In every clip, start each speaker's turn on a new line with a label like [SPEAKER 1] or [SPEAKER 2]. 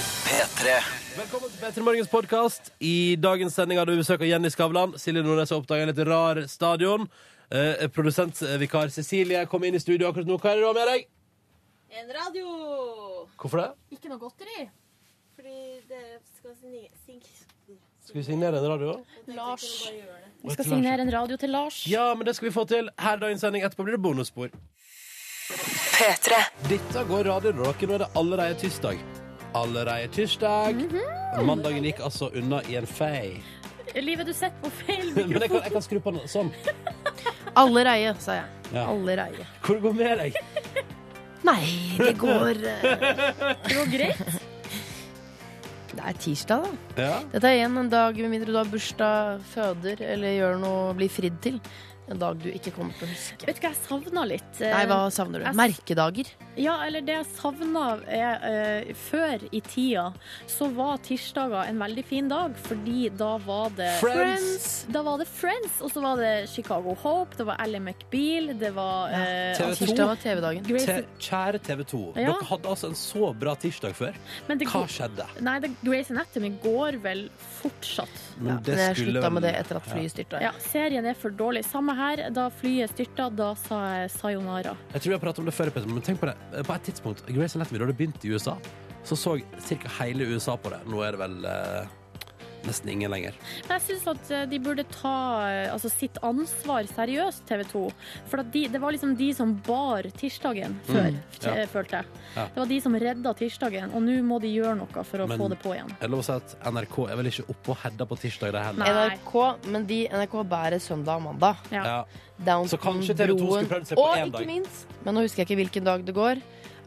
[SPEAKER 1] P3.
[SPEAKER 2] Velkommen til Petter Morgens podkast. I dagens sending hadde vi besøk av Jenny Skavlan. Silje Nordnes har oppdaga en litt rar stadion. Eh, produsentvikar Cecilie kom inn i studio akkurat nå. Hva er det du har med deg?
[SPEAKER 3] En radio!
[SPEAKER 2] Hvorfor det?
[SPEAKER 4] Ikke noe godteri.
[SPEAKER 3] Fordi det skal signe- sink...
[SPEAKER 2] Skal vi signere en radio?
[SPEAKER 4] Lars.
[SPEAKER 2] Vet
[SPEAKER 4] Vi skal
[SPEAKER 2] du, Lars?
[SPEAKER 4] signere en radio til Lars.
[SPEAKER 2] Ja, men det skal vi få til. Her er dagens sending. Etterpå blir det bonusspor.
[SPEAKER 1] P3.
[SPEAKER 2] Dette går radioen rocker. Nå er det allerede tirsdag. Allerede tirsdag. Mandagen gikk altså unna i en fei.
[SPEAKER 4] Livet du setter på feil
[SPEAKER 2] Men jeg kan, jeg kan skru på den sånn.
[SPEAKER 5] Allereie, sa jeg.
[SPEAKER 2] Ja.
[SPEAKER 5] Allereie.
[SPEAKER 2] Hvor går det med deg?
[SPEAKER 5] Nei, det går eh,
[SPEAKER 4] Det går greit.
[SPEAKER 5] Det er tirsdag, da.
[SPEAKER 2] Ja.
[SPEAKER 5] Dette er igjen en dag med mindre du har bursdag, føder eller gjør noe, blir fridd til. En dag du ikke kommer til å huske.
[SPEAKER 4] Vet du eh, hva jeg savna litt?
[SPEAKER 5] Nei, hva savner du?
[SPEAKER 4] jeg-
[SPEAKER 5] Merkedager.
[SPEAKER 4] Ja, eller det jeg savna er eh, Før i tida så var tirsdager en veldig fin dag, fordi da var det
[SPEAKER 2] Friends.
[SPEAKER 4] Da var det Friends, og så var det Chicago Hope, det var Ally McBeal, det var eh,
[SPEAKER 2] TV2.
[SPEAKER 4] altså,
[SPEAKER 5] Tirsdag var TV-dagen.
[SPEAKER 4] Grey's-
[SPEAKER 2] Te kjære TV 2.
[SPEAKER 4] Ja.
[SPEAKER 2] Dere hadde altså en så bra tirsdag før.
[SPEAKER 4] men det,
[SPEAKER 2] Hva skjedde?
[SPEAKER 4] Nei, det, Grace Anatomy går vel fortsatt.
[SPEAKER 5] Ja, men jeg slutta med det etter at flyet styrta.
[SPEAKER 4] Ja, serien er for dårlig. Samme her, da flyet styrta, da sa jeg sayonara.
[SPEAKER 2] Jeg tror jeg har pratet om det før, Petter, men tenk på det. Eh, På et tidspunkt, Grey's Anatomy, da det begynte i USA, så så ca. hele USA på det. Nå er det vel eh, nesten ingen lenger.
[SPEAKER 4] Men jeg syns at eh, de burde ta eh, altså, sitt ansvar seriøst, TV 2. For at de, det var liksom de som bar tirsdagen før,
[SPEAKER 2] Mm, ja.
[SPEAKER 4] eh, følte jeg.
[SPEAKER 2] Ja.
[SPEAKER 4] Det var de som redda tirsdagen, og nå må de gjøre noe for å
[SPEAKER 2] Men-
[SPEAKER 4] få det på igjen.
[SPEAKER 2] Er det lov å si at NRK er vel ikke oppe og hedda på tirsdag, det heller?
[SPEAKER 4] Nei.
[SPEAKER 5] NRK, men de NRK bærer søndag og mandag.
[SPEAKER 4] Ja.
[SPEAKER 2] Ja.
[SPEAKER 5] Downton,
[SPEAKER 2] Så kanskje TV 2 skulle prøvd å se på
[SPEAKER 5] og
[SPEAKER 2] én dag.
[SPEAKER 5] ikke minst, men nå husker jeg ikke hvilken dag det går.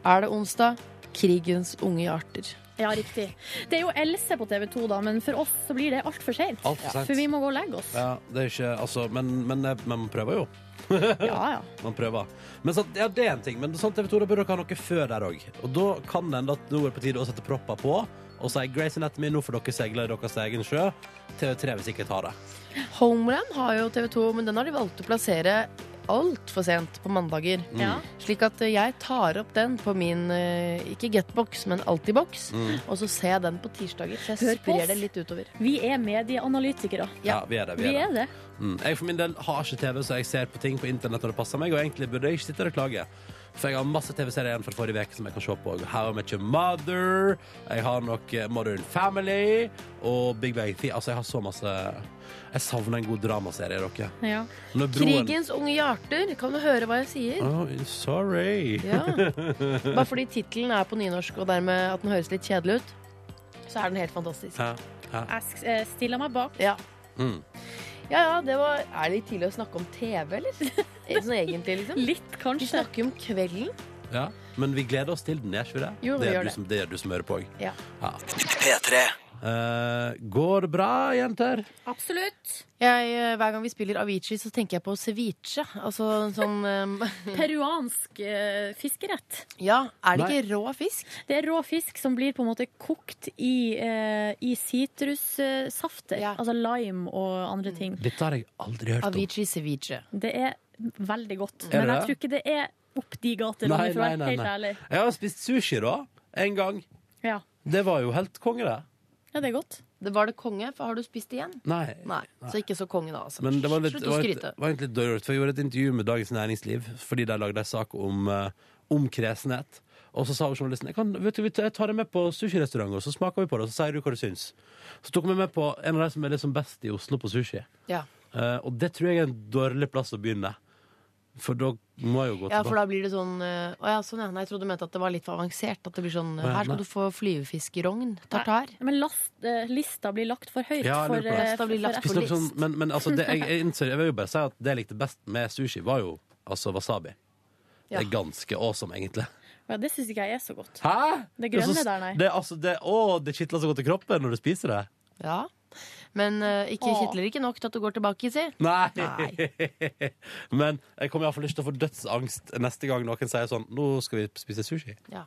[SPEAKER 5] Er det onsdag? Krigens unge arter.
[SPEAKER 4] Ja, riktig. Det er jo Else på TV 2, da, men for oss så blir det altfor seint.
[SPEAKER 2] Alt for sent.
[SPEAKER 4] For vi må gå og legge oss.
[SPEAKER 2] Ja, det er ikke, altså, men, men, eh, men man prøver jo.
[SPEAKER 4] Ja, ja.
[SPEAKER 2] Man prøver. Men så, ja, det er en ting. Men sånn TV 2 da burde dere ha noe før der òg. Og da kan det hende at nå er det på tide å sette propper på og si Grace Anatomy, nå får dere seile i deres egen sjø. TV3 vil sikkert ha det.
[SPEAKER 5] Homeland har jo TV 2, men den har de valgt å plassere altfor sent på mandager.
[SPEAKER 2] Mm.
[SPEAKER 4] ja.
[SPEAKER 5] Slik at eh, jeg tar opp den på min eh, ikke getbox, men alltidbox. Og så ser jeg den på tirsdager. Så
[SPEAKER 4] Hør
[SPEAKER 5] jeg
[SPEAKER 4] på oss.
[SPEAKER 5] sprer det litt utover.
[SPEAKER 4] Vi er medieanalytikere.
[SPEAKER 2] Ja,
[SPEAKER 5] Ja.
[SPEAKER 2] vi er det. Vi
[SPEAKER 4] Vi
[SPEAKER 2] er det.
[SPEAKER 4] er det.
[SPEAKER 2] Mm. Jeg for min del har ikke TV, så jeg ser på ting på internett når det passer meg. Og egentlig burde jeg ikke sitte der og klage. For jeg har masse TV-serier igjen fra forrige uke som jeg kan se på. How I Met Your Mother. Jeg har nok eh, Modern Family og Big Bang Theory. Altså, jeg har så masse Jeg savner en god dramaserie, dere.
[SPEAKER 4] Ja.
[SPEAKER 2] Når broen-
[SPEAKER 5] Krigens unge hjerter. Kan du høre hva jeg sier?
[SPEAKER 2] Oh, sorry.
[SPEAKER 5] Ja. Bare fordi tittelen er på nynorsk, og dermed at den høres litt kjedelig ut, så er den helt fantastisk.
[SPEAKER 2] Ja. Ja.
[SPEAKER 4] Jeg sk- eh, stiller meg bak.
[SPEAKER 5] Ja.
[SPEAKER 2] Mm.
[SPEAKER 5] Ja, ja, det var Er det litt tidlig å snakke om TV, eller? Sånn egentlig, liksom.
[SPEAKER 4] Litt,
[SPEAKER 5] Vi
[SPEAKER 4] kanskje.
[SPEAKER 5] snakker jo om kvelden.
[SPEAKER 2] Ja, men vi gleder oss til den, gjør ikke vi det?
[SPEAKER 5] Jo, vi
[SPEAKER 2] det, er
[SPEAKER 5] gjør
[SPEAKER 2] du
[SPEAKER 5] det.
[SPEAKER 2] Som, det er du som hører på òg.
[SPEAKER 5] Ja.
[SPEAKER 1] P3.
[SPEAKER 2] Eh, går det bra, jenter?
[SPEAKER 4] Absolutt.
[SPEAKER 5] Jeg, eh, hver gang vi spiller Avicii, så tenker jeg på ceviche. Altså en sånn eh,
[SPEAKER 4] Peruansk eh, fiskerett.
[SPEAKER 5] Ja, er det
[SPEAKER 2] Nei.
[SPEAKER 5] ikke rå fisk?
[SPEAKER 4] Det er rå fisk som blir på en måte kokt i, eh, i sitrussafter.
[SPEAKER 5] Ja. Mm.
[SPEAKER 4] Altså lime og andre ting.
[SPEAKER 2] Dette har jeg aldri hørt om.
[SPEAKER 5] Avicii ceviche.
[SPEAKER 4] Det er veldig godt.
[SPEAKER 2] Er det
[SPEAKER 4] Men jeg
[SPEAKER 2] det?
[SPEAKER 4] tror ikke det er opp de gater, om
[SPEAKER 2] Nei,
[SPEAKER 4] jeg får
[SPEAKER 2] nei,
[SPEAKER 4] være
[SPEAKER 2] nei,
[SPEAKER 4] helt
[SPEAKER 2] nei.
[SPEAKER 4] ærlig.
[SPEAKER 2] Jeg har spist sushi, da. En gang.
[SPEAKER 4] Ja.
[SPEAKER 2] Det var jo helt konge, det.
[SPEAKER 4] ja, det er godt.
[SPEAKER 5] Det var det konge, for har du spist igjen?
[SPEAKER 2] Nei.
[SPEAKER 5] Nei, så ikke så konge da, altså.
[SPEAKER 2] Men det var litt,
[SPEAKER 5] Slutt å
[SPEAKER 2] var litt,
[SPEAKER 5] skryte.
[SPEAKER 2] var egentlig litt dårlig gjort, for jeg gjorde et intervju med Dagens Næringsliv fordi de lagde en sak om, eh, om kresenhet. Og så sa journalisten jeg, kan, vet du, vi tar- jeg tar deg med på sushirestaurant, og så smaker vi på det, og så sier du hva du syns. Så tok vi med på en av de som er liksom best i Oslo på sushi.
[SPEAKER 5] Ja.
[SPEAKER 2] Eh, og det tror jeg er en dårlig plass å begynne. For da må jeg jo gå
[SPEAKER 5] ja, for
[SPEAKER 2] tilbake.
[SPEAKER 5] da blir det sånn eh, Å ja, sånn ja. Nei, jeg trodde du mente at det var litt for avansert. At det blir sånn
[SPEAKER 2] Å
[SPEAKER 5] eh,
[SPEAKER 2] ja,
[SPEAKER 5] Her
[SPEAKER 2] nei.
[SPEAKER 5] skal du få flyvefiskrogn. Tartar.
[SPEAKER 4] Men last, eh, lista blir lagt for høyt.
[SPEAKER 2] Ja, jeg lurer på
[SPEAKER 4] for,
[SPEAKER 2] det.
[SPEAKER 4] eh,
[SPEAKER 5] Lista blir
[SPEAKER 4] for-
[SPEAKER 5] lagt
[SPEAKER 4] for-
[SPEAKER 2] Spiste dere sånn, men men altså, det, jeg, jeg innser Jeg vil jo bare si at det jeg likte best med sushi, var jo altså wasabi. Det
[SPEAKER 5] Ja.
[SPEAKER 2] er ganske awesome, egentlig.
[SPEAKER 4] ja, det syns ikke jeg er så godt.
[SPEAKER 2] Hæ?!
[SPEAKER 4] Det
[SPEAKER 2] er
[SPEAKER 4] grønne
[SPEAKER 2] så-
[SPEAKER 4] der, nei.
[SPEAKER 2] Det, er altså, det, å, det kitler så godt i kroppen når du spiser det.
[SPEAKER 5] Ja. Men eh, ikke
[SPEAKER 4] Åh.
[SPEAKER 5] kitler ikke nok til at du går tilbake, si.
[SPEAKER 2] Nei!
[SPEAKER 5] Nei.
[SPEAKER 2] men jeg kommer iallfall ikke til å få dødsangst neste gang noen sier sånn Nå skal vi spise sushi.
[SPEAKER 5] Ja.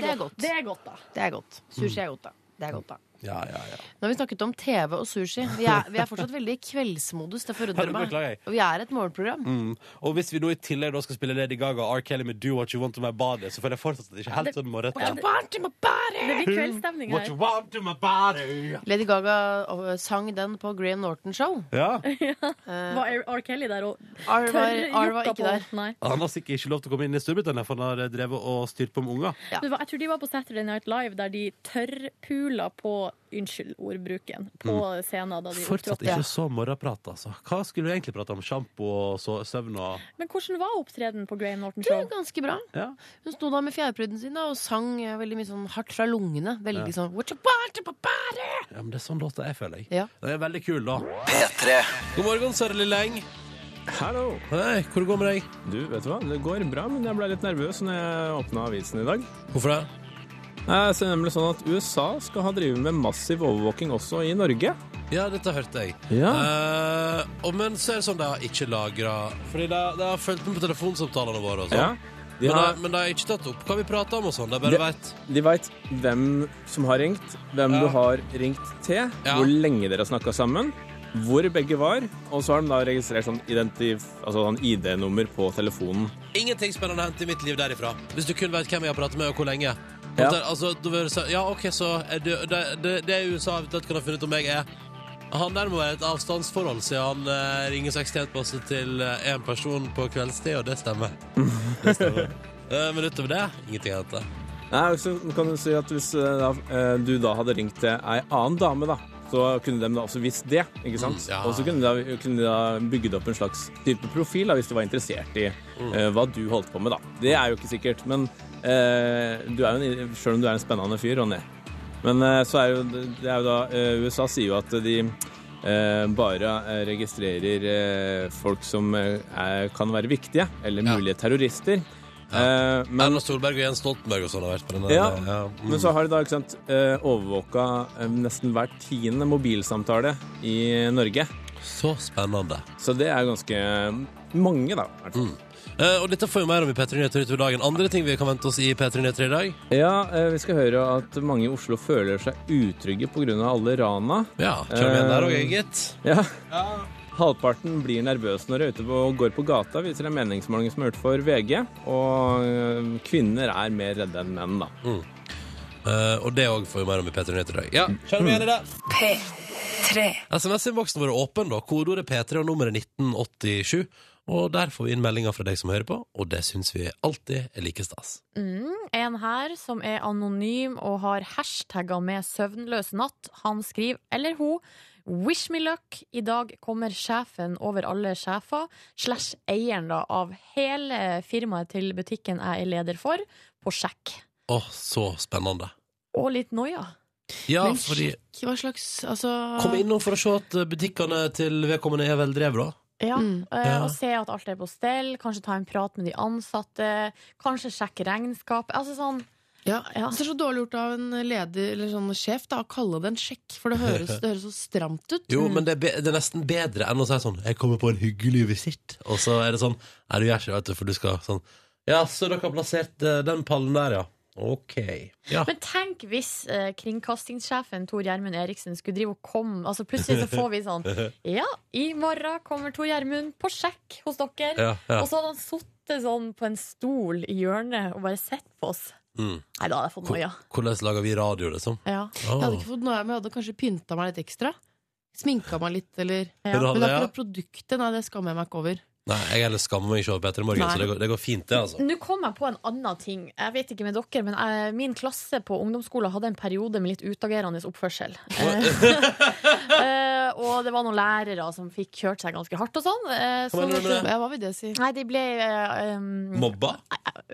[SPEAKER 5] Det er
[SPEAKER 4] er godt.
[SPEAKER 5] godt.
[SPEAKER 4] Det er godt, da.
[SPEAKER 2] Mm.
[SPEAKER 5] Det er godt. Sushi er godt, da. Det er godt, da.
[SPEAKER 2] Ja, ja, ja.
[SPEAKER 5] Nå har vi snakket om TV og sushi. Vi er, vi er fortsatt veldig i kveldsmodus. Det forundrer meg.
[SPEAKER 2] Beklager.
[SPEAKER 5] Og vi er et morgenprogram.
[SPEAKER 2] Mm. Og hvis vi nå i tillegg da skal spille Lady Gaga og R. Kelly med Do What You Want To My Body, så føler jeg fortsatt at det ikke er helt sånn må rett
[SPEAKER 5] I
[SPEAKER 2] til.
[SPEAKER 5] want my body.
[SPEAKER 4] Det blir kveldsstemning
[SPEAKER 2] What
[SPEAKER 4] her.
[SPEAKER 2] you want to my body
[SPEAKER 5] Lady Gaga øh, sang den på Graham Norton Show.
[SPEAKER 2] Ja,
[SPEAKER 4] Var R. R. Kelly der og
[SPEAKER 5] R var, R var
[SPEAKER 4] jokka
[SPEAKER 5] ikke der.
[SPEAKER 4] Nei.
[SPEAKER 2] Han har sikkert ikke lov til å komme inn i Storbritannia, for han har eh, drevet og styrt på med unger.
[SPEAKER 5] Ja.
[SPEAKER 4] Det var, jeg tror de var på Saturday Night Live, der de tørrpula på Unnskyld ordbruken. På scenen da de
[SPEAKER 2] Fortsatt
[SPEAKER 4] opptrådte.
[SPEAKER 2] ikke så morgenprat, altså. Hva skulle du egentlig prate om? Sjampo og så, søvn og
[SPEAKER 4] Men hvordan var opptredenen på Graham Norton
[SPEAKER 5] Det
[SPEAKER 4] Show?
[SPEAKER 5] er ganske bra.
[SPEAKER 2] Ja.
[SPEAKER 5] Hun sto da med fjærprydden sin da, og sang eh, veldig mye sånn hardt fra lungene. Veldig sånn What you want my body?
[SPEAKER 2] ja, men det er sånn låta jeg føler, jeg.
[SPEAKER 5] Ja.
[SPEAKER 2] Det er veldig kul, da.
[SPEAKER 1] P3.
[SPEAKER 2] God morgen, Sara Lilleng.
[SPEAKER 6] Hallo.
[SPEAKER 2] Hei, hvor går det med deg?
[SPEAKER 6] Du, vet du hva? Det går bra, men jeg ble litt nervøs når jeg åpna avisen i dag.
[SPEAKER 2] Hvorfor det?
[SPEAKER 6] Jeg ser nemlig sånn at USA skal ha drevet med massiv overvåking også i Norge.
[SPEAKER 2] Ja, dette hørte jeg. Eh, og men så er det sånn de har ikke lagra Fordi de, de har fulgt med på telefonsamtalene våre. og sånn.
[SPEAKER 6] Ja. De,
[SPEAKER 2] Men,
[SPEAKER 6] har,
[SPEAKER 2] de, men de har ikke tatt opp hva vi prater om. og sånn De bare vet
[SPEAKER 6] de veit hvem som har ringt, hvem
[SPEAKER 2] Ja.
[SPEAKER 6] du har ringt til,
[SPEAKER 2] Ja.
[SPEAKER 6] hvor lenge dere har snakka sammen, hvor begge var, og så har de da registrert sånn, identif altså sånn ID-nummer på telefonen.
[SPEAKER 2] Ingenting spennende å hente i mitt liv derifra. Hvis du kun vet hvem jeg har pratet med, og hvor lenge.
[SPEAKER 6] Ja.
[SPEAKER 2] Og Der, altså, du vil si, ja, OK, så er det, det, det, det USA eventuelt kan ha funnet ut om meg, er Han der må være et avstandsforhold, siden han eh, ringer sekstientpasse til én person på kveldstid, og det stemmer. Det stemmer. Eh, men utover det, ingenting å hente.
[SPEAKER 6] Nei, så kan du si at Hvis eh, da, eh, du da hadde ringt til ei annen dame, da, så kunne de da også visst det. ikke sant?
[SPEAKER 2] Mm, ja.
[SPEAKER 6] Og så kunne de, da, kunne de da bygget opp en slags type profil da, hvis de var interessert i
[SPEAKER 2] Mm.
[SPEAKER 6] eh, hva du holdt på med. da. Det er jo ikke sikkert, men eh, du er jo en, selv om du er en spennende fyr, Ronny Men eh, så er jo det er jo da eh, USA sier jo at de eh, bare eh, registrerer eh, folk som eh, er, kan være viktige, eller
[SPEAKER 2] Ja.
[SPEAKER 6] mulige terrorister. Eh, men
[SPEAKER 2] Erna Solberg og Jens Stoltenberg og sånn har vært på den. der,
[SPEAKER 6] Ja,
[SPEAKER 2] mm.
[SPEAKER 6] men så har de da ikke sant, eh, overvåka eh, nesten hver tiende mobilsamtale i Norge.
[SPEAKER 2] Så spennende.
[SPEAKER 6] Så det er ganske mange, da. i hvert fall.
[SPEAKER 2] Eh, og dette får vi mer om i P3 Nyheter utover dagen. Andre ting vi kan vente oss i P3 Nyheter i dag?
[SPEAKER 6] Ja, eh, vi skal høre at mange i Oslo føler seg utrygge pga. alle rana.
[SPEAKER 2] Ja, kjører vi igjen der òg,
[SPEAKER 6] Eh,
[SPEAKER 2] gitt.
[SPEAKER 6] Ja. Halvparten blir nervøse når de er ute på- og går på gata, viser en meningsmåling som er gjort for VG. Og eh, kvinner er mer redde enn menn, da.
[SPEAKER 2] Eh, og det òg får vi mer om i P3 Nyheter i dag. Ja, kjører vi igjen i det.
[SPEAKER 1] P3.
[SPEAKER 2] SMS-innboksen vår er åpen, da. Kodeordet P3 og nummeret 1987. Og der får vi inn meldinger fra deg som hører på, og det syns vi alltid er like stas.
[SPEAKER 4] Mm, en her som er anonym og har hashtagga med 'søvnløs natt'. Han skriver, eller hun, 'Wish me luck'. I dag kommer sjefen over alle sjefer, slash eieren da, av hele firmaet til butikken jeg er leder for, på sjekk.
[SPEAKER 2] Å, så spennende.
[SPEAKER 4] Og litt noia.
[SPEAKER 2] Ja,
[SPEAKER 5] Men
[SPEAKER 2] fordi
[SPEAKER 5] sjekk hva slags altså,
[SPEAKER 2] Kom innom for å se at eh, butikkene til vedkommende er veldrevet, da.
[SPEAKER 4] Ja,
[SPEAKER 5] Mm.
[SPEAKER 4] eh,
[SPEAKER 2] Ja.
[SPEAKER 4] Og se at alt er på stell, kanskje ta en prat med de ansatte, kanskje sjekke regnskap. Altså sånn
[SPEAKER 5] Ja.
[SPEAKER 4] Ja.
[SPEAKER 5] Altså, Det er så dårlig gjort av en leder eller sånn sjef da, å kalle det en sjekk, for det høres, det høres så stramt ut.
[SPEAKER 2] Jo, men det er, be det er nesten bedre enn å si sånn 'Jeg kommer på en hyggelig visitt', og så er det sånn 'Nei, du gjør ikke det, vet du, for du skal sånn 'Ja, så dere har plassert eh, den pallen der, ja'. OK. Ja.
[SPEAKER 4] Men tenk hvis eh, kringkastingssjefen Tor Gjermund Eriksen skulle drive og komme altså Plutselig så får vi sånn Ja, i morgen kommer Tor Gjermund på sjekk hos dere.
[SPEAKER 2] ja, ja.
[SPEAKER 4] Og så hadde han sittet sånn på en stol i hjørnet og bare sett på oss.
[SPEAKER 2] Mm.
[SPEAKER 4] Nei, da hadde jeg fått noia.
[SPEAKER 2] Hvordan lager vi radio, liksom?
[SPEAKER 4] Ja.
[SPEAKER 5] Jeg
[SPEAKER 2] Åh.
[SPEAKER 5] hadde ikke fått noe, men jeg hadde kanskje pynta meg litt ekstra. Sminka meg litt, eller
[SPEAKER 4] Ja.
[SPEAKER 2] Vil du ha
[SPEAKER 5] Men
[SPEAKER 2] det, ja?
[SPEAKER 5] akkurat produktet, nei, det skammer jeg meg ikke over.
[SPEAKER 2] Nei, jeg heller skammer meg ikke over Petter i morgen,
[SPEAKER 5] Nei.
[SPEAKER 2] så det går, det går fint, det, altså.
[SPEAKER 4] Nå kom jeg på en annen ting. Jeg vet ikke med dere, men jeg, Min klasse på ungdomsskolen hadde en periode med litt utagerende oppførsel. Eh, eh, og det var noen lærere som fikk kjørt seg ganske hardt og sånn. Eh,
[SPEAKER 2] Hva mener du med det?
[SPEAKER 5] Ja, hva vil det si?
[SPEAKER 4] Nei, de ble eh, um,
[SPEAKER 5] Mm.
[SPEAKER 2] Mobba?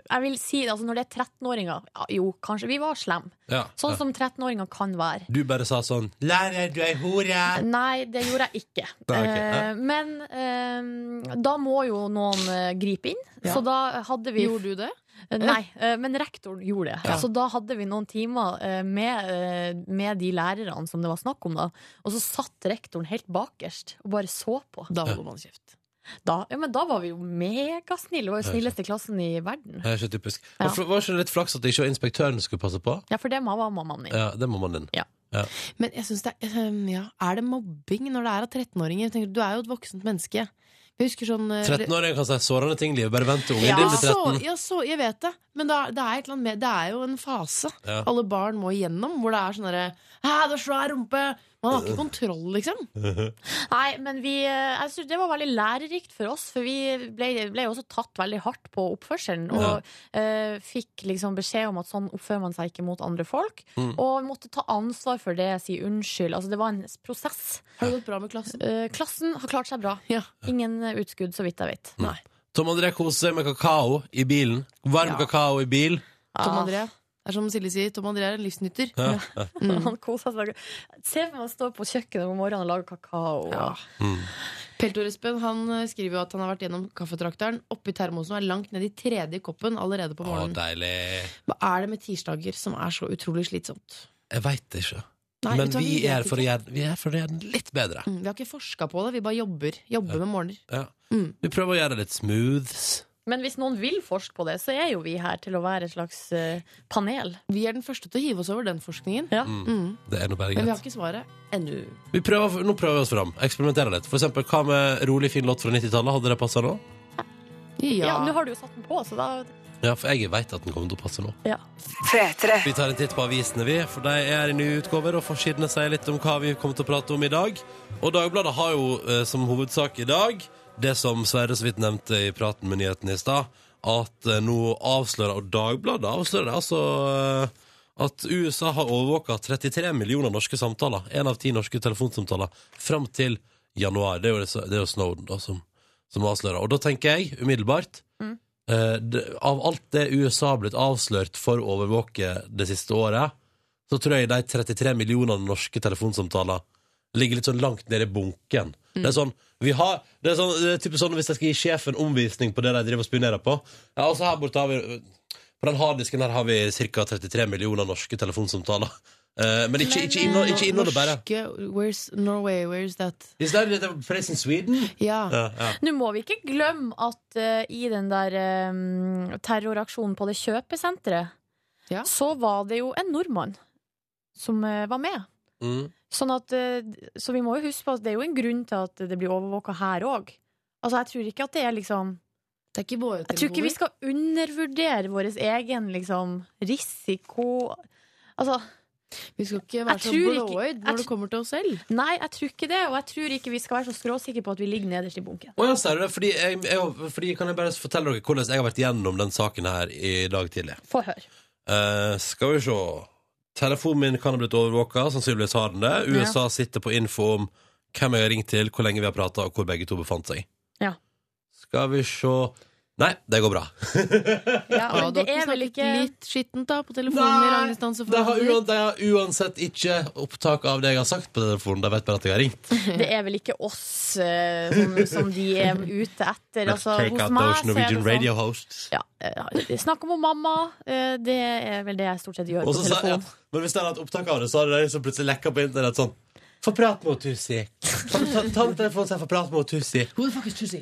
[SPEAKER 4] Jeg vil si det, altså Når det er 13-åringer ja, Jo, kanskje vi var slem
[SPEAKER 2] Ja.
[SPEAKER 4] Sånn
[SPEAKER 2] ja.
[SPEAKER 4] som 13-åringer kan være
[SPEAKER 2] Du bare sa sånn 'Lærer, du er ei hore'.
[SPEAKER 4] Nei, det gjorde jeg ikke
[SPEAKER 2] Nei, ok,
[SPEAKER 4] Eh,
[SPEAKER 2] ja.
[SPEAKER 4] Men eh, da må jo noen eh, gripe inn
[SPEAKER 5] Ja.
[SPEAKER 4] Så da hadde vi
[SPEAKER 5] Gjorde du det?
[SPEAKER 4] Nei, eh, men rektoren gjorde det
[SPEAKER 5] Ja.
[SPEAKER 4] Så da hadde vi noen timer eh, med, eh, med de lærerne som det var snakk om da Og så satt rektoren helt bakerst Og bare så på
[SPEAKER 5] Da holder man kjeft.
[SPEAKER 4] Da, ja, men da var vi jo megasnille Vi var jo snilleste klassen i verden
[SPEAKER 2] Det er ikke typisk.
[SPEAKER 4] Ja.
[SPEAKER 2] Var- Var ikke det litt flaks at ikke inspektøren skulle passe på?
[SPEAKER 4] Ja, for det var mammaen min
[SPEAKER 2] Ja, det må man din.
[SPEAKER 4] Ja.
[SPEAKER 2] Ja.
[SPEAKER 5] Men jeg synes det er, eh, ja, er det mobbing når det er av 13-åringer? Jeg tenker, Du er jo et voksent menneske. Jeg husker sånn eh,
[SPEAKER 2] 13-åringer kan si sårende ting i livet. Bare vent til ungen
[SPEAKER 5] ja,
[SPEAKER 2] din blir
[SPEAKER 5] så,
[SPEAKER 2] 13.
[SPEAKER 5] ja, så, jeg vet det. Men det er, det, er et eller annet med, det er jo en fase
[SPEAKER 2] Ja.
[SPEAKER 5] alle barn må igjennom, hvor det er sånn derre Hæ, du har svær rumpe! Man har ikke kontroll, liksom.
[SPEAKER 4] Nei, men vi, eh, jeg synes det var veldig lærerikt for oss, for vi ble, ble jo også tatt veldig hardt på oppførselen. Og eh, fikk liksom beskjed om at sånn oppfører man seg ikke mot andre folk. Og vi måtte ta ansvar for det, si unnskyld. Altså det var en s- prosess.
[SPEAKER 5] Har det gått bra med klassen?
[SPEAKER 4] Eh, klassen har klart seg bra.
[SPEAKER 5] Ja.
[SPEAKER 4] Ingen eh, utskudd, så vidt jeg vet.
[SPEAKER 5] Nei.
[SPEAKER 2] Tom André koser seg med kakao i bilen. Varm
[SPEAKER 5] Ja.
[SPEAKER 2] kakao i bil.
[SPEAKER 5] Tom
[SPEAKER 4] Ah.
[SPEAKER 5] André. Det er som Silje sier, Tom André er en livsnytter.
[SPEAKER 2] Ja.
[SPEAKER 4] Han koser seg. Se for meg å stå på kjøkkenet om morgenen og lage kakao.
[SPEAKER 5] Ja.
[SPEAKER 2] Mm.
[SPEAKER 5] Peltor Espen han eh, skriver jo at han har vært gjennom kaffetrakteren, oppi termosen og er langt ned i tredje koppen allerede på
[SPEAKER 2] Å,
[SPEAKER 5] morgenen.
[SPEAKER 2] deilig.
[SPEAKER 5] Hva er det med tirsdager som er så utrolig slitsomt?
[SPEAKER 2] Jeg veit ikke.
[SPEAKER 5] Nei,
[SPEAKER 2] Men
[SPEAKER 5] vet du hva,
[SPEAKER 2] vi
[SPEAKER 5] vet
[SPEAKER 2] er, for å
[SPEAKER 5] ikke.
[SPEAKER 2] gjøre, den- vi er for å gjøre den litt bedre.
[SPEAKER 5] Mm, Vi har ikke forska på det, vi bare jobber. Jobber med morgener.
[SPEAKER 2] Ja.
[SPEAKER 5] Mm.
[SPEAKER 2] Vi prøver å gjøre det litt smooth.
[SPEAKER 4] Men hvis noen vil forske på det, så er jo vi her til å være et slags eh, panel.
[SPEAKER 5] Vi er den første til å hive oss over den forskningen.
[SPEAKER 4] Ja.
[SPEAKER 5] Mm.
[SPEAKER 2] Det er noe bare
[SPEAKER 5] Men vi har
[SPEAKER 2] greit.
[SPEAKER 5] ikke svaret ennå.
[SPEAKER 2] Vi prøver, nå prøver vi oss fram. Eksperimenterer litt. For eksempel, hva med rolig, fin låt fra 90-tallet? Hadde det passa nå?
[SPEAKER 4] Ja,
[SPEAKER 5] Ja.
[SPEAKER 4] Nå har du jo satt den på, så da
[SPEAKER 2] Ja, for jeg veit at den kommer til å passe nå.
[SPEAKER 4] ja.
[SPEAKER 1] P3.
[SPEAKER 2] Vi tar en titt på avisene, vi, for de er i nye utgaver, og forsidene sier litt om hva vi kommer til å prate om i dag. Og Dagbladet har jo eh, som hovedsak i dag det som Sverre så vidt nevnte i praten med nyheten i stad, at eh, nå avslører Og Dagbladet avslører altså eh, at USA har overvåka 33 millioner norske samtaler, én av ti norske telefonsamtaler, fram til januar. Det er jo, det, det er jo Snowden da, som, som avslører. Og da tenker jeg umiddelbart Eh, det, av alt det USA har blitt avslørt for å overvåke det siste året, så tror jeg de 33 millionene norske telefonsamtaler ligger litt sånn langt nede i bunken. Det er sånn, vi har, det er sånn, det er typisk sånn hvis jeg skal gi sjefen omvisning på det de driver og spionerer på. Ja, altså her borte har vi, på den harddisken her har vi ca. 33 millioner norske telefonsamtaler. Eh, men ikke, ikke, innhold, ikke innholdet bare.
[SPEAKER 5] Norske Where's Norway, where's that?
[SPEAKER 2] Is that a place in Sweden?
[SPEAKER 5] Ja.
[SPEAKER 2] Ja, ja.
[SPEAKER 4] Nå må vi ikke glemme at eh, i den der eh, terroraksjonen på det kjøpesenteret,
[SPEAKER 5] Ja.
[SPEAKER 4] så var det jo en nordmann som eh, var med.
[SPEAKER 2] Mm.
[SPEAKER 4] Sånn at, eh, så vi må jo huske på at det er jo en grunn til at det blir overvåka her òg. Altså, jeg tror ikke at det er liksom
[SPEAKER 5] Det er ikke våre
[SPEAKER 4] Jeg tror ikke vi skal undervurdere vår egen liksom, risiko Altså,
[SPEAKER 5] Vi skal ikke
[SPEAKER 4] Jeg
[SPEAKER 5] være så
[SPEAKER 4] tror ikke-
[SPEAKER 5] blåøyd
[SPEAKER 4] jeg
[SPEAKER 5] når det
[SPEAKER 4] tr-
[SPEAKER 5] kommer til oss selv.
[SPEAKER 4] nei, jeg tror ikke det. Og jeg tror ikke vi skal være så skråsikre på at vi ligger nederst i bunken.
[SPEAKER 2] Å ja, ser du det? Fordi jeg, jeg, fordi kan jeg bare fortelle dere hvordan jeg har vært gjennom den saken her i dag tidlig?
[SPEAKER 4] Få høre.
[SPEAKER 2] Eh, skal vi se Telefonen min kan ha blitt overvåka, sannsynligvis har den det. USA sitter på info om hvem jeg har ringt til, hvor lenge vi har prata, og hvor begge to befant seg.
[SPEAKER 4] Ja.
[SPEAKER 2] Skal vi se Nei, det går bra.
[SPEAKER 4] Ja,
[SPEAKER 5] Ja,
[SPEAKER 4] men
[SPEAKER 5] du
[SPEAKER 4] det
[SPEAKER 5] har ikke
[SPEAKER 4] er vel
[SPEAKER 5] snakket
[SPEAKER 4] ikke
[SPEAKER 5] litt skittent da på telefonen i
[SPEAKER 2] de har,
[SPEAKER 5] langdistanseforholdet?
[SPEAKER 2] uan- de har uansett ikke opptak av det jeg har sagt på telefonen. De vet bare at jeg har ringt.
[SPEAKER 4] Det er vel ikke oss eh, som, som de er ute etter.
[SPEAKER 2] Let's
[SPEAKER 4] Altså,
[SPEAKER 2] take
[SPEAKER 4] hos
[SPEAKER 2] out
[SPEAKER 4] meg
[SPEAKER 2] those
[SPEAKER 4] så er
[SPEAKER 2] Norwegian
[SPEAKER 4] det sånn
[SPEAKER 2] radio hosts.
[SPEAKER 4] ja, eh, Snakk om hun mamma. eh, Det er vel det jeg stort sett gjør
[SPEAKER 2] Og
[SPEAKER 4] på
[SPEAKER 2] så sa, ja,
[SPEAKER 4] telefon.
[SPEAKER 2] men hvis de hadde hatt opptak av det, så hadde de liksom plutselig lekka på internett sånn Få prat med Tussi. Ta, ta, ta med telefonen, så jeg får prate med Tussi.
[SPEAKER 5] Who the fuck is Tussi?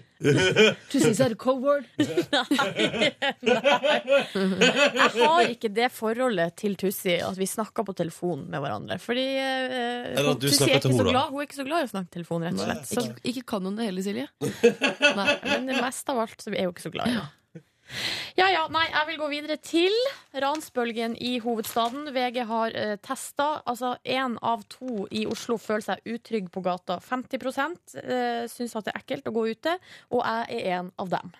[SPEAKER 5] Tussi, is that a code word?
[SPEAKER 4] Jeg har ikke det forholdet til Tussi at vi snakker på telefon med hverandre. Fordi eh,
[SPEAKER 2] Eller at du
[SPEAKER 4] Tussi
[SPEAKER 2] snakker
[SPEAKER 4] er
[SPEAKER 2] til
[SPEAKER 4] ikke så
[SPEAKER 2] henne, da.
[SPEAKER 4] glad Hun er ikke så glad i å snakke telefon, rett og slett. Så
[SPEAKER 5] Ikke, ikke kan hun det hele, Silje.
[SPEAKER 4] Nei, men det meste av alt så er jeg jo ikke så glad i det. Ja ja, nei, jeg vil gå videre til ransbølgen i hovedstaden. VG har eh, testa. Altså én av to i Oslo føler seg utrygg på gata. 50 eh, syns at det er ekkelt å gå ute, og jeg er en av dem.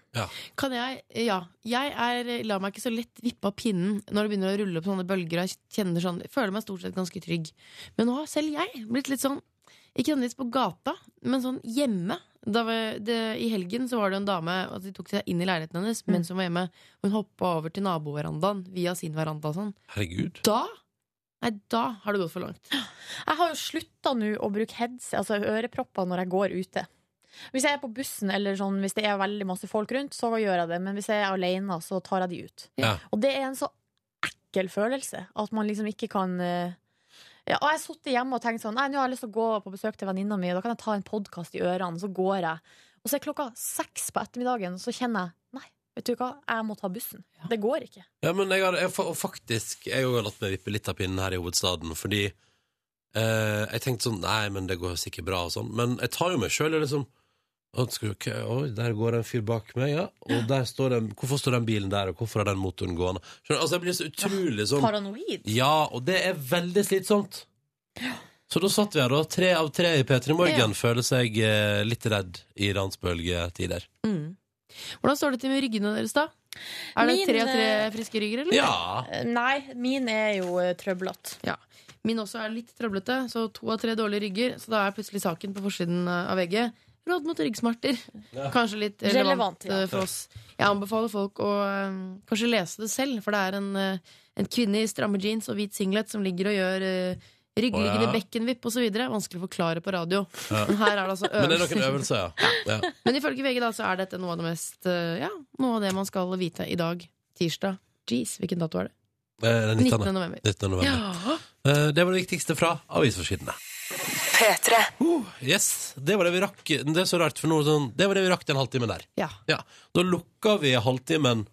[SPEAKER 5] Kan jeg, eh, ja, jeg er, eh, lar meg ikke så lett vippe av pinnen når det begynner å rulle opp sånne bølger. Og jeg kjenner sånn, jeg føler meg stort sett ganske trygg. Men nå har selv jeg blitt litt sånn, ikke nødvendigvis på gata, men sånn hjemme. Da vi- det, I helgen så var det en dame at de tok seg inn i leiligheten hennes
[SPEAKER 4] Mm.
[SPEAKER 5] mens hun var hjemme. Hun hoppa over til naboverandaen via sin veranda og sånn.
[SPEAKER 2] Herregud.
[SPEAKER 5] Da Nei, da har det gått for langt.
[SPEAKER 4] Jeg har jo slutta nå å bruke heads, altså ørepropper når jeg går ute. Hvis jeg er på bussen eller sånn, hvis det er veldig masse folk rundt, så gjør jeg det. Men hvis jeg er alene, så tar jeg de ut.
[SPEAKER 2] Ja.
[SPEAKER 4] Og det er en så ekkel følelse. At man liksom ikke kan eh, ja, og Jeg har sittet hjemme og tenkt sånn Nei, nå har jeg lyst til å gå på besøk til venninna mi, og da kan jeg ta en podkast i ørene, så går jeg. Og så er klokka seks på ettermiddagen, så kjenner jeg Nei, vet du hva, jeg må ta bussen. Det går ikke.
[SPEAKER 2] Ja, men jeg har jeg, fa- faktisk Jeg har jo latt meg vippe litt av pinnen her i hovedstaden, fordi Eh, jeg tenkte sånn Nei, men det går sikkert bra og sånn. Men jeg tar jo meg sjøl liksom «Å, skal du ikke- Oi, der går det en fyr bak meg, ja. Og der står den Hvorfor står den bilen der, og hvorfor har den motoren gående? Skjønner, du? altså, jeg blir så utrolig sånn
[SPEAKER 4] Paranoid.
[SPEAKER 2] Ja, og det er veldig slitsomt. Så da satt vi her, da. Tre av tre i P3 Morgen
[SPEAKER 4] Ja.
[SPEAKER 2] føler seg eh, litt redd i ransbølgetider.
[SPEAKER 5] Hvordan står det til med ryggene deres, da? Er det
[SPEAKER 4] Min,
[SPEAKER 5] tre av tre
[SPEAKER 4] eh,
[SPEAKER 5] friske rygger, eller?
[SPEAKER 2] Ja.
[SPEAKER 4] Eh, Nei, min er jo eh, trøblete.
[SPEAKER 5] Min også er litt trøblete, så to av tre dårlige rygger. Så da er plutselig saken på forsiden eh, av VG. Råd mot ryggsmerter. Kanskje litt relevant,
[SPEAKER 4] Relevant, ja.
[SPEAKER 5] eh, for oss. Jeg anbefaler folk å eh, kanskje lese det selv, for det er en, eh, en kvinne i stramme jeans og hvit singlet som ligger og gjør uh,
[SPEAKER 2] Å,
[SPEAKER 5] ryggryggende
[SPEAKER 2] ja.
[SPEAKER 5] bekkenvipp osv. Vanskelig å forklare på radio.
[SPEAKER 2] Ja.
[SPEAKER 5] Men her er det altså
[SPEAKER 2] Men det er
[SPEAKER 5] øvelser.
[SPEAKER 2] noen øvelser, ja. ja.
[SPEAKER 5] Men ifølge VG da, så er dette noe av det mest eh, Ja, noe av det man skal vite i dag. Tirsdag. Jeez, hvilken dato er det?
[SPEAKER 2] Eh, Den
[SPEAKER 5] 19.
[SPEAKER 2] 19.
[SPEAKER 5] november.
[SPEAKER 2] 19. november.
[SPEAKER 5] Ja.
[SPEAKER 2] Eh, Det var det viktigste fra avisforsidene. Uh,
[SPEAKER 1] P3.
[SPEAKER 2] Yes, det var det vi rakk. Det er så rart, for noe sånn Det var det vi rakk den halvtimen der.
[SPEAKER 5] Ja.
[SPEAKER 2] Ja. Da lukka vi halvtimen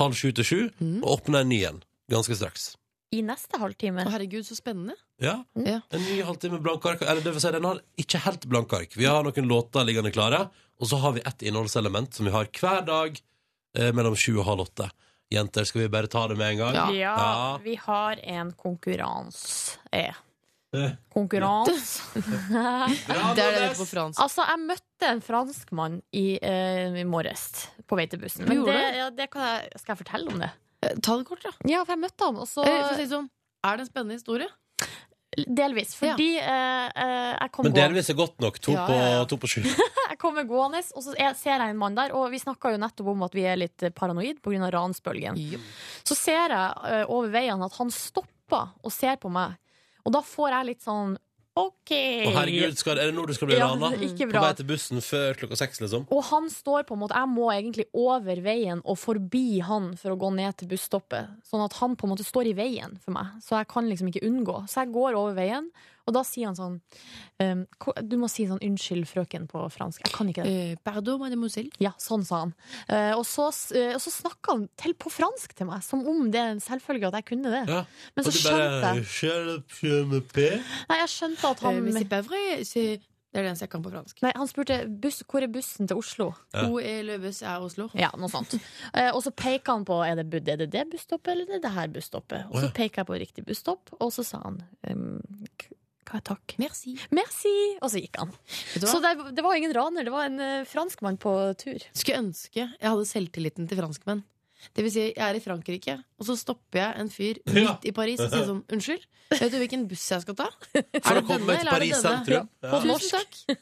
[SPEAKER 2] halv sju til sju, og åpna en ny en ganske straks.
[SPEAKER 4] I neste halvtime.
[SPEAKER 5] Å, herregud, så spennende.
[SPEAKER 2] Ja.
[SPEAKER 5] Ja.
[SPEAKER 2] En ny halvtime blanke ark. Eller det vil si, den har ikke helt blanke ark. Vi har noen låter liggende klare, og så har vi ett innholdselement som vi har hver dag eh, mellom sju og halv åtte. Jenter, skal vi bare ta det med en gang?
[SPEAKER 5] Ja.
[SPEAKER 4] Ja,
[SPEAKER 2] Ja.
[SPEAKER 4] vi har en konkurranse. Eh.
[SPEAKER 2] Eh.
[SPEAKER 4] Konkurranse.
[SPEAKER 5] Det er det det heter på fransk.
[SPEAKER 4] Altså, jeg møtte en franskmann i, eh, i morges på vei til bussen. Men
[SPEAKER 5] Gjorde
[SPEAKER 4] det,
[SPEAKER 5] du?
[SPEAKER 4] ja, det kan jeg, skal jeg fortelle om det?
[SPEAKER 5] Eh, Ta det kort, da.
[SPEAKER 4] Ja, for jeg møtte han, og så
[SPEAKER 5] Eller, for å si det sånn, er det en spennende historie?
[SPEAKER 4] Delvis. Fordi eh, eh, jeg kom
[SPEAKER 2] Men
[SPEAKER 4] gående.
[SPEAKER 2] delvis er godt nok. To,
[SPEAKER 5] Ja, ja, ja.
[SPEAKER 2] På, to på sju.
[SPEAKER 4] Jeg kommer gående, og så er- ser jeg en mann der. Og vi snakka jo nettopp om at vi er litt eh, paranoid pga. ransbølgen. Så ser jeg eh, over veien at han stopper og ser på meg. Og da får jeg litt sånn OK.
[SPEAKER 2] Å, herregud, skal, er det nå du skal bli
[SPEAKER 4] Ja,
[SPEAKER 2] rana?
[SPEAKER 4] ikke
[SPEAKER 2] På
[SPEAKER 4] bra.
[SPEAKER 2] vei til bussen før klokka seks, liksom?
[SPEAKER 4] Og han står på en måte Jeg må egentlig over veien og forbi han for å gå ned til busstoppet. Sånn at han på en måte står i veien for meg, så jeg kan liksom ikke unngå. Så jeg går over veien, og da sier han sånn ehm, ko- Du må si sånn 'unnskyld, frøken' på fransk. Jeg kan ikke det.
[SPEAKER 5] Eh, pardon, mademoiselle.
[SPEAKER 4] Ja, sånn sa han. Eh, og så, s- eh, og så snakka han til på fransk til meg, som om det er en selvfølge at jeg kunne det.
[SPEAKER 2] Ja.
[SPEAKER 4] Men så
[SPEAKER 2] Og du
[SPEAKER 4] skjønte jeg
[SPEAKER 2] bare
[SPEAKER 4] Nei, jeg skjønte at
[SPEAKER 5] Eh,
[SPEAKER 4] han
[SPEAKER 5] mais c'est pas vrai, c'est- Det er det eneste jeg kan på fransk.
[SPEAKER 4] Nei, han spurte buss, hvor er bussen til Oslo.
[SPEAKER 2] Ja.
[SPEAKER 5] Hun er løves er Oslo.
[SPEAKER 4] Ja, noe sånt. Eh, og så peker han på er det, bu- er det det busstoppet eller er det det her busstoppet. Og
[SPEAKER 2] Å, ja.
[SPEAKER 4] så peker jeg på riktig busstopp, og så sa han ehm, k- hva er takk?
[SPEAKER 5] Merci.
[SPEAKER 4] Merci! Og så gikk han.
[SPEAKER 5] Vet du hva?
[SPEAKER 4] Så det, det var ingen raner, det var en eh, franskmann på tur.
[SPEAKER 5] Skulle ønske jeg hadde selvtilliten til franskmenn. Det vil si, jeg er i Frankrike, og så stopper jeg en fyr
[SPEAKER 2] Ja.
[SPEAKER 5] midt i Paris og sier sånn Unnskyld, vet du hvilken buss jeg skal ta?
[SPEAKER 2] For å komme meg til Paris sentrum. Ja.
[SPEAKER 5] Tusen takk.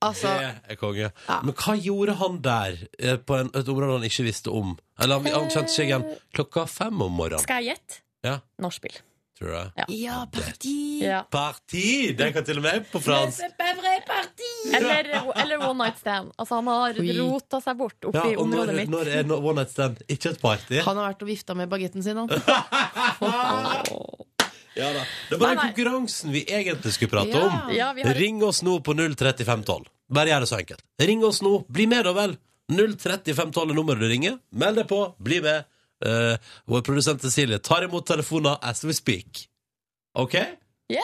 [SPEAKER 5] Altså,
[SPEAKER 2] Det er konge.
[SPEAKER 5] Ja.
[SPEAKER 2] Men hva gjorde han der, eh, på en, et område han ikke visste om? Eller han, han kjente seg igjen klokka fem om morgenen,
[SPEAKER 4] Skal jeg gjette?
[SPEAKER 2] Ja.
[SPEAKER 4] Nachspiel.
[SPEAKER 2] tror jeg.
[SPEAKER 5] ja, parti!
[SPEAKER 4] Ja.
[SPEAKER 2] Parti! Det kan til og med jeg på fransk.
[SPEAKER 4] Eller, eller one night stand. Altså, han har
[SPEAKER 5] Oi.
[SPEAKER 4] rota seg bort
[SPEAKER 2] Ja,
[SPEAKER 4] oppi
[SPEAKER 2] og når,
[SPEAKER 4] området mitt.
[SPEAKER 2] når er no- one night stand ikke et party?
[SPEAKER 5] Han har vært og vifta med bagetten sin, han.
[SPEAKER 2] Ja, da. Det var den
[SPEAKER 4] Nei, nei.
[SPEAKER 2] konkurransen vi egentlig skulle prate
[SPEAKER 5] Ja.
[SPEAKER 2] om.
[SPEAKER 4] Ja, vi har
[SPEAKER 2] Ring oss nå på 03512. Bare gjør det så enkelt. Ring oss nå. Bli med, da vel. 03512 er nummeret du ringer. Meld deg på. Bli med. Eh, vår produsent Cecilie tar imot telefoner as we speak. OK?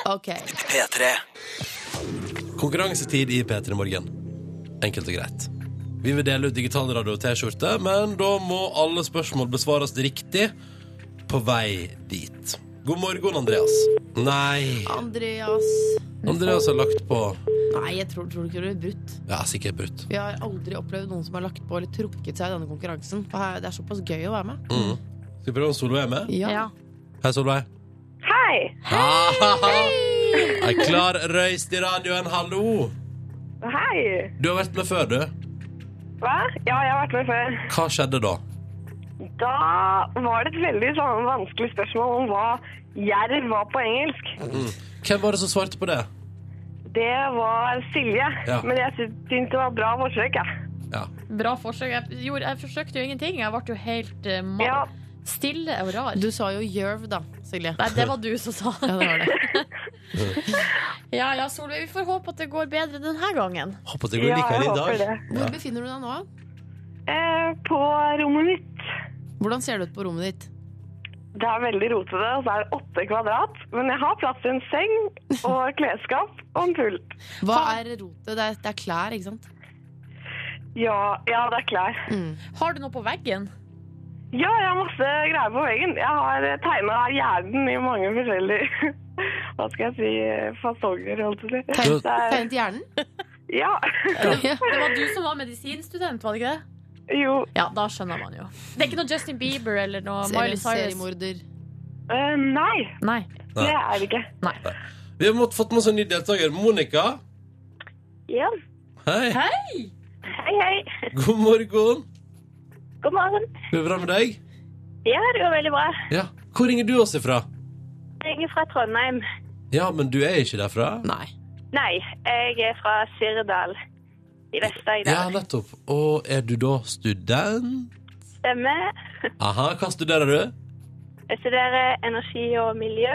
[SPEAKER 5] Ok.
[SPEAKER 1] P3.
[SPEAKER 2] Konkurransetid i P3 Morgen. Enkelt og greit. Vi vil dele ut digitalradio og T-skjorte, men da må alle spørsmål besvares riktig på vei dit. God morgen, Andreas. Nei.
[SPEAKER 5] Andreas.
[SPEAKER 2] Andreas har lagt på
[SPEAKER 5] Nei, jeg tror, tror du ikke du blir brutt.
[SPEAKER 2] Ja, sikkert brutt.
[SPEAKER 5] Vi har aldri opplevd noen som har lagt på eller trukket seg i denne konkurransen. For her, det er såpass gøy å være med.
[SPEAKER 2] Skal vi prøve om Solveig er med?
[SPEAKER 4] Ja.
[SPEAKER 2] Hei, Solveig.
[SPEAKER 7] Hei!
[SPEAKER 2] Hei! Ei klar røyst i radioen, hallo!
[SPEAKER 7] Hei!
[SPEAKER 2] Du har vært med før, du.
[SPEAKER 7] Hva? Ja, jeg har vært med før.
[SPEAKER 2] Hva skjedde da?
[SPEAKER 7] Da var det et veldig sånn vanskelig spørsmål om hva jerv var på engelsk.
[SPEAKER 2] Hvem var det som svarte på det?
[SPEAKER 7] Det var Silje,
[SPEAKER 2] Ja.
[SPEAKER 7] men jeg sy- syntes det var bra forsøk, jeg.
[SPEAKER 2] Ja.
[SPEAKER 4] Bra forsøk. Jeg, gjorde, jeg forsøkte jo ingenting. Jeg ble jo helt eh, mann.
[SPEAKER 7] Ja.
[SPEAKER 4] Stille og rar.
[SPEAKER 5] Du sa jo Jerv, da, Silje.
[SPEAKER 4] Nei, det var du som sa
[SPEAKER 5] Ja, det var det.
[SPEAKER 4] Ja ja, Solveig, vi får håpe at det går bedre denne gangen.
[SPEAKER 2] Håper at det går like i dag.
[SPEAKER 5] Hvor befinner du deg nå?
[SPEAKER 7] Eh, på rommet mitt.
[SPEAKER 5] Hvordan ser det ut på rommet ditt?
[SPEAKER 7] Det er veldig rotete, og så er det åtte kvadrat. Men jeg har plass til en seng og klesskap og en pult.
[SPEAKER 5] Hva er rotet? Det er, det er klær, ikke sant?
[SPEAKER 7] Ja, ja, det er klær.
[SPEAKER 4] Har du noe på veggen?
[SPEAKER 7] Ja, jeg har masse greier på veggen. Jeg har tegna hjernen i mange forskjellige Hva skal jeg si eh, fasonger, holdt jeg på å si.
[SPEAKER 5] Tegn-
[SPEAKER 7] Det er-
[SPEAKER 5] Tegnet hjernen?
[SPEAKER 7] Ja.
[SPEAKER 5] Ja.
[SPEAKER 4] Det var du som var medisinstudent, var det ikke det?
[SPEAKER 7] Jo.
[SPEAKER 4] Ja, da skjønner man jo. Det er ikke noe Justin Bieber eller noe
[SPEAKER 5] Eller
[SPEAKER 4] Miley
[SPEAKER 5] en
[SPEAKER 4] Cyrus.
[SPEAKER 5] seriemorder.
[SPEAKER 7] Eh, nei,
[SPEAKER 4] Nei.
[SPEAKER 7] det er det ikke.
[SPEAKER 2] Vi har mått- fått med oss en ny deltaker. Monica.
[SPEAKER 7] Ja.
[SPEAKER 2] Hei.
[SPEAKER 7] Hei, hei.
[SPEAKER 2] God morgen.
[SPEAKER 7] God morgen.
[SPEAKER 2] Går det bra med deg?
[SPEAKER 7] Ja, det går veldig bra.
[SPEAKER 2] Ja. Hvor ringer du oss ifra?
[SPEAKER 7] Jeg er fra Trondheim.
[SPEAKER 2] Ja, men du er ikke derfra?
[SPEAKER 5] Nei.
[SPEAKER 7] Nei, jeg er fra Sirdal i
[SPEAKER 2] Ja,
[SPEAKER 7] Vest-Agder.
[SPEAKER 2] nettopp. Og er du da student?
[SPEAKER 7] Stemmer.
[SPEAKER 2] Aha, hva studerer du?
[SPEAKER 7] Jeg studerer energi og miljø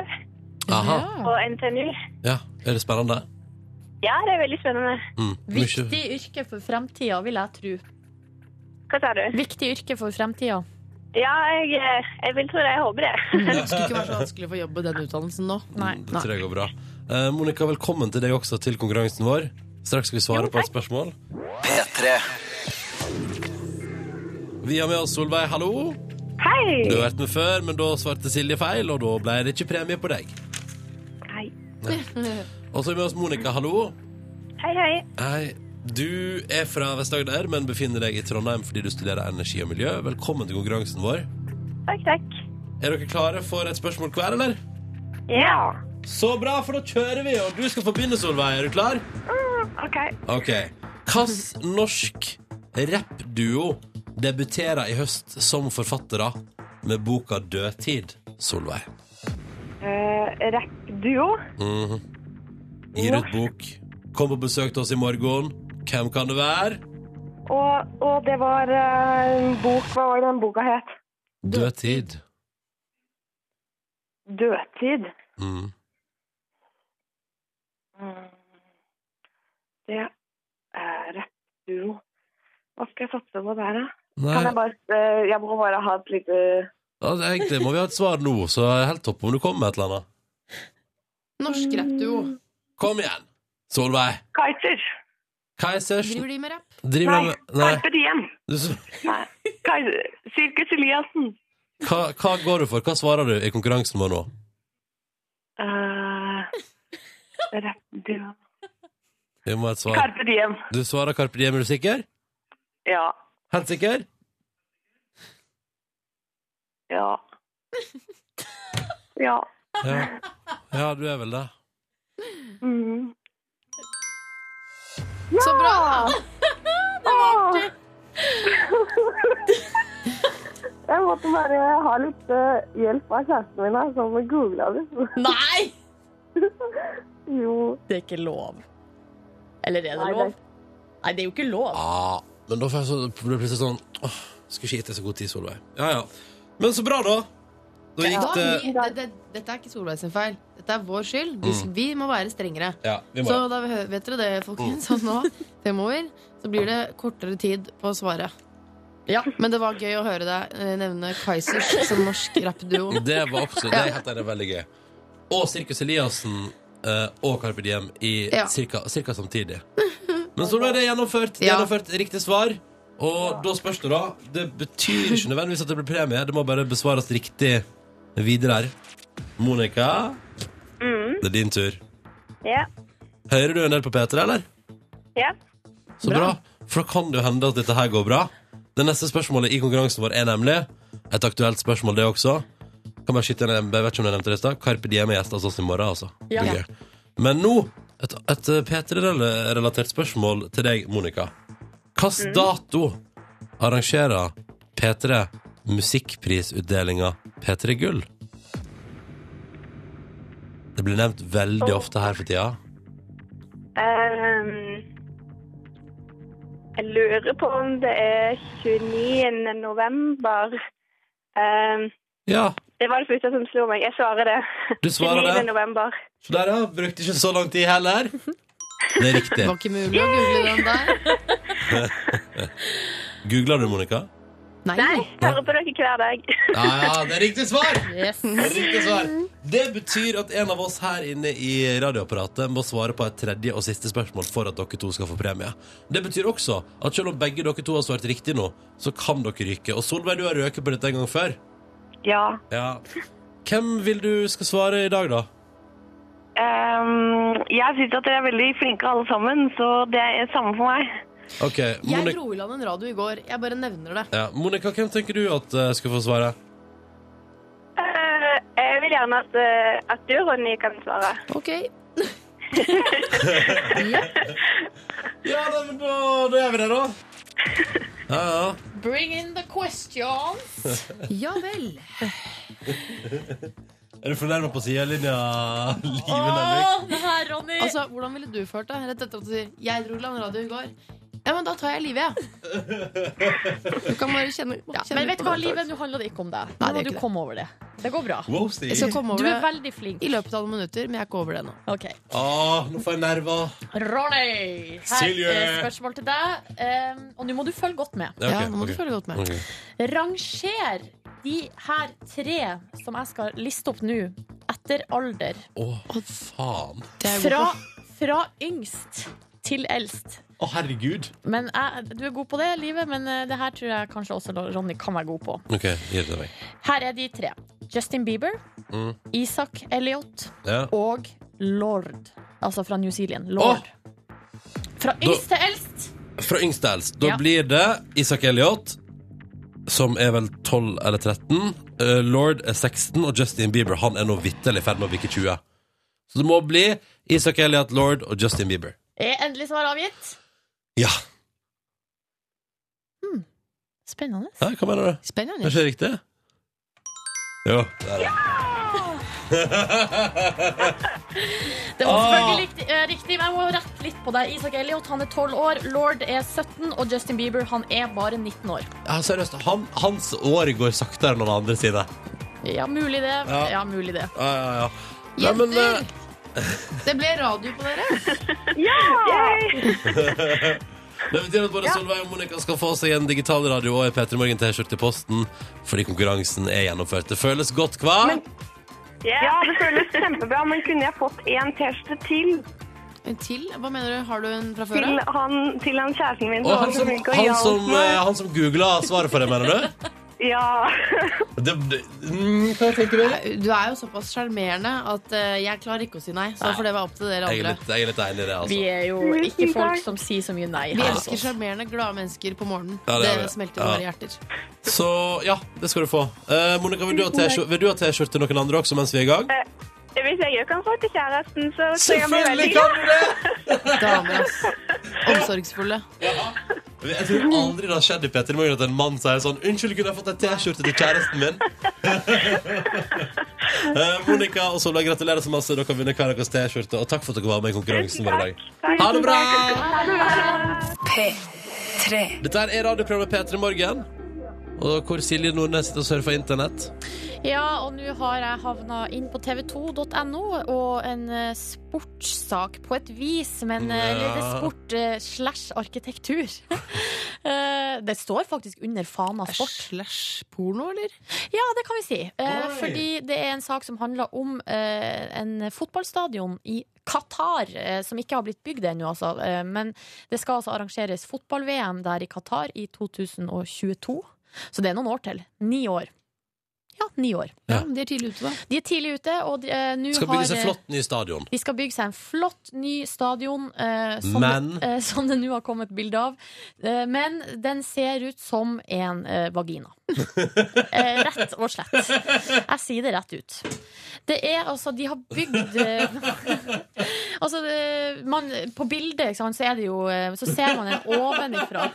[SPEAKER 2] Aha.
[SPEAKER 7] på NTNU.
[SPEAKER 2] Ja, er det spennende?
[SPEAKER 7] Ja, det er veldig spennende.
[SPEAKER 2] Mm. mye-
[SPEAKER 4] Viktig yrke for fremtida, vil jeg tro.
[SPEAKER 7] Hva sa du?
[SPEAKER 4] Viktig yrke for fremtida.
[SPEAKER 7] Ja, jeg, eh, jeg vil tro det. Jeg håper det.
[SPEAKER 5] Det skulle ikke være så vanskelig å få jobb med den utdannelsen nå.
[SPEAKER 4] Nei.
[SPEAKER 2] Det tror jeg går bra. Eh, Monica, velkommen til deg også til konkurransen vår. Straks skal vi svare på et spørsmål.
[SPEAKER 1] P3.
[SPEAKER 2] Vi har med oss Solveig, hallo. Du
[SPEAKER 7] Hei!
[SPEAKER 2] har vært med før, men da svarte Silje feil, og da ble det ikke premie på deg.
[SPEAKER 7] Hei,
[SPEAKER 2] Og så har vi med oss Monica, hallo.
[SPEAKER 7] hei. hei.
[SPEAKER 2] Hei, du er fra Vest-Agder, men befinner deg i Trondheim fordi du studerer energi og miljø. Velkommen til konkurransen vår.
[SPEAKER 7] Takk, takk.
[SPEAKER 2] Er dere klare for et spørsmål hver, eller?
[SPEAKER 7] Ja.
[SPEAKER 2] Så bra, for da kjører vi, og du skal få begynne, Solveig. Er du klar?
[SPEAKER 7] Mm, OK.
[SPEAKER 2] Ok. Hvilken norsk rappduo debuterer i høst som forfattere med boka Dødtid, Solveig?
[SPEAKER 7] Uh, Rappduo.
[SPEAKER 2] Mhm. Gir ut bok. Kom på besøk til oss i morgen. Hvem kan det være?
[SPEAKER 7] Og, og det var eh, en bok Hva var det den boka het?
[SPEAKER 2] Dødtid.
[SPEAKER 7] Dødtid.
[SPEAKER 2] Mm.
[SPEAKER 7] Mm. Det er rappduo. Hva skal jeg satse på der, da? Kan
[SPEAKER 2] Nei,
[SPEAKER 7] jeg bare eh, Jeg må bare ha et lite
[SPEAKER 2] altså, egentlig må vi ha et svar nå, så det er helt topp om du kommer med et eller annet.
[SPEAKER 5] Norsk rappduo.
[SPEAKER 2] Kom igjen, Solveig.
[SPEAKER 7] Kiter.
[SPEAKER 2] Kaizers
[SPEAKER 5] Driver de med rapp?
[SPEAKER 2] driver
[SPEAKER 7] Nei,
[SPEAKER 2] du med Nei.
[SPEAKER 7] Carpe Diem.
[SPEAKER 2] Du-
[SPEAKER 7] Nei. Kai- Sirkus Eliassen.
[SPEAKER 2] Hva, hva går du for? Hva svarer du i konkurransen vår nå?
[SPEAKER 7] Uh, rappduo
[SPEAKER 2] Vi må ha et svar.
[SPEAKER 7] Carpe Diem.
[SPEAKER 2] Du svarer Carpe Diem, er du sikker?
[SPEAKER 7] Ja.
[SPEAKER 2] Helt sikker?
[SPEAKER 7] Ja. Ja.
[SPEAKER 2] Ja. ja, du er vel det.
[SPEAKER 7] Mm.
[SPEAKER 5] Så bra!
[SPEAKER 7] Åh! Jeg måtte bare ha litt eh, hjelp av kjæresten min, her, som googla det.
[SPEAKER 4] Nei!
[SPEAKER 7] Jo.
[SPEAKER 4] Det er ikke lov. Eller er det
[SPEAKER 7] Nei,
[SPEAKER 4] lov?
[SPEAKER 7] det-
[SPEAKER 4] Nei, det er jo ikke lov.
[SPEAKER 2] Ja, Ah, men da får jeg så, blir det plutselig sånn åh, Skulle ikke gitt deg så god tid, Solveig. Ja, ja. Men så bra, da. Da gikk
[SPEAKER 5] Da,
[SPEAKER 2] det
[SPEAKER 5] vi, det, det, dette er ikke Solveig sin feil. Dette er vår skyld. Vi, vi må være strengere.
[SPEAKER 2] Ja, vi må Mm.
[SPEAKER 5] Så da hø- vet dere det, folkens. at nå fremover så blir det kortere tid på å svare. Ja, Men det var gøy å høre deg eh, nevne Kaizers som norsk rappduo.
[SPEAKER 2] Det var også det er helt enig, veldig gøy. Og Sirkus Eliassen eh, og Carpe Diem i
[SPEAKER 5] Ja.
[SPEAKER 2] cirka, cirka samtidig. Men så ble det gjennomført. Det er
[SPEAKER 5] Ja.
[SPEAKER 2] gjennomført riktig svar. Og da spørs det, da. Det betyr ikke nødvendigvis at det blir premie. Det må bare besvares riktig videre her. Monica, det er din tur.
[SPEAKER 7] Ja.
[SPEAKER 2] Hører du en del på P3, eller?
[SPEAKER 7] Ja.
[SPEAKER 2] Så bra. For da kan det jo hende at dette her går bra. Det neste spørsmålet i konkurransen vår er nemlig et aktuelt spørsmål, det også. Kan bare skyte inn, en- jeg vet ikke om jeg nevnte det i stad. Carpe Diem er gjest hos oss i morgen, altså. Det
[SPEAKER 4] Ja.
[SPEAKER 2] blir gøy. Men nå et, et eh, P3-relatert spørsmål til deg, Monica. Hvilken dato arrangerer P3 musikkprisutdelinga P3 Gull? Det blir nevnt veldig ofte her for tida.
[SPEAKER 7] Ehm, jeg lurer på om det er 29. november. Ehm,
[SPEAKER 2] Ja,
[SPEAKER 7] det var det første som slo meg. Jeg svarer det.
[SPEAKER 2] du svarer det.
[SPEAKER 7] 29. november.
[SPEAKER 2] Så der, ja. Brukte ikke så lang tid heller. Det er riktig.
[SPEAKER 5] Det var ikke mulig å google den der.
[SPEAKER 2] Googla du, Monica?
[SPEAKER 5] Nei.
[SPEAKER 7] Nei, hører på dere hver dag.
[SPEAKER 2] Ja, ja, det er riktig svar!
[SPEAKER 4] Yes.
[SPEAKER 2] Det er Riktig svar. Det betyr at en av oss her inne i radioapparatet må svare på et tredje og siste spørsmål for at dere to skal få premie. Det betyr også at selv om begge dere to har svart riktig nå, så kan dere ryke. Og Solveig, du har røket på dette en gang før.
[SPEAKER 7] Ja.
[SPEAKER 2] Ja. Hvem vil du skal svare i dag, da?
[SPEAKER 7] ehm, jeg syns at dere er veldig flinke alle sammen, så det er samme for meg.
[SPEAKER 2] Ok,
[SPEAKER 5] Jeg
[SPEAKER 2] Monica,
[SPEAKER 5] dro i land en radio i går. Jeg bare nevner det.
[SPEAKER 2] ja, Monica hvem tenker du at eh, skal få svare?
[SPEAKER 8] Eh, Jeg vil gjerne at, eh, at du, Ronny, kan svare.
[SPEAKER 5] Ok,
[SPEAKER 2] Ja, da, men da, da gjør vi det, da. Ja, ja.
[SPEAKER 4] Bring in the questions.
[SPEAKER 5] Ja vel.
[SPEAKER 2] Er du fornærma på sidelinja, Liven Elvik?
[SPEAKER 4] det her, Ronny.
[SPEAKER 5] Altså, Hvordan ville du følt deg rett etter at du sier 'jeg dro land radio i går'? Ja, men da tar jeg livet, jeg. Du kan bare kjenne,
[SPEAKER 4] ja,
[SPEAKER 5] kjenne
[SPEAKER 4] men vet
[SPEAKER 5] på
[SPEAKER 4] du hva,
[SPEAKER 5] det.
[SPEAKER 4] livet, nå handler det ikke om deg.
[SPEAKER 5] Nei,
[SPEAKER 4] Nå
[SPEAKER 5] det er
[SPEAKER 4] må du
[SPEAKER 5] ikke det.
[SPEAKER 4] komme over det. Det går bra.
[SPEAKER 2] Wow,
[SPEAKER 5] Jeg
[SPEAKER 2] Stig.
[SPEAKER 5] skal komme
[SPEAKER 4] Du
[SPEAKER 5] over
[SPEAKER 4] er
[SPEAKER 5] det
[SPEAKER 4] veldig flink.
[SPEAKER 5] i løpet av noen minutter, men jeg er ikke over det nå.
[SPEAKER 4] Ok.
[SPEAKER 2] Ah, nå får jeg nerver.
[SPEAKER 4] Ronny, her
[SPEAKER 2] Silje.
[SPEAKER 4] er spørsmål til deg. Um, og nå må du følge godt med.
[SPEAKER 2] Ja, ok,
[SPEAKER 5] ja, nå
[SPEAKER 2] ok.
[SPEAKER 5] må
[SPEAKER 2] Mm.
[SPEAKER 5] du følge godt med.
[SPEAKER 2] Ok.
[SPEAKER 4] Ranger de her tre som jeg skal liste opp nå, etter alder.
[SPEAKER 2] Å, faen.
[SPEAKER 5] Det er jeg god
[SPEAKER 4] Fra,
[SPEAKER 5] på.
[SPEAKER 4] fra yngst til eldst.
[SPEAKER 2] Å, herregud.
[SPEAKER 4] Men jeg, du er god på det, livet, men eh, det her tror jeg kanskje også Ronny kan være god på.
[SPEAKER 2] Ok, gi det meg.
[SPEAKER 4] Her er de tre. Justin Bieber,
[SPEAKER 2] Mm.
[SPEAKER 4] Isak Elliot
[SPEAKER 2] Ja.
[SPEAKER 4] og Lord. Altså fra New Zealand. Lord. Fra yngst til eldst.
[SPEAKER 2] Fra yngst til eldst. Da
[SPEAKER 4] Ja.
[SPEAKER 2] blir det Isak Elliot, som er vel 12 eller 13. eh, Lord er 16, og Justin Bieber han er nå vitterlig i ferd med å bikke 20. Så det må bli Isak Elliot, Lord og Justin Bieber.
[SPEAKER 4] Er endelig svar avgitt?
[SPEAKER 2] Ja.
[SPEAKER 4] Spennende.
[SPEAKER 2] Hæ, hva mener du? Det
[SPEAKER 5] Spennende.
[SPEAKER 2] er ikke riktig? Jo, det er det.
[SPEAKER 4] Det var selvfølgelig riktig, eh, riktig, men jeg må rette litt på deg. Isak Elliot han er 12 år, Lord er 17, og Justin Bieber han er bare 19 år.
[SPEAKER 2] Ja, seriøst, han, hans år går saktere enn han andre sine.
[SPEAKER 4] Ja, mulig det. Ja, mulig det.
[SPEAKER 2] Ja, ja, ja. Nei, men, eh,
[SPEAKER 5] Jenter! Det ble radio på dere.
[SPEAKER 7] Ah.
[SPEAKER 2] Det betyr at både Solveig og Monica skal få seg en digital radio og en P3 Morgen T-skjorte i posten fordi konkurransen er gjennomført. Det føles godt, hva?
[SPEAKER 7] Ja, det føles kjempebra, men kunne jeg fått en T-skjorte til?
[SPEAKER 5] En til? Hva mener du? Har du en fra før
[SPEAKER 7] Til
[SPEAKER 5] av?
[SPEAKER 7] han, til han kjæresten min.
[SPEAKER 2] og
[SPEAKER 7] som
[SPEAKER 2] han
[SPEAKER 7] var så
[SPEAKER 2] som,
[SPEAKER 7] flink og
[SPEAKER 2] han
[SPEAKER 7] hjalp
[SPEAKER 2] som, eh,
[SPEAKER 7] meg.
[SPEAKER 2] han som googla svaret for deg, mener du?
[SPEAKER 7] Ja.
[SPEAKER 2] Det, det, mm, hva tenker du?
[SPEAKER 5] Du er jo såpass sjarmerende at eh, jeg klarer ikke å si nei. Så får det være opp til dere
[SPEAKER 2] Jeg er
[SPEAKER 5] andre.
[SPEAKER 2] litt, jeg er litt enig i det,
[SPEAKER 4] Vi
[SPEAKER 2] altså.
[SPEAKER 4] er jo ikke folk som sier så mye nei.
[SPEAKER 5] Vi
[SPEAKER 4] her hos
[SPEAKER 5] elsker
[SPEAKER 4] oss.
[SPEAKER 5] sjarmerende, glade mennesker på morgenen.
[SPEAKER 2] Ja, det
[SPEAKER 5] det,
[SPEAKER 2] er vi.
[SPEAKER 5] smelter
[SPEAKER 2] Ja.
[SPEAKER 5] våre hjerter.
[SPEAKER 2] Så ja, det skal du få. Eh, Monica, vil du ha T-skjorte- vil du ha T-skjorte til noen andre også mens vi er i gang?
[SPEAKER 8] Hvis jeg òg kan få til kjæresten, så tror jeg blir
[SPEAKER 2] Selvfølgelig
[SPEAKER 8] veldig
[SPEAKER 2] kan du det!
[SPEAKER 5] Damer, ass. Omsorgsfulle.
[SPEAKER 2] Jeg tror aldri det har skjedd i P3 Morgen at en mann sier sånn 'Unnskyld, kunne jeg fått ei T-skjorte til kjæresten min?' Eh, Monica og Solveig, gratulerer så masse. Dere har vunnet hver deres T-skjorte. Og takk for at dere var med i konkurransen vår i dag. Ha det bra!
[SPEAKER 1] P3.
[SPEAKER 2] Dette her er radioprogrammet P3 Morgen, og hvor Silje Nordnes sitter og surfer internett.
[SPEAKER 4] Ja, og nå har jeg havna inn på tv2.no og en eh, sportssak på et vis, men eh, eller det er sport eh, slash arkitektur. Eh, det står faktisk under fana sport.
[SPEAKER 5] Slash porno, eller?
[SPEAKER 4] Ja, det kan vi si. Eh,
[SPEAKER 2] Oi.
[SPEAKER 4] fordi det er en sak som handler om eh, en fotballstadion i Qatar, eh, som ikke har blitt bygd ennå, altså. Eh, men det skal altså arrangeres fotball-VM der i Qatar i 2022. Så det er noen år til. Ni år. Ja, ni år.
[SPEAKER 2] Ja.
[SPEAKER 5] Ja, men de er tidlig ute, da.
[SPEAKER 4] De er tidlig ute, og de, eh, nå
[SPEAKER 2] Skal
[SPEAKER 4] har
[SPEAKER 2] bygge seg flott ny stadion.
[SPEAKER 4] de skal bygge seg en flott ny stadion, eh, som,
[SPEAKER 2] Men?
[SPEAKER 4] eh, som det nå har kommet bilde av. Eh, men den ser ut som en eh, vagina. eh, rett og slett. Jeg sier det rett ut. Det er altså De har bygd eh, Altså, det, man, på bildet ikke sant, så er det jo eh, Så ser man en ovenifra.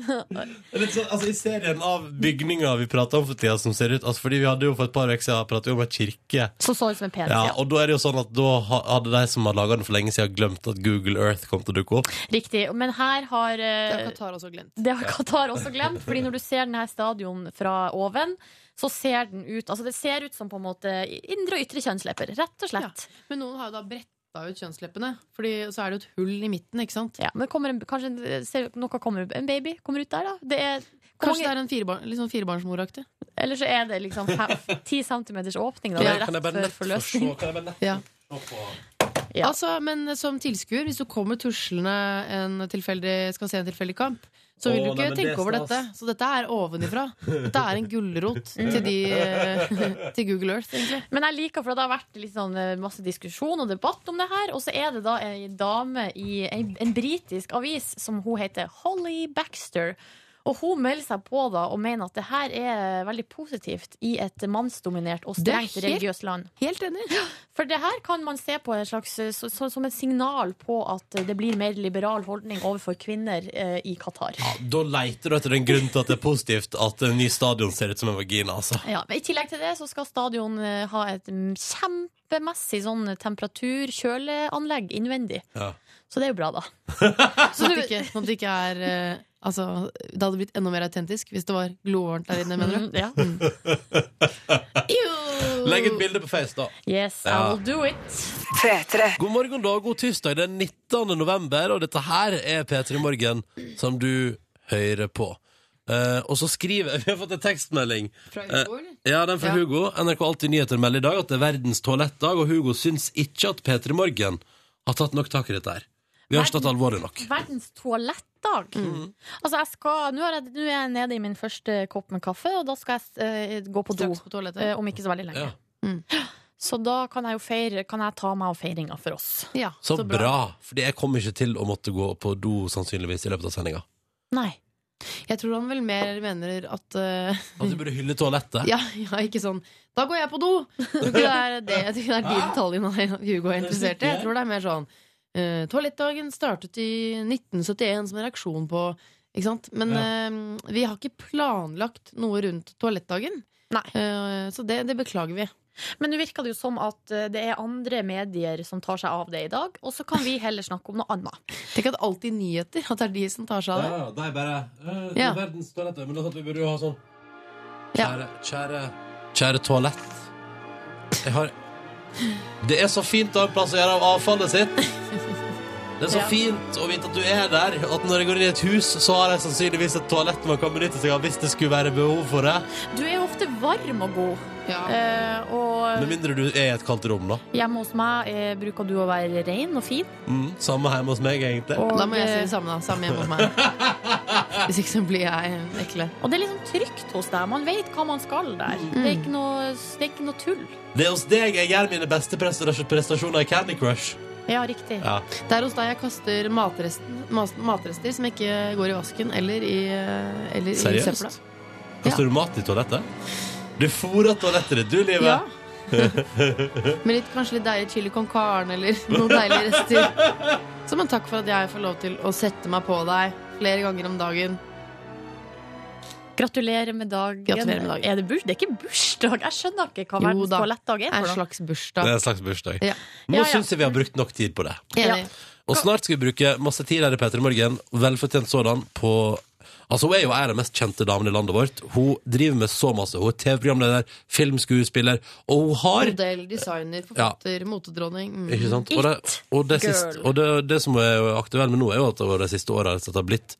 [SPEAKER 2] Litt sånn, altså I serien av bygninger vi prater om for tida, som ser ut altså Fordi vi hadde jo for et par uker siden pratet om ei kirke.
[SPEAKER 4] Som så ut som en penis.
[SPEAKER 2] Ja,
[SPEAKER 4] ja.
[SPEAKER 2] og da er det jo sånn at da ha- hadde de som hadde laga den for lenge siden, glemt at Google Earth kom til å dukke opp.
[SPEAKER 4] Riktig. Men her har
[SPEAKER 5] Det
[SPEAKER 4] eh,
[SPEAKER 5] har Qatar også glemt.
[SPEAKER 4] Det har Qatar også glemt, fordi når du ser denne stadion fra oven, så ser den ut Altså, det ser ut som på en måte indre og ytre kjønnslepper, rett og slett.
[SPEAKER 5] Men noen har jo da bretta ut kjønnsleppene, Fordi så er det jo et hull i midten, ikke sant?
[SPEAKER 4] Ja, men kommer en, kanskje en, ser, noe kommer, en baby kommer ut der, da. Det er
[SPEAKER 5] Kanskje
[SPEAKER 4] Hvor mange,
[SPEAKER 5] det er en firebar litt sånn firebarnsmoraktig.
[SPEAKER 4] eller så er det liksom fem- ti centimeters åpning, da. Det
[SPEAKER 5] Ja,
[SPEAKER 4] er
[SPEAKER 2] Kan jeg
[SPEAKER 4] rett
[SPEAKER 2] bare
[SPEAKER 4] før
[SPEAKER 2] nett få se
[SPEAKER 4] forløsning.
[SPEAKER 2] Kan jeg bare nett
[SPEAKER 5] Ja.
[SPEAKER 2] få se på
[SPEAKER 4] Ja.
[SPEAKER 5] Altså, men som tilskuer, hvis du kommer tuslende en tilfeldig, skal se en tilfeldig kamp, så vil
[SPEAKER 2] Å,
[SPEAKER 5] du ikke
[SPEAKER 2] nei, men det
[SPEAKER 5] tenke
[SPEAKER 2] er
[SPEAKER 5] over
[SPEAKER 2] stas. Mm.
[SPEAKER 5] dette. Så dette er ovenifra. Dette er en gulrot til, de, til Google Earth, egentlig.
[SPEAKER 4] Men jeg liker, for det har vært litt sånn, eh, masse diskusjon og debatt om det her. Og så er det da ei dame i en, en britisk avis som hun heter Holly Baxter. Og hun melder seg på da og mener at det her er veldig positivt i et mannsdominert og
[SPEAKER 5] Det er
[SPEAKER 4] strengt
[SPEAKER 5] helt-
[SPEAKER 4] religiøst land.
[SPEAKER 5] Helt enig.
[SPEAKER 4] For det her kan man se på en slags, eh, så, så, som et signal på at det blir mer liberal holdning overfor kvinner eh, i Qatar.
[SPEAKER 2] Ja, Da leiter du etter en grunn til at det er positivt at en ny stadion ser ut som en vagina, altså.
[SPEAKER 4] Ja, men I tillegg til det så skal stadion eh, ha et mm, kjempemessig sånn temperatur-kjøleanlegg innvendig.
[SPEAKER 2] Ja.
[SPEAKER 4] Så det er jo bra, da.
[SPEAKER 5] Sånn at det ikke, sånn at det ikke er eh, Altså, det hadde blitt enda mer autentisk hvis det var glovarmt der inne, mener du?
[SPEAKER 4] Mm, ja.
[SPEAKER 2] Legg et bilde på Face, da.
[SPEAKER 4] Yes,
[SPEAKER 2] Ja.
[SPEAKER 4] I'll do it.
[SPEAKER 1] P3.
[SPEAKER 2] God morgen, da. God tirsdag. Det er 19. november, og dette her er P3 Morgen som du hører på. Eh, og så skriver jeg Vi har fått en tekstmelding. Hugo, Ja, den fra
[SPEAKER 5] Ja.
[SPEAKER 2] Hugo. NRK Alltid Nyheter melder i dag at det er verdens toalettdag, og Hugo syns ikke at P3 Morgen har tatt nok tak i dette her. Vi har ikke tatt alvorlig nok.
[SPEAKER 4] Verdens toalettdag.
[SPEAKER 5] Mm.
[SPEAKER 4] Altså, jeg skal, nå, er jeg, nå er jeg nede i min første kopp med kaffe, og da skal jeg eh, gå på do.
[SPEAKER 5] Straks på toalettet.
[SPEAKER 4] eh, om ikke så veldig lenge. Mm.
[SPEAKER 2] Ja.
[SPEAKER 4] Så da kan jeg jo feire, kan jeg ta meg av feiringa for oss.
[SPEAKER 5] Ja,
[SPEAKER 2] Så bra, for jeg kommer ikke til å måtte gå på do sannsynligvis i løpet av sendinga.
[SPEAKER 4] Nei.
[SPEAKER 5] Jeg tror han vel mer mener at eh,
[SPEAKER 2] At du burde hylle toalettet.
[SPEAKER 5] ja, ja, ikke sånn 'da går jeg på do'! Jeg tror ikke det er, det, jeg tror ikke det er de detaljene han- Hugo er interessert i. Jeg tror det er mer sånn eh, Toalettdagen startet i 1971 som en reaksjon på Ikke sant? Men eh, vi har ikke planlagt noe rundt toalettdagen.
[SPEAKER 4] Nei.
[SPEAKER 5] Eh, så det, det beklager vi.
[SPEAKER 4] Men nå virker det jo som at eh, det er andre medier som tar seg av det i dag, og så kan vi heller snakke om noe annet.
[SPEAKER 5] Tenk at alltid nyheter, at det er de som tar seg av det.
[SPEAKER 2] nei, bare øh,
[SPEAKER 5] Ja.
[SPEAKER 2] Verdens toalett Men da satt vi burde jo ha sånn
[SPEAKER 5] Ja.
[SPEAKER 2] Kjære, kjære, kjære toalett Jeg har Det er så fint å ha en plass å gjøre av avfallet sitt Det er så
[SPEAKER 4] Ja.
[SPEAKER 2] fint å vite at du er der At når jeg går inn i et hus Så har jeg sannsynligvis et toalett man kan benytte seg av Hvis det skulle være behov for det
[SPEAKER 4] Du er jo ofte varm og god,
[SPEAKER 5] Ja.
[SPEAKER 4] eh,
[SPEAKER 2] Med
[SPEAKER 4] og
[SPEAKER 2] mindre du er i et kaldt rom da
[SPEAKER 4] hjemme hos meg eh, bruker du å være ren og fin.
[SPEAKER 2] mm, Samme hjemme hos meg egentlig
[SPEAKER 4] Og,
[SPEAKER 5] Da må jeg si
[SPEAKER 4] eh,
[SPEAKER 5] det samme, da. Samme hjemme hos meg. Hvis ikke så blir jeg eh, ekle.
[SPEAKER 4] og det er liksom trygt hos deg. Man vet hva man skal der.
[SPEAKER 5] Mm.
[SPEAKER 4] Det, er ikke noe, det er ikke noe tull.
[SPEAKER 2] Det er hos deg jeg gjør mine beste prestasjon- prestasjoner i Candy Crush
[SPEAKER 4] Ja, riktig.
[SPEAKER 2] Ja
[SPEAKER 5] Det er hos deg jeg kaster matresten, mas- matrester som ikke går i vasken eller i, eh, eller i søpla.
[SPEAKER 2] Seriøst? Kaster du mat i toalettet? Du fôrer toalettet ditt, du, Live.
[SPEAKER 5] Ja. Med litt, kanskje litt deilig chili con carne eller noen deilige rester. Som en takk for at jeg får lov til å sette meg på deg flere ganger om dagen.
[SPEAKER 4] Gratulerer med dagen.
[SPEAKER 5] Gratulerer med dagen.
[SPEAKER 4] Er det, burs? det er ikke bursdag. Jeg skjønner ikke hva
[SPEAKER 5] Jo
[SPEAKER 4] verdens
[SPEAKER 5] da.
[SPEAKER 4] toalettdag
[SPEAKER 5] Det
[SPEAKER 4] er
[SPEAKER 5] er en
[SPEAKER 4] for noe.
[SPEAKER 5] slags
[SPEAKER 2] Det er
[SPEAKER 5] bursdag.
[SPEAKER 2] en slags bursdag.
[SPEAKER 5] Ja.
[SPEAKER 2] Nå
[SPEAKER 4] Ja, ja.
[SPEAKER 2] syns jeg vi har brukt nok tid på det.
[SPEAKER 5] Enig.
[SPEAKER 2] Og snart skal vi bruke masse tid her i P3 Morgen, velfortjent sådan, på Altså, Hun er jo en av de mest kjente damene i landet vårt. Hun driver med så masse. Hun er TV-programleder, filmskuespiller, og hun har
[SPEAKER 5] Modell, designer, forfatter, motedronning. Mm.
[SPEAKER 2] Ikke sant? Og det, og det,
[SPEAKER 4] Girl.
[SPEAKER 2] siste, og det, det som er aktuelt med nå, er jo at over de siste åra har det blitt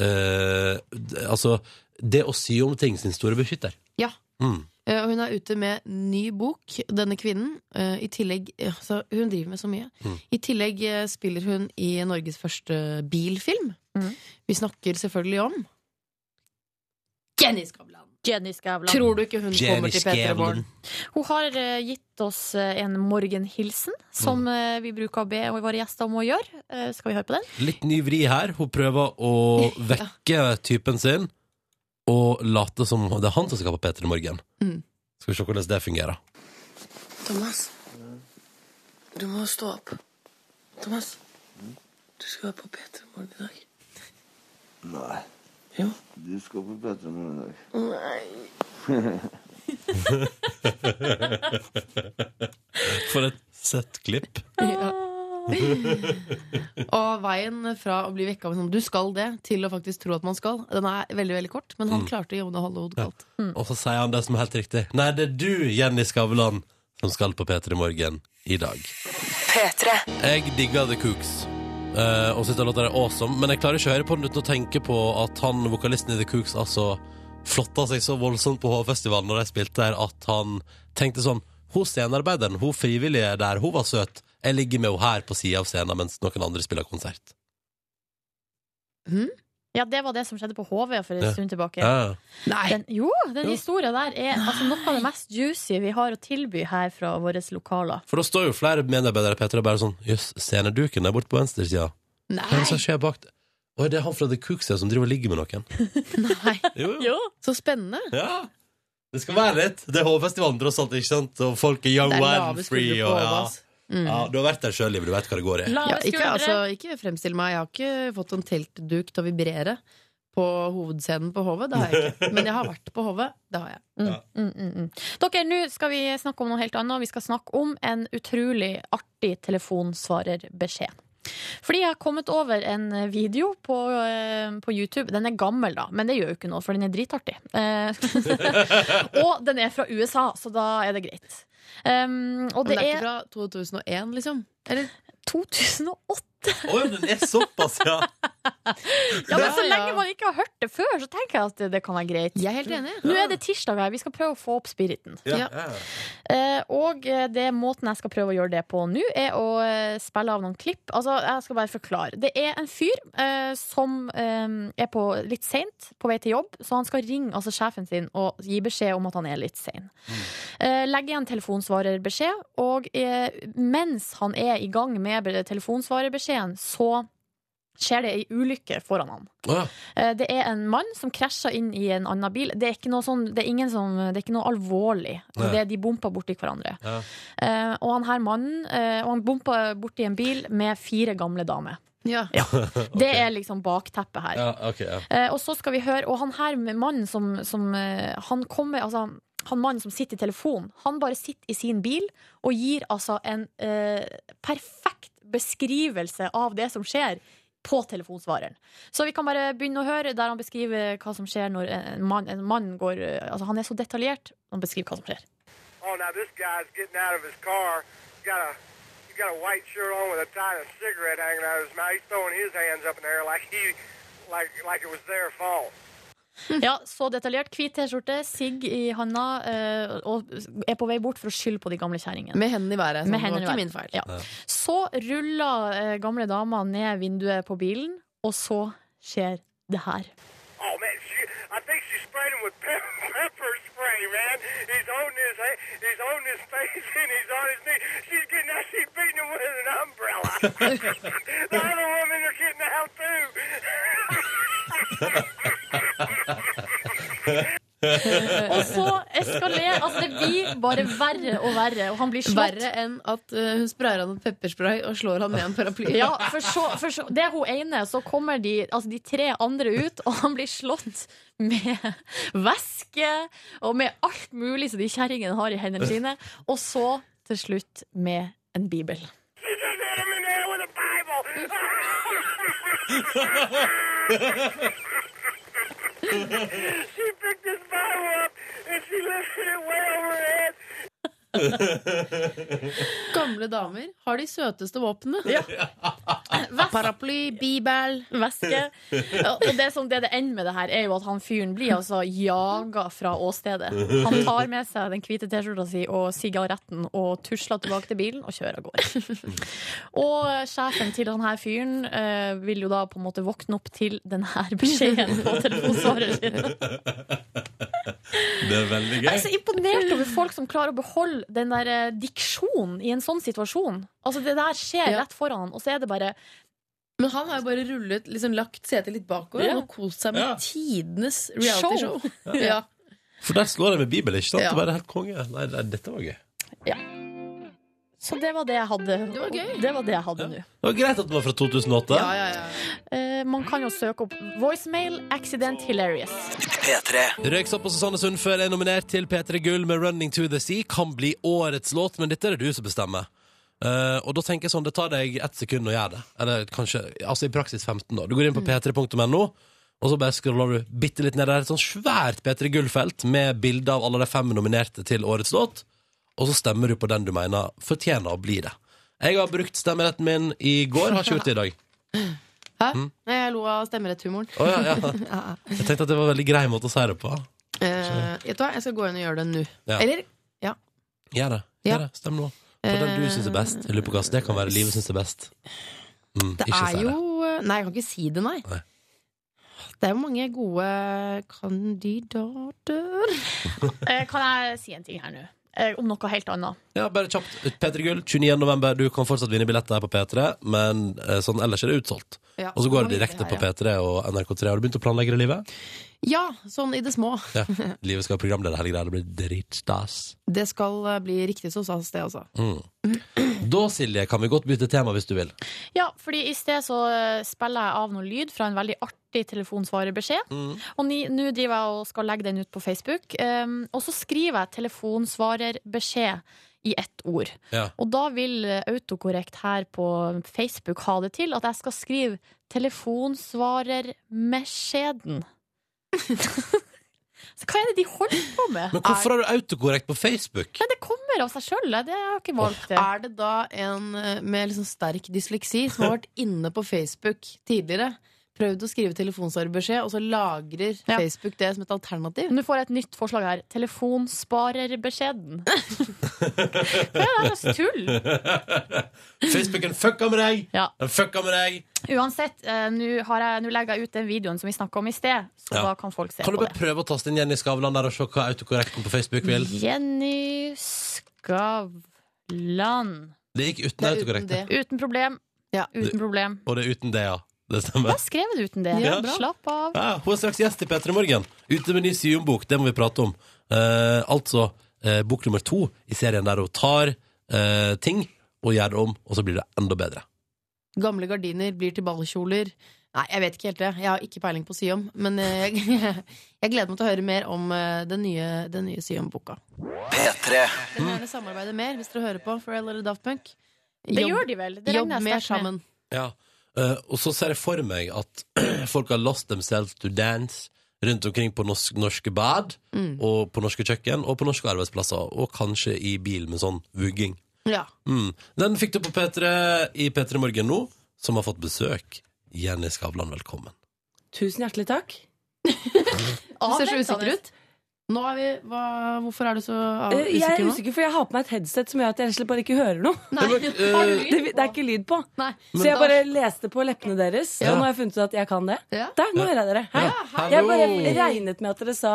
[SPEAKER 2] eh, det- Altså, det å sy om ting sin store beskytter.
[SPEAKER 5] Ja.
[SPEAKER 2] Mm.
[SPEAKER 5] Eh, Og hun er ute med ny bok, denne kvinnen. Eh, I tillegg, eh, altså, Hun driver med så mye. I tillegg eh, spiller hun i Norges første bilfilm.
[SPEAKER 4] Mm.
[SPEAKER 5] Vi snakker selvfølgelig om Jenny Skavlan!
[SPEAKER 4] Jenny Skavlan.
[SPEAKER 5] Tror du ikke hun kommer
[SPEAKER 2] Jenny
[SPEAKER 5] til Peter
[SPEAKER 2] Skævlen.
[SPEAKER 5] Born?
[SPEAKER 4] Hun har eh, gitt oss eh, en morgenhilsen, som
[SPEAKER 2] Mm.
[SPEAKER 4] eh, vi bruker å be våre gjester om å gjøre. Eh, skal vi høre på den?
[SPEAKER 2] Litt ny vri her. Hun prøver å vekke typen sin og late som det er han som skal på P3 Morgen.
[SPEAKER 5] Mm.
[SPEAKER 2] Skal vi se hvordan det fungerer.
[SPEAKER 9] Thomas, du må stå opp. Thomas, du skal være på P3 Morgen i dag.
[SPEAKER 10] Nei.
[SPEAKER 9] Jo.
[SPEAKER 10] Du skal på Petremorgen i dag.
[SPEAKER 9] Nei.
[SPEAKER 2] For et søtt klipp.
[SPEAKER 5] Og veien fra å bli vekka med sånn 'du skal det', til å faktisk tro at man skal, den er veldig veldig kort. Men han klarte å holde hodet kaldt.
[SPEAKER 2] Og så sier han det som er helt riktig. Nei, det er du, Jenny Skavlan, som skal på P3 Morgen i dag.
[SPEAKER 1] P3.
[SPEAKER 2] Jeg digger The Cooks. eh, og syns den låta er awesome. Men jeg klarer ikke å høre på den uten å tenke på at han vokalisten i The Cooks altså flotta seg så voldsomt på H-festivalen når de spilte der, at han tenkte sånn Hun scenearbeideren, hun frivillige der, hun var søt. Jeg ligger med henne her på sida av scenen mens noen andre spiller konsert.
[SPEAKER 4] Hm? Ja, det var det som skjedde på HV for en
[SPEAKER 2] Ja.
[SPEAKER 4] stund tilbake.
[SPEAKER 2] Ja.
[SPEAKER 4] Den, jo, den historien der er altså, noe av det mest juicy vi har å tilby her fra våre lokaler.
[SPEAKER 2] For da står jo flere medarbeidere Petra, bare sånn Jøss, sceneduken er borte på venstresida. Hva er det som skjer bak Å, det er han fra The Cooks ja, som driver og ligger med noen.
[SPEAKER 5] Så spennende.
[SPEAKER 2] Ja. Det skal være litt. Det er H-festivalen tross alt, ikke sant? Og folk er young,
[SPEAKER 5] Det er lave
[SPEAKER 2] wild, free
[SPEAKER 5] skuldre på
[SPEAKER 2] og ja.
[SPEAKER 5] Åvas. Mm.
[SPEAKER 2] ja. Du har vært der sjøl, Liv. Du vet hva det går i.
[SPEAKER 5] Ja, ikke,
[SPEAKER 4] skuldre.
[SPEAKER 5] altså, ikke fremstill meg. Jeg har ikke fått en teltduk til å vibrere på hovedscenen på HV. Det har jeg ikke. Men jeg har vært på HV. Det har jeg.
[SPEAKER 4] Mm, mm, mm. Dere, nå skal vi snakke om noe helt annet. Vi skal snakke om en utrolig artig telefonsvarerbeskjed. Fordi jeg har kommet over en video på, eh, på YouTube. Den er gammel, da, men det gjør jo ikke noe, for den er dritartig. Eh, og den er fra USA, så da er det greit. Um, og
[SPEAKER 5] Men det
[SPEAKER 4] det
[SPEAKER 5] er ikke
[SPEAKER 4] er
[SPEAKER 5] fra 2001, liksom? Eller
[SPEAKER 4] 2008!
[SPEAKER 2] Å ja, den er såpass, ja!
[SPEAKER 4] Ja, men Så
[SPEAKER 5] Ja, ja.
[SPEAKER 4] lenge man ikke har hørt det før, så tenker jeg at det, det kan være greit.
[SPEAKER 5] Jeg er helt enig.
[SPEAKER 4] Nå er det tirsdag her, vi skal prøve å få opp spiriten.
[SPEAKER 5] Ja.
[SPEAKER 4] Eh, og eh, det måten jeg skal prøve å gjøre det på nå, er å eh, spille av noen klipp. Altså, jeg skal bare forklare. Det er en fyr eh, som eh, er på litt seint på vei til jobb, så han skal ringe altså, sjefen sin og gi beskjed om at han er litt sein. Eh, legge igjen telefonsvarerbeskjed, og eh, mens han er i gang med telefonsvarerbeskjeden, så skjer det ei ulykke foran han.
[SPEAKER 2] Å,
[SPEAKER 4] Eh, Det er en mann som krasjer inn i en annen bil. Det er ikke noe, sånn, det er ingen som, det er ikke noe alvorlig.
[SPEAKER 2] Nei.
[SPEAKER 4] Det er de bompa borti hverandre.
[SPEAKER 2] ja.
[SPEAKER 4] Eh, og han her mannen eh, Og han bompa borti en bil med fire gamle damer.
[SPEAKER 5] Ja.
[SPEAKER 4] Det er liksom bakteppet her.
[SPEAKER 2] ja ok. Ja.
[SPEAKER 4] Eh, og så skal vi høre Og han her med mannen som, som eh, Han kommer Altså han mannen som sitter i telefonen, han bare sitter i sin bil og gir altså en eh, perfekt beskrivelse av det som skjer på telefonsvareren. Så vi kan bare begynne å høre der han beskriver hva som skjer når en mann, en mann går eh, Altså han er så detaljert, han beskriver hva som skjer.
[SPEAKER 11] Oh, now this guy's getting out of his car. He's got a he's got a white shirt on with a tie and a cigarette hanging out of his mouth. He's throwing his hands up in the air like he like like it was their fault.
[SPEAKER 4] Ja, så detaljert. Hvit T-skjorte, sigg i handa, eh, og er på vei bort for å skylde på de gamle kjerringene.
[SPEAKER 5] Med hendene i været. Sånn.
[SPEAKER 4] Med
[SPEAKER 5] Det var
[SPEAKER 4] hendene i
[SPEAKER 5] ikke
[SPEAKER 4] været.
[SPEAKER 5] min feil.
[SPEAKER 4] Ja. Så ruller eh, gamle dama ned vinduet på bilen, og så skjer det her.
[SPEAKER 11] Oh man, she, I think she sprayed him with pepper, pepper spray, man. He's holding his ha- he's holding his face and he's on his knee. She's getting out. She's beating him with an umbrella. the other women are getting out too.
[SPEAKER 4] Og så eskalerer Altså, det blir bare verre og verre, og han blir slått.
[SPEAKER 5] Verre enn at eh, hun sprayer han med pepperspray og slår han med en paraply.
[SPEAKER 4] Ja, for så, for så Det er hun ene, så kommer de, altså de tre andre ut, og han blir slått med væske og med alt mulig som de kjerringene har i hendene sine, og så til slutt med en bibel.
[SPEAKER 11] She just hit him in the head with a Bible. she picked this Bible up and she lifted it way over her head.
[SPEAKER 5] Gamle damer har de søteste våpnene.
[SPEAKER 4] Væske
[SPEAKER 5] Paraply, bibel
[SPEAKER 4] væske. Ja, Og det som det, det ender med det her, er jo at han fyren blir altså jaga fra åstedet. Han tar med seg den hvite T-skjorta si og sigaretten og tusler tilbake til bilen og kjører av gårde. Og sjefen til han her fyren eh, vil jo da på en måte våkne opp til den her beskjeden på telefonsvareren sin.
[SPEAKER 2] Det er veldig gøy.
[SPEAKER 4] Jeg er
[SPEAKER 5] Altså-
[SPEAKER 4] så imponert over folk som klarer å beholde den der eh, diksjonen i en sånn situasjon. Altså Det der skjer
[SPEAKER 5] Ja.
[SPEAKER 4] rett foran han, og så er det bare
[SPEAKER 5] Men han har jo bare rullet, liksom lagt setet litt bakover
[SPEAKER 4] Ja.
[SPEAKER 5] og kost seg med
[SPEAKER 2] Ja.
[SPEAKER 5] tidenes realityshow. Ja.
[SPEAKER 2] For der slår jeg med Bibel, ikke sant?
[SPEAKER 5] Ja.
[SPEAKER 2] Det var helt konge. Nei, nei, dette var gøy.
[SPEAKER 4] Så det var det jeg hadde.
[SPEAKER 5] Det var gøy.
[SPEAKER 4] Det var det jeg hadde nå.
[SPEAKER 2] Det var greit at den var fra 2008.
[SPEAKER 5] Ja, ja, ja.
[SPEAKER 4] Eh, man kan jo søke opp voicemail accident hilarious.
[SPEAKER 1] P3.
[SPEAKER 2] Røyksopp og Susanne Sundfør er nominert til P3 Gull med 'Running to the Sea'. Kan bli årets låt, men dette er det du som bestemmer. Eh, og da tenker jeg sånn, Det tar deg ett sekund å gjøre det. Eller kanskje, altså i praksis 15. da Du går inn på p3.no, og så bare scroller du bitte litt ned. Det er et sånn svært P3 Gull-felt med bilde av alle de fem nominerte til årets låt. Og så stemmer du på den du mener fortjener å bli det. Jeg har brukt stemmeretten min i går, har ikke gjort det i dag.
[SPEAKER 5] Hæ?
[SPEAKER 2] Mm.
[SPEAKER 5] Nei, jeg lo av stemmeretthumoren.
[SPEAKER 2] Å, ja, ja. Jeg tenkte at det var en veldig grei måte å si det på.
[SPEAKER 5] Eh, vet du hva, jeg skal gå inn og gjøre det nå.
[SPEAKER 2] Ja.
[SPEAKER 5] Eller? Ja.
[SPEAKER 2] Gjør det.
[SPEAKER 5] Ja.
[SPEAKER 2] Gjør det. Stem nå. På den du syns er best. Jeg lurer på hva som- det kan være livet syns er best. Mm,
[SPEAKER 5] Det
[SPEAKER 2] ikke
[SPEAKER 5] er
[SPEAKER 2] si
[SPEAKER 5] jo eh,
[SPEAKER 2] det.
[SPEAKER 5] Nei, jeg kan ikke si det, nei.
[SPEAKER 2] Nei.
[SPEAKER 5] Det er jo mange gode kandidater.
[SPEAKER 4] Eh, Kan jeg si en ting her nå? Eh, Om noe helt annet.
[SPEAKER 2] Ja, bare kjapt. P3 Gull, 29. november. Du kan fortsatt vinne billetter her på P3, men eh, sånn ellers er det utsolgt.
[SPEAKER 5] Ja.
[SPEAKER 2] Og så går det
[SPEAKER 5] Det var
[SPEAKER 2] direkte
[SPEAKER 5] hyggelig
[SPEAKER 2] på
[SPEAKER 5] her, ja.
[SPEAKER 2] P3 og NRK3. Har du begynt å planlegge det livet?
[SPEAKER 5] Ja, sånn i det små.
[SPEAKER 2] Ja. Livet skal ha programleder hele greia. Det blir dritstas.
[SPEAKER 5] Det skal eh, bli riktig så stas, det altså. også.
[SPEAKER 2] Mm. Da, Silje, kan vi godt bytte tema hvis du vil.
[SPEAKER 4] Ja, fordi i sted så eh, spiller jeg av noe lyd fra en veldig artig telefonsvarerbeskjed.
[SPEAKER 2] Mm.
[SPEAKER 4] Og ni- nå driver jeg og skal legge den ut på Facebook. Um, og så skriver jeg 'telefonsvarerbeskjed' i ett ord.
[SPEAKER 2] Ja.
[SPEAKER 4] Og da vil eh, autokorrekt her på Facebook ha det til at jeg skal skrive 'telefonsvarermeskjeden'. så hva er det de holder på med?
[SPEAKER 2] Men hvorfor har du autokorrekt på Facebook?
[SPEAKER 4] Nei, det kommer av seg sjøl. Det har jeg ikke valgt. det.
[SPEAKER 5] Er det da en eh, med liksom sterk dysleksi som har vært inne på Facebook tidligere, prøvd å skrive telefonsvarbeskjed, og så lagrer Facebook det som et alternativ?
[SPEAKER 4] Nå får jeg et nytt forslag her. Telefonsparerbeskjeden. det er så tull.
[SPEAKER 2] Facebooken fucka med deg!
[SPEAKER 4] Ja.
[SPEAKER 2] Den fucka med deg!
[SPEAKER 4] Uansett, eh, nå har jeg- nå legger jeg ut den videoen som vi snakka om i sted, så
[SPEAKER 2] Ja.
[SPEAKER 4] da kan folk se
[SPEAKER 2] Kan du
[SPEAKER 4] på
[SPEAKER 2] bare
[SPEAKER 4] det.
[SPEAKER 2] prøve å taste inn Jenny Skavlan der og se hva autokorrekten på Facebook vil?
[SPEAKER 4] Jenny Skavlan.
[SPEAKER 2] Det gikk uten autokorrekt. det.
[SPEAKER 4] Uten problem. Uten
[SPEAKER 2] Det-
[SPEAKER 4] problem.
[SPEAKER 2] Og det er uten det, ja. Det
[SPEAKER 4] Da
[SPEAKER 2] stemmer.
[SPEAKER 4] skrev jeg det uten det.
[SPEAKER 2] Ja, bra.
[SPEAKER 4] Slapp av.
[SPEAKER 2] Ja, hun er straks gjest i P3 Morgen. Ute med ny syumbok, det må vi prate om. Eh, altså eh, bok nummer to i serien der hun tar eh, ting og gjør det om, og så blir det enda bedre.
[SPEAKER 5] Gamle gardiner blir til ballkjoler. Nei, jeg vet ikke helt det. Jeg har ikke peiling på Syom. Men eh, jeg, jeg gleder meg til å høre mer om eh, den nye, den nye Syom-boka.
[SPEAKER 1] P3.
[SPEAKER 5] Dere må gjerne samarbeide mer hvis dere hører på Pharrell eller Daft Punk.
[SPEAKER 4] Det gjør de vel. Det regner
[SPEAKER 5] jobb
[SPEAKER 4] jeg
[SPEAKER 5] mer
[SPEAKER 4] sterkt med.
[SPEAKER 5] sammen.
[SPEAKER 2] Ja. Eh, og så ser jeg for meg at folk har lost themselves to dance rundt omkring på norsk, norske bad,
[SPEAKER 5] Mm.
[SPEAKER 2] og på norske kjøkken, og på norske arbeidsplasser, og kanskje i bil med sånn vugging.
[SPEAKER 5] Ja.
[SPEAKER 2] Mm. Den fikk du på P3 i P3 Morgen nå, som har fått besøk. Jenny Skavlan, velkommen.
[SPEAKER 9] Tusen hjertelig takk.
[SPEAKER 5] Du ser så
[SPEAKER 9] Avventende.
[SPEAKER 5] usikker ut. Nå er vi, hva, hvorfor er du så av-
[SPEAKER 9] Eh, jeg er
[SPEAKER 5] usikker nå?
[SPEAKER 9] usikker, for jeg har på meg et headset som gjør at jeg rett og slett bare ikke hører noe.
[SPEAKER 5] har du lyd
[SPEAKER 9] det, det er ikke lyd på.
[SPEAKER 5] eh, Men
[SPEAKER 9] Så jeg
[SPEAKER 5] da-
[SPEAKER 9] bare leste på leppene deres,
[SPEAKER 2] Ja.
[SPEAKER 9] og nå har jeg funnet ut at jeg kan det. Der, nå hører jeg dere. Hei.
[SPEAKER 2] hei.
[SPEAKER 9] Jeg bare
[SPEAKER 2] Hallo.
[SPEAKER 9] regnet med at dere sa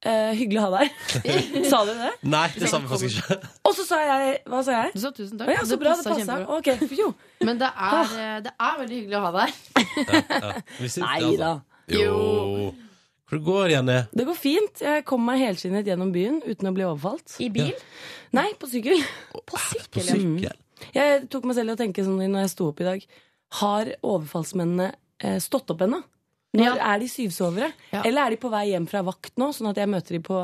[SPEAKER 9] eh, 'hyggelig å ha deg her'. sa dere det?
[SPEAKER 2] Nei, det sa vi faktisk ikke.
[SPEAKER 9] Og så sa jeg Hva sa jeg?
[SPEAKER 5] Du sa tusen takk.
[SPEAKER 9] Å ja, så
[SPEAKER 5] Det
[SPEAKER 9] bra, det Ah.
[SPEAKER 5] passet
[SPEAKER 9] passa.
[SPEAKER 5] kjempebra.
[SPEAKER 9] Ok, jo.
[SPEAKER 5] Men det er, eh, det er veldig hyggelig å ha deg her.
[SPEAKER 2] Vi syns
[SPEAKER 9] Nei
[SPEAKER 2] det, altså.
[SPEAKER 9] da.
[SPEAKER 2] Jo. Hvor det går, Jenny?
[SPEAKER 9] Det går fint. Jeg kom meg helskinnet gjennom byen uten å bli overfalt.
[SPEAKER 4] I bil?
[SPEAKER 9] Nei, på sykkel.
[SPEAKER 2] På sykkel?
[SPEAKER 9] Jeg tok meg selv i å tenke sånn når jeg sto opp i dag. Har overfallsmennene eh, stått opp ennå? Når er de syvsovere? Eller er de på vei hjem fra vakt nå, sånn at jeg møter de på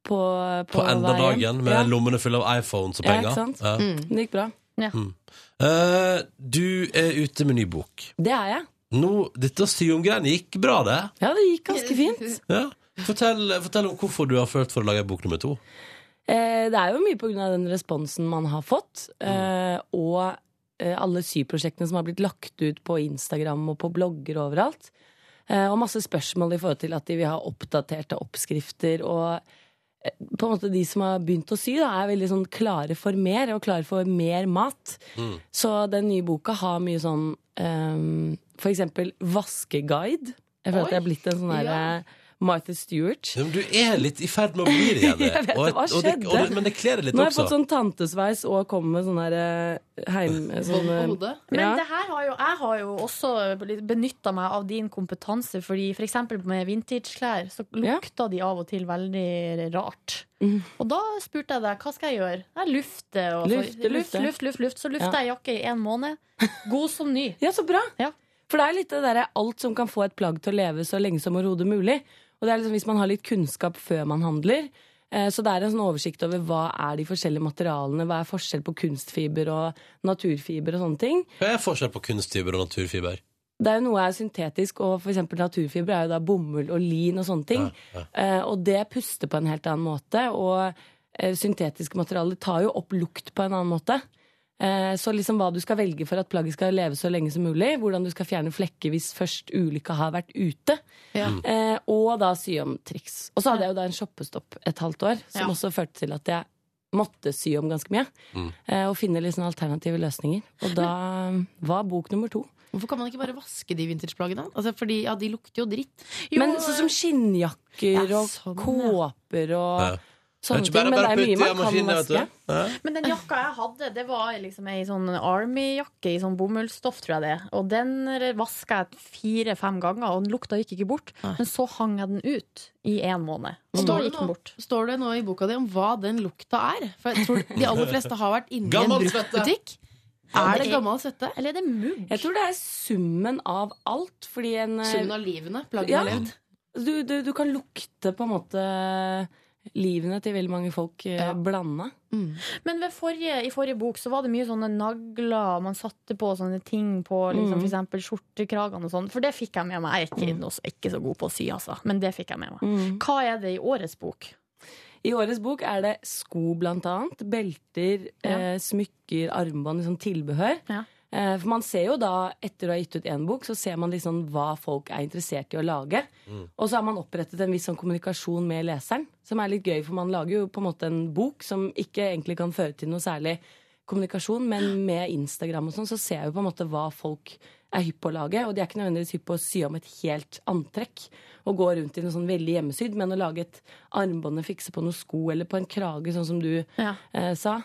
[SPEAKER 9] På, på,
[SPEAKER 2] På enda
[SPEAKER 9] vei hjem?
[SPEAKER 2] dagen, med
[SPEAKER 9] ja.
[SPEAKER 2] lommene fulle av iPhones og
[SPEAKER 9] Ja,
[SPEAKER 2] penger.
[SPEAKER 9] ikke sant?
[SPEAKER 2] Ja.
[SPEAKER 9] Mm. Det gikk bra.
[SPEAKER 2] Mm. Eh, du er ute med ny bok.
[SPEAKER 9] Det er jeg.
[SPEAKER 2] Nå, dette syomgreiene gikk bra, det.
[SPEAKER 9] Ja, det gikk ganske fint.
[SPEAKER 2] Ja. Fortell, fortell om hvorfor du har følt for å lage bok nummer to.
[SPEAKER 9] Eh, Det er jo mye pga. den responsen man har fått, eh, og eh, alle syprosjektene som har blitt lagt ut på Instagram og på blogger og overalt. Eh, Og masse spørsmål i forhold til at de vil ha oppdaterte oppskrifter. Og eh, på en måte de som har begynt å sy, da, er veldig sånn klare for mer, og klare for mer mat. Så den nye boka har mye sånn ehm, For eksempel vaskeguide. Jeg føler at jeg er blitt en sånn derre Martha Stewart.
[SPEAKER 2] Ja, men du er litt i ferd med å bli det, Jenny.
[SPEAKER 9] Jeg vet det,
[SPEAKER 2] Og-
[SPEAKER 9] hva
[SPEAKER 2] og det-
[SPEAKER 9] skjedde?
[SPEAKER 2] og det- Men det kler det litt
[SPEAKER 9] Nå har jeg
[SPEAKER 2] også.
[SPEAKER 9] fått sånn tantesveis og kommer med sånn her eh, heim... Sånn, eh,
[SPEAKER 4] Men
[SPEAKER 9] Ja.
[SPEAKER 4] det her har jo, jeg har jo også benytta meg av din kompetanse, fordi for eksempel med vintageklær så lukta de av og til veldig rart.
[SPEAKER 9] Mm.
[SPEAKER 4] Og da spurte jeg deg hva skal jeg gjøre. Jeg lufter og
[SPEAKER 9] Lufte,
[SPEAKER 4] luft,
[SPEAKER 9] lufte.
[SPEAKER 4] luft, luft, luft. Så lufta
[SPEAKER 9] Ja.
[SPEAKER 4] jeg jakke i en måned. God som ny.
[SPEAKER 9] Ja, så bra. For det er litt det derre alt som kan få et plagg til å leve så lenge som overhodet mulig. Og det er liksom hvis man har litt kunnskap før man handler. eh, Så det er en sånn oversikt over hva er de forskjellige materialene, hva er forskjell på kunstfiber og naturfiber og sånne ting.
[SPEAKER 2] Hva er forskjell på kunstfiber og naturfiber?
[SPEAKER 9] Det er jo noe er syntetisk, og for eksempel naturfiber er jo da bomull og lin og sånne ting. Eh, og det puster på en helt annen måte, og eh, syntetiske materialer tar jo opp lukt på en annen måte. Eh, Så liksom hva du skal velge for at plagget skal leve så lenge som mulig. Hvordan du skal fjerne flekker hvis først ulykka har vært ute.
[SPEAKER 12] Mm.
[SPEAKER 9] Eh, Og da sy om triks. Og så hadde jeg jo da en shoppestopp et halvt år, som
[SPEAKER 5] Ja.
[SPEAKER 9] også førte til at jeg måtte sy om ganske mye.
[SPEAKER 5] Mm.
[SPEAKER 9] eh, Og finne litt sånn alternative løsninger. Og da eh, var bok nummer to.
[SPEAKER 5] Hvorfor kan man ikke bare vaske de vintageplaggene? Altså, fordi, ja, de lukter jo eh, dritt.
[SPEAKER 9] Men sånn som skinnjakker
[SPEAKER 5] Ja,
[SPEAKER 9] og
[SPEAKER 5] sånn,
[SPEAKER 9] kåper og
[SPEAKER 5] Ja.
[SPEAKER 9] sånne
[SPEAKER 12] Det er ikke
[SPEAKER 9] ting.
[SPEAKER 12] bare-
[SPEAKER 9] Men det
[SPEAKER 12] bare
[SPEAKER 9] er mye
[SPEAKER 12] putte i
[SPEAKER 9] man kan
[SPEAKER 12] maskinen, vet du.
[SPEAKER 9] vaske.
[SPEAKER 12] Ja.
[SPEAKER 4] Men den jakka jeg hadde, det var liksom ei sånn Army-jakke i sånn bomullsstoff, tror jeg det. er. Og den vaska jeg fire-fem ganger, og den lukta gikk ikke bort. Men så hang jeg den ut i en måned. Og da
[SPEAKER 5] Står det,
[SPEAKER 4] gikk
[SPEAKER 5] nå,
[SPEAKER 4] den bort.
[SPEAKER 5] står det nå i boka di om hva den lukta er? For jeg tror de aller fleste har vært inne i en
[SPEAKER 9] Gammel svette.
[SPEAKER 5] bruktbutikk. Er det gammel svette?
[SPEAKER 4] Eller er det mugg?
[SPEAKER 9] Jeg tror det er summen av alt. Fordi en eh,
[SPEAKER 5] Summen av livene plaggene
[SPEAKER 9] ja,
[SPEAKER 5] har levd.
[SPEAKER 9] Du, du, du kan lukte på en måte livene til veldig mange folk ja. blanda.
[SPEAKER 4] Men ved forrige, i forrige bok så var det mye sånne nagler man satte på sånne ting på liksom,
[SPEAKER 9] Mm.
[SPEAKER 4] for eksempel skjortekragene og sånn. For det fikk jeg med meg. Jeg er ikke, noe- ikke så god på å sy, altså. Men det fikk jeg med meg. Hva er det i årets bok?
[SPEAKER 9] I årets bok er det sko, blant annet. Belter, eh,
[SPEAKER 4] Ja.
[SPEAKER 9] smykker, armbånd, liksom tilbehør. Eh, for man ser jo da, etter å ha gitt ut én bok, så ser man liksom hva folk er interessert i å lage. Og så har man opprettet en viss sånn kommunikasjon med leseren, som er litt gøy, for man lager jo på en måte en bok som ikke egentlig kan føre til noe særlig kommunikasjon, men med Instagram og sånn, så ser jeg jo på en måte hva folk er hypp på å lage, og de er ikke nødvendigvis hypp på å sy om et helt antrekk og gå rundt i noe sånn veldig hjemmesydd, men å lage et armbånd og fikse på noen sko eller på en krage, sånn som du eh, sa,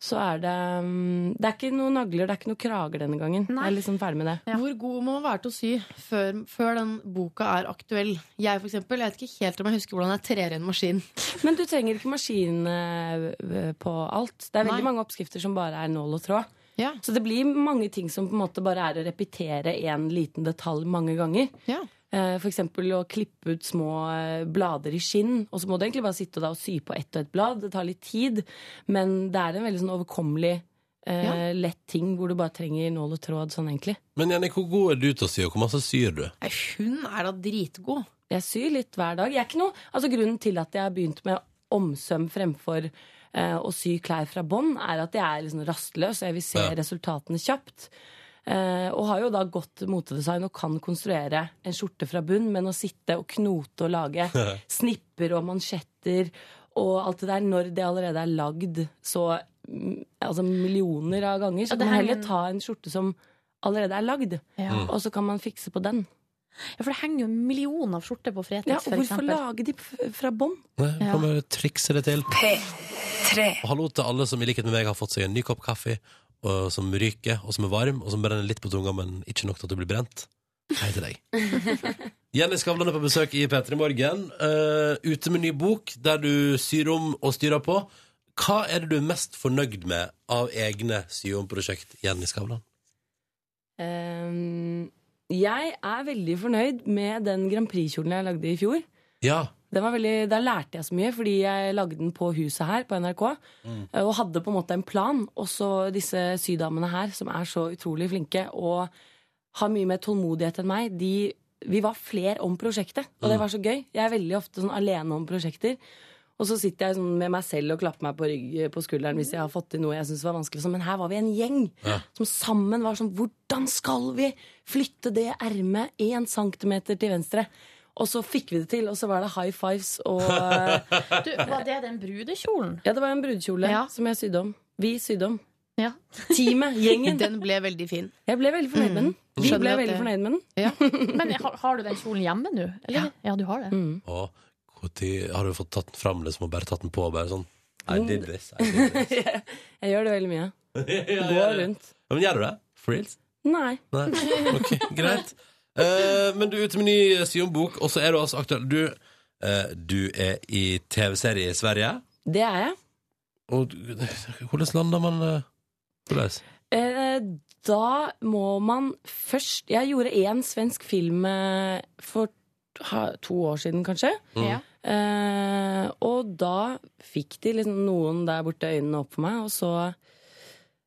[SPEAKER 9] så er det mm, Det er ikke noen nagler, det er ikke noen krager denne gangen. Jeg er liksom ferdig med det.
[SPEAKER 5] Hvor god må man være til å sy før, før den boka er aktuell? Jeg for eksempel, jeg vet ikke helt om jeg husker hvordan jeg trer i en maskin.
[SPEAKER 9] Men du trenger ikke maskin eh, på alt. Det er veldig mange oppskrifter som bare er nål og tråd. Så det blir mange ting som på en måte bare er å repetere en liten detalj mange ganger. Eh, For eksempel å klippe ut små eh, blader i skinn. Og så må du egentlig bare sitte da og sy på ett og ett blad. Det tar litt tid. Men det er en veldig sånn overkommelig, eh, lett ting hvor du bare trenger nål og tråd sånn egentlig.
[SPEAKER 12] Men Jenny, hvor god er du til å sy, og hvor masse syr du?
[SPEAKER 5] Hun er da dritgod.
[SPEAKER 9] Jeg syr litt hver dag. Jeg er ikke noe, altså Grunnen til at jeg har begynt med omsøm fremfor eh, å sy klær fra bånd, er at jeg er liksom rastløs, og jeg vil se resultatene kjapt. Eh, og har jo da godt motedesign og kan konstruere en skjorte fra bunn, men å sitte og knote og lage snipper og mansjetter og alt det der, når det allerede er lagd så mm, altså millioner av ganger, så
[SPEAKER 4] Ja, det
[SPEAKER 9] kan man
[SPEAKER 4] henger
[SPEAKER 9] heller ta en skjorte som allerede er lagd,
[SPEAKER 4] Ja.
[SPEAKER 9] og så kan man fikse på den.
[SPEAKER 4] Ja, for det henger jo en million av skjorter på Fretex,
[SPEAKER 9] Ja, og
[SPEAKER 4] for
[SPEAKER 9] hvorfor
[SPEAKER 4] eksempel.
[SPEAKER 9] lage de f- fra bånd?
[SPEAKER 12] Nei, vi kan bare trikse det til.
[SPEAKER 1] P3.
[SPEAKER 12] Og hallo til alle som i likhet med meg har fått seg en ny kopp kaffe, og som ryker, og som er varm, og som brenner litt på tunga, men ikke nok til at du blir brent. Hei til deg. Jenny Skavlan er på besøk i P3 Morgen. eh, ute med ny bok, der du syr om og styrer på. Hva er det du er mest fornøyd med av egne syomprosjekt, Jenny Skavlan?
[SPEAKER 9] Ehm, jeg er veldig fornøyd med den Grand Prix-kjolen jeg lagde i fjor.
[SPEAKER 12] Ja.
[SPEAKER 9] Den var veldig, da lærte jeg så mye, fordi jeg lagde den på huset her på NRK. eh, Og hadde på en måte en plan. Også disse sydamene her, som er så utrolig flinke og har mye mer tålmodighet enn meg, de, vi var flere om prosjektet. Og det var så gøy. Jeg er veldig ofte sånn alene om prosjekter. Og så sitter jeg sånn med meg selv og klapper meg på, rygg, på skulderen hvis jeg har fått til noe jeg syns var vanskelig. og sånn, Men her var vi en gjeng som sammen var sånn Hvordan skal vi flytte det ermet én centimeter til venstre? Og så fikk vi det til, og så var det high fives og
[SPEAKER 4] Du, var det den brudekjolen?
[SPEAKER 9] Ja, det var en brudekjole
[SPEAKER 4] Ja.
[SPEAKER 9] som jeg sydde om. Vi sydde om.
[SPEAKER 4] Ja.
[SPEAKER 9] Teamet, gjengen.
[SPEAKER 5] Den ble veldig fin.
[SPEAKER 9] Jeg ble veldig fornøyd med den. Vi
[SPEAKER 4] Skjønner
[SPEAKER 9] ble
[SPEAKER 4] at
[SPEAKER 9] veldig
[SPEAKER 4] det-
[SPEAKER 9] fornøyd med den.
[SPEAKER 4] Men har, har du den kjolen hjemme nå? Ja. ja, du har det.
[SPEAKER 12] Og hvor tid har du fått tatt den fram, liksom, og bare tatt den på, og bare sånn I did this. I did this.
[SPEAKER 9] jeg gjør det veldig mye.
[SPEAKER 12] Går
[SPEAKER 9] rundt.
[SPEAKER 12] Ja, men gjør du det? For reals?
[SPEAKER 9] Nei.
[SPEAKER 12] Nei. Ok, greit. Eh, men du er ute med ny Sion-bok, og så er du altså aktuell. Du, eh, du er i TV-serie i Sverige.
[SPEAKER 9] Det er jeg.
[SPEAKER 12] Og du- hvordan lander man eh, Hvordan?
[SPEAKER 9] Eh, da må man først Jeg gjorde én svensk film eh, for ha- to år siden, kanskje.
[SPEAKER 12] Mm. Ja.
[SPEAKER 9] Eh, og da fikk de liksom noen der borte øynene opp for meg, og så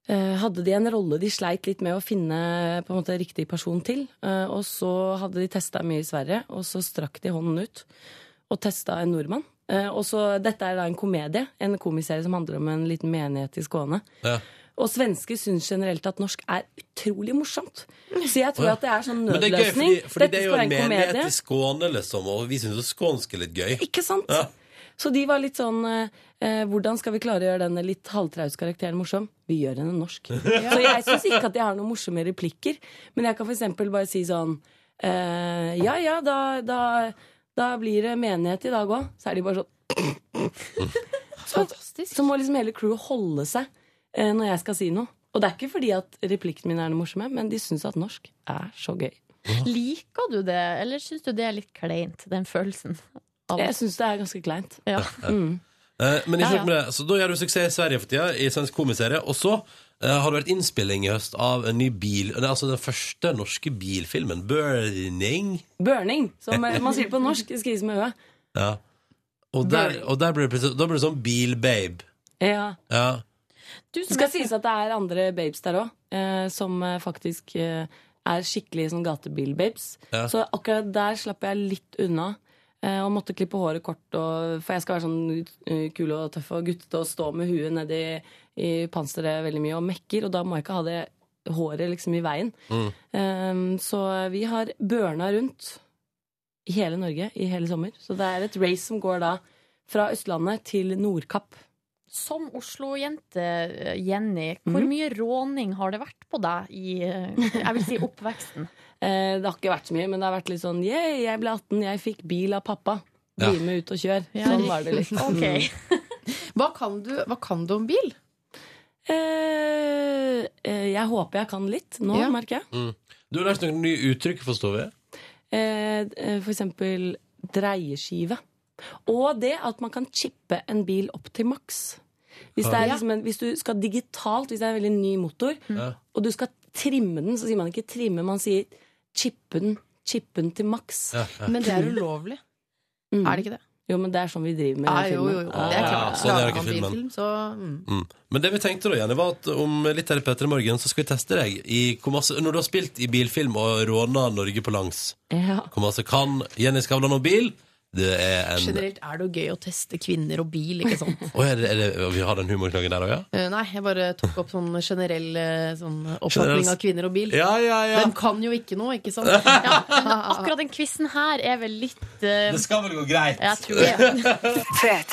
[SPEAKER 9] eh, hadde de en rolle de sleit litt med å finne på en måte riktig person til. Eh, og så hadde de testa mye i Sverige, og så strakk de hånden ut og testa en nordmann. Eh, og så, Dette er da en komedie, en komiserie som handler om en liten menighet i Skåne.
[SPEAKER 12] Ja.
[SPEAKER 9] Og svensker syns generelt at norsk er utrolig morsomt. Så jeg tror
[SPEAKER 2] Åja.
[SPEAKER 9] at det er sånn
[SPEAKER 2] Men det er gøy,
[SPEAKER 9] nødløsning.
[SPEAKER 2] fordi, fordi
[SPEAKER 9] Dette
[SPEAKER 2] det er jo
[SPEAKER 9] skal være
[SPEAKER 2] en
[SPEAKER 9] en
[SPEAKER 2] menighet
[SPEAKER 9] komedie.
[SPEAKER 2] i Skåne, liksom, og vi syns jo skånsk er litt gøy.
[SPEAKER 9] Ikke sant?
[SPEAKER 2] Ja.
[SPEAKER 9] Så de var litt sånn eh, eh, Hvordan skal vi klare å gjøre denne litt halvtrause karakteren morsom? Vi gjør henne norsk. Så jeg syns ikke at jeg har noen morsomme replikker. Men jeg kan f.eks. bare si sånn eh, Ja ja, da, da, da blir det menighet i dag òg. Så er de bare sånn så, så må liksom hele crewet holde seg eh, når jeg skal si noe. Og det er ikke fordi at replikken min er noe morsomme, men de syns at norsk er så gøy.
[SPEAKER 4] Liker du det, eller syns du det er litt kleint, den følelsen?
[SPEAKER 9] Jeg syns det er ganske kleint.
[SPEAKER 4] Ja.
[SPEAKER 2] Ja. Eh, Men ikke
[SPEAKER 4] Ja,
[SPEAKER 2] nok med det. Så da gjør du suksess i Sverige for tida, i svensk komiserie. Og så eh, har det vært innspilling i høst av en ny bil, det er altså den første norske bilfilmen, 'Burning'.
[SPEAKER 9] Burning, som man sier på norsk. Det skrives med ø.
[SPEAKER 2] Ja. Og der, og der blir det plutselig Da blir det sånn Bilbabe.
[SPEAKER 9] Ja.
[SPEAKER 2] Ja.
[SPEAKER 9] det skal sies at det er andre babes der òg, eh, som eh, faktisk eh, er skikkelig sånn gatebil-babes.
[SPEAKER 2] Ja.
[SPEAKER 9] Så akkurat der slapp jeg litt unna. eh, Og måtte klippe håret kort, og, for jeg skal være sånn eh, kul og tøff og guttete og stå med huet nedi i panseret veldig mye og mekker, og da må jeg ikke ha det håret liksom i veien.
[SPEAKER 8] Mm.
[SPEAKER 9] Ehm, så vi har børna rundt i hele Norge i hele sommer. Så det er et race som går da fra Østlandet til Nordkapp.
[SPEAKER 4] Som Oslo-jente, eh, Jenny, hvor mye råning har det vært på deg i eh, jeg vil si oppveksten?
[SPEAKER 9] Eh, det har ikke vært så mye, men det har vært litt sånn yeah, jeg ble 18, jeg fikk bil av pappa. Bli
[SPEAKER 5] Ja.
[SPEAKER 9] med ut og kjør.
[SPEAKER 5] Ja.
[SPEAKER 9] Sånn var det litt.
[SPEAKER 5] Ok. Hva kan du, hva kan du om bil?
[SPEAKER 9] Eh, eh, jeg håper jeg kan litt nå,
[SPEAKER 2] Ja.
[SPEAKER 9] merker jeg.
[SPEAKER 2] Mm. Du har lært noen nye uttrykk, forstår vi?
[SPEAKER 9] Eh, eh, for eksempel dreieskive. Og det at man kan chippe en bil opp til maks. Hvis, det er
[SPEAKER 5] Ja.
[SPEAKER 9] liksom en, hvis du skal digitalt, hvis det er en veldig ny motor,
[SPEAKER 4] Hm.
[SPEAKER 5] Ja.
[SPEAKER 9] og du skal trimme den, så sier man ikke trimme, man sier chippe den, chippe den til maks.
[SPEAKER 5] Ja, ja. Men det er ulovlig.
[SPEAKER 9] Mm.
[SPEAKER 5] Er det ikke det?
[SPEAKER 9] Jo, men det er sånn vi driver med
[SPEAKER 5] Ja,
[SPEAKER 9] i
[SPEAKER 5] jo,
[SPEAKER 9] filmen.
[SPEAKER 5] jo, jo. Det er
[SPEAKER 2] Ah,
[SPEAKER 5] klart.
[SPEAKER 2] sånn er det
[SPEAKER 5] Lager
[SPEAKER 2] ikke
[SPEAKER 5] man
[SPEAKER 2] filmen.
[SPEAKER 5] bilfilm, så mm.
[SPEAKER 2] Mm. Men det vi tenkte da, Jenny, var at om litt her i Petter i morgen så skal vi teste deg i hvor masse, når du har spilt i bilfilm og råna Norge på langs.
[SPEAKER 9] Ja.
[SPEAKER 2] Hvor masse kan Jenny Skavlan om bil? Det er en
[SPEAKER 5] Generelt er det jo gøy å teste kvinner og bil, ikke sant?
[SPEAKER 2] Å, er det, er det, Vi har den humorknaggen der òg, ja?
[SPEAKER 5] Eh, Nei, jeg bare tok opp sånn generell eh, sånn oppfatning
[SPEAKER 2] Generell-
[SPEAKER 5] av kvinner og bil.
[SPEAKER 2] Ja, ja, ja.
[SPEAKER 5] De kan jo ikke noe, ikke sant? Ja.
[SPEAKER 4] Men akkurat den quizen her er vel litt eh,
[SPEAKER 2] Det skal vel gå greit?
[SPEAKER 4] Jeg tror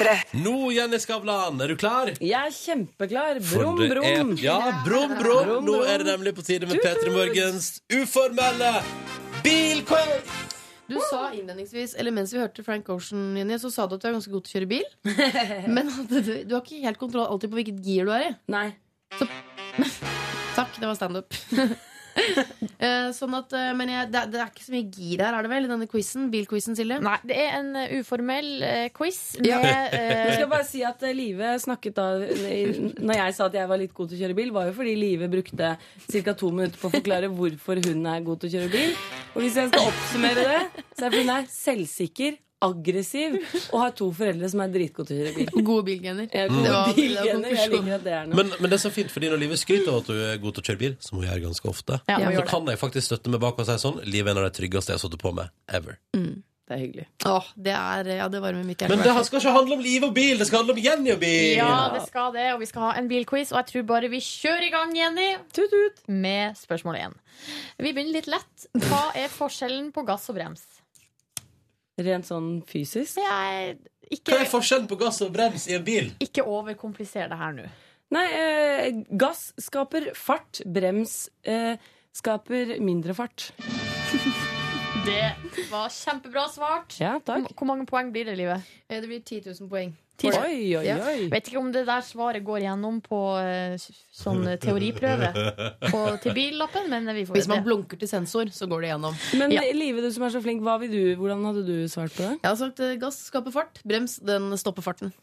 [SPEAKER 4] det.
[SPEAKER 2] Nå, Jenny Skavlan, er du klar?
[SPEAKER 9] Jeg er kjempeklar.
[SPEAKER 2] For
[SPEAKER 9] Brum,
[SPEAKER 2] det er-
[SPEAKER 9] brum.
[SPEAKER 2] Ja, brum, brum. Nå er det nemlig på tide med Petter i morgens uformelle bilquiz!
[SPEAKER 5] Du sa innledningsvis, eller mens vi hørte Frank Ocean, Jenny, så sa du at du er ganske god til å kjøre bil. Men at du, du har ikke helt kontroll alltid på hvilket gir du er i.
[SPEAKER 9] Nei.
[SPEAKER 5] Takk, det var standup. Eh, sånn at, eh, men jeg, det, det er ikke så mye gir her, er det vel, i denne quizen? Bilquizen, Silje?
[SPEAKER 4] Nei, det er en eh, uformell eh, quiz med
[SPEAKER 5] Ja.
[SPEAKER 9] Jeg skal
[SPEAKER 4] eh,
[SPEAKER 9] bare si at eh, Live snakket da Når jeg sa at jeg var litt god til å kjøre bil, var jo fordi Live brukte ca. to minutter på å forklare hvorfor hun er god til å kjøre bil. Og hvis jeg skal oppsummere det, så er det fordi hun er selvsikker, aggressiv og har to foreldre som er dritgode til å kjøre bil.
[SPEAKER 5] Gode bilgener.
[SPEAKER 9] Jeg,
[SPEAKER 2] Det var-
[SPEAKER 5] det var
[SPEAKER 9] jeg
[SPEAKER 5] konklusjonen.
[SPEAKER 9] liker at det er noe.
[SPEAKER 2] Men, men det er så fint, fordi når livet skryter av at du er god til å kjøre bil, som hun gjør ganske ofte,
[SPEAKER 9] Ja, hun
[SPEAKER 2] så
[SPEAKER 9] gjør det.
[SPEAKER 2] kan jeg faktisk støtte meg bak og si sånn Livet er en av de tryggeste jeg har sittet på med ever.
[SPEAKER 9] Det er hyggelig.
[SPEAKER 5] Åh, det er, ja, det varmer mitt hjerte.
[SPEAKER 2] Men det her skal ikke handle om liv og bil, det skal handle om Jenny og bil!
[SPEAKER 4] Ja, det skal det, og vi skal ha en bilquiz. Og jeg tror bare vi kjører i gang, Jenny,
[SPEAKER 9] tut, tut.
[SPEAKER 4] med spørsmål én. Vi begynner litt lett. Hva er forskjellen på gass og brems?
[SPEAKER 9] Rent sånn fysisk.
[SPEAKER 4] Hva er
[SPEAKER 2] forskjellen på gass og brems i en bil?
[SPEAKER 4] Ikke overkompliser det her nå.
[SPEAKER 9] Nei, eh, gass skaper fart. Brems eh, skaper mindre fart.
[SPEAKER 4] Det var kjempebra svart.
[SPEAKER 9] Ja, takk.
[SPEAKER 4] Hvor mange poeng blir det, Livet?
[SPEAKER 5] Eh, Det blir 10 000 poeng.
[SPEAKER 9] Oi, oi,
[SPEAKER 4] Ja.
[SPEAKER 9] oi.
[SPEAKER 4] Vet ikke om det der svaret går gjennom på eh, sånn teoriprøve på, til billappen, men vi får
[SPEAKER 5] Hvis man
[SPEAKER 4] se.
[SPEAKER 5] blunker til sensor, så går det gjennom.
[SPEAKER 9] Men Live, du som er så flink, hva vil du, hvordan hadde du svart på det?
[SPEAKER 5] Jeg har sagt eh, gass skaper fart, brems den stopper farten.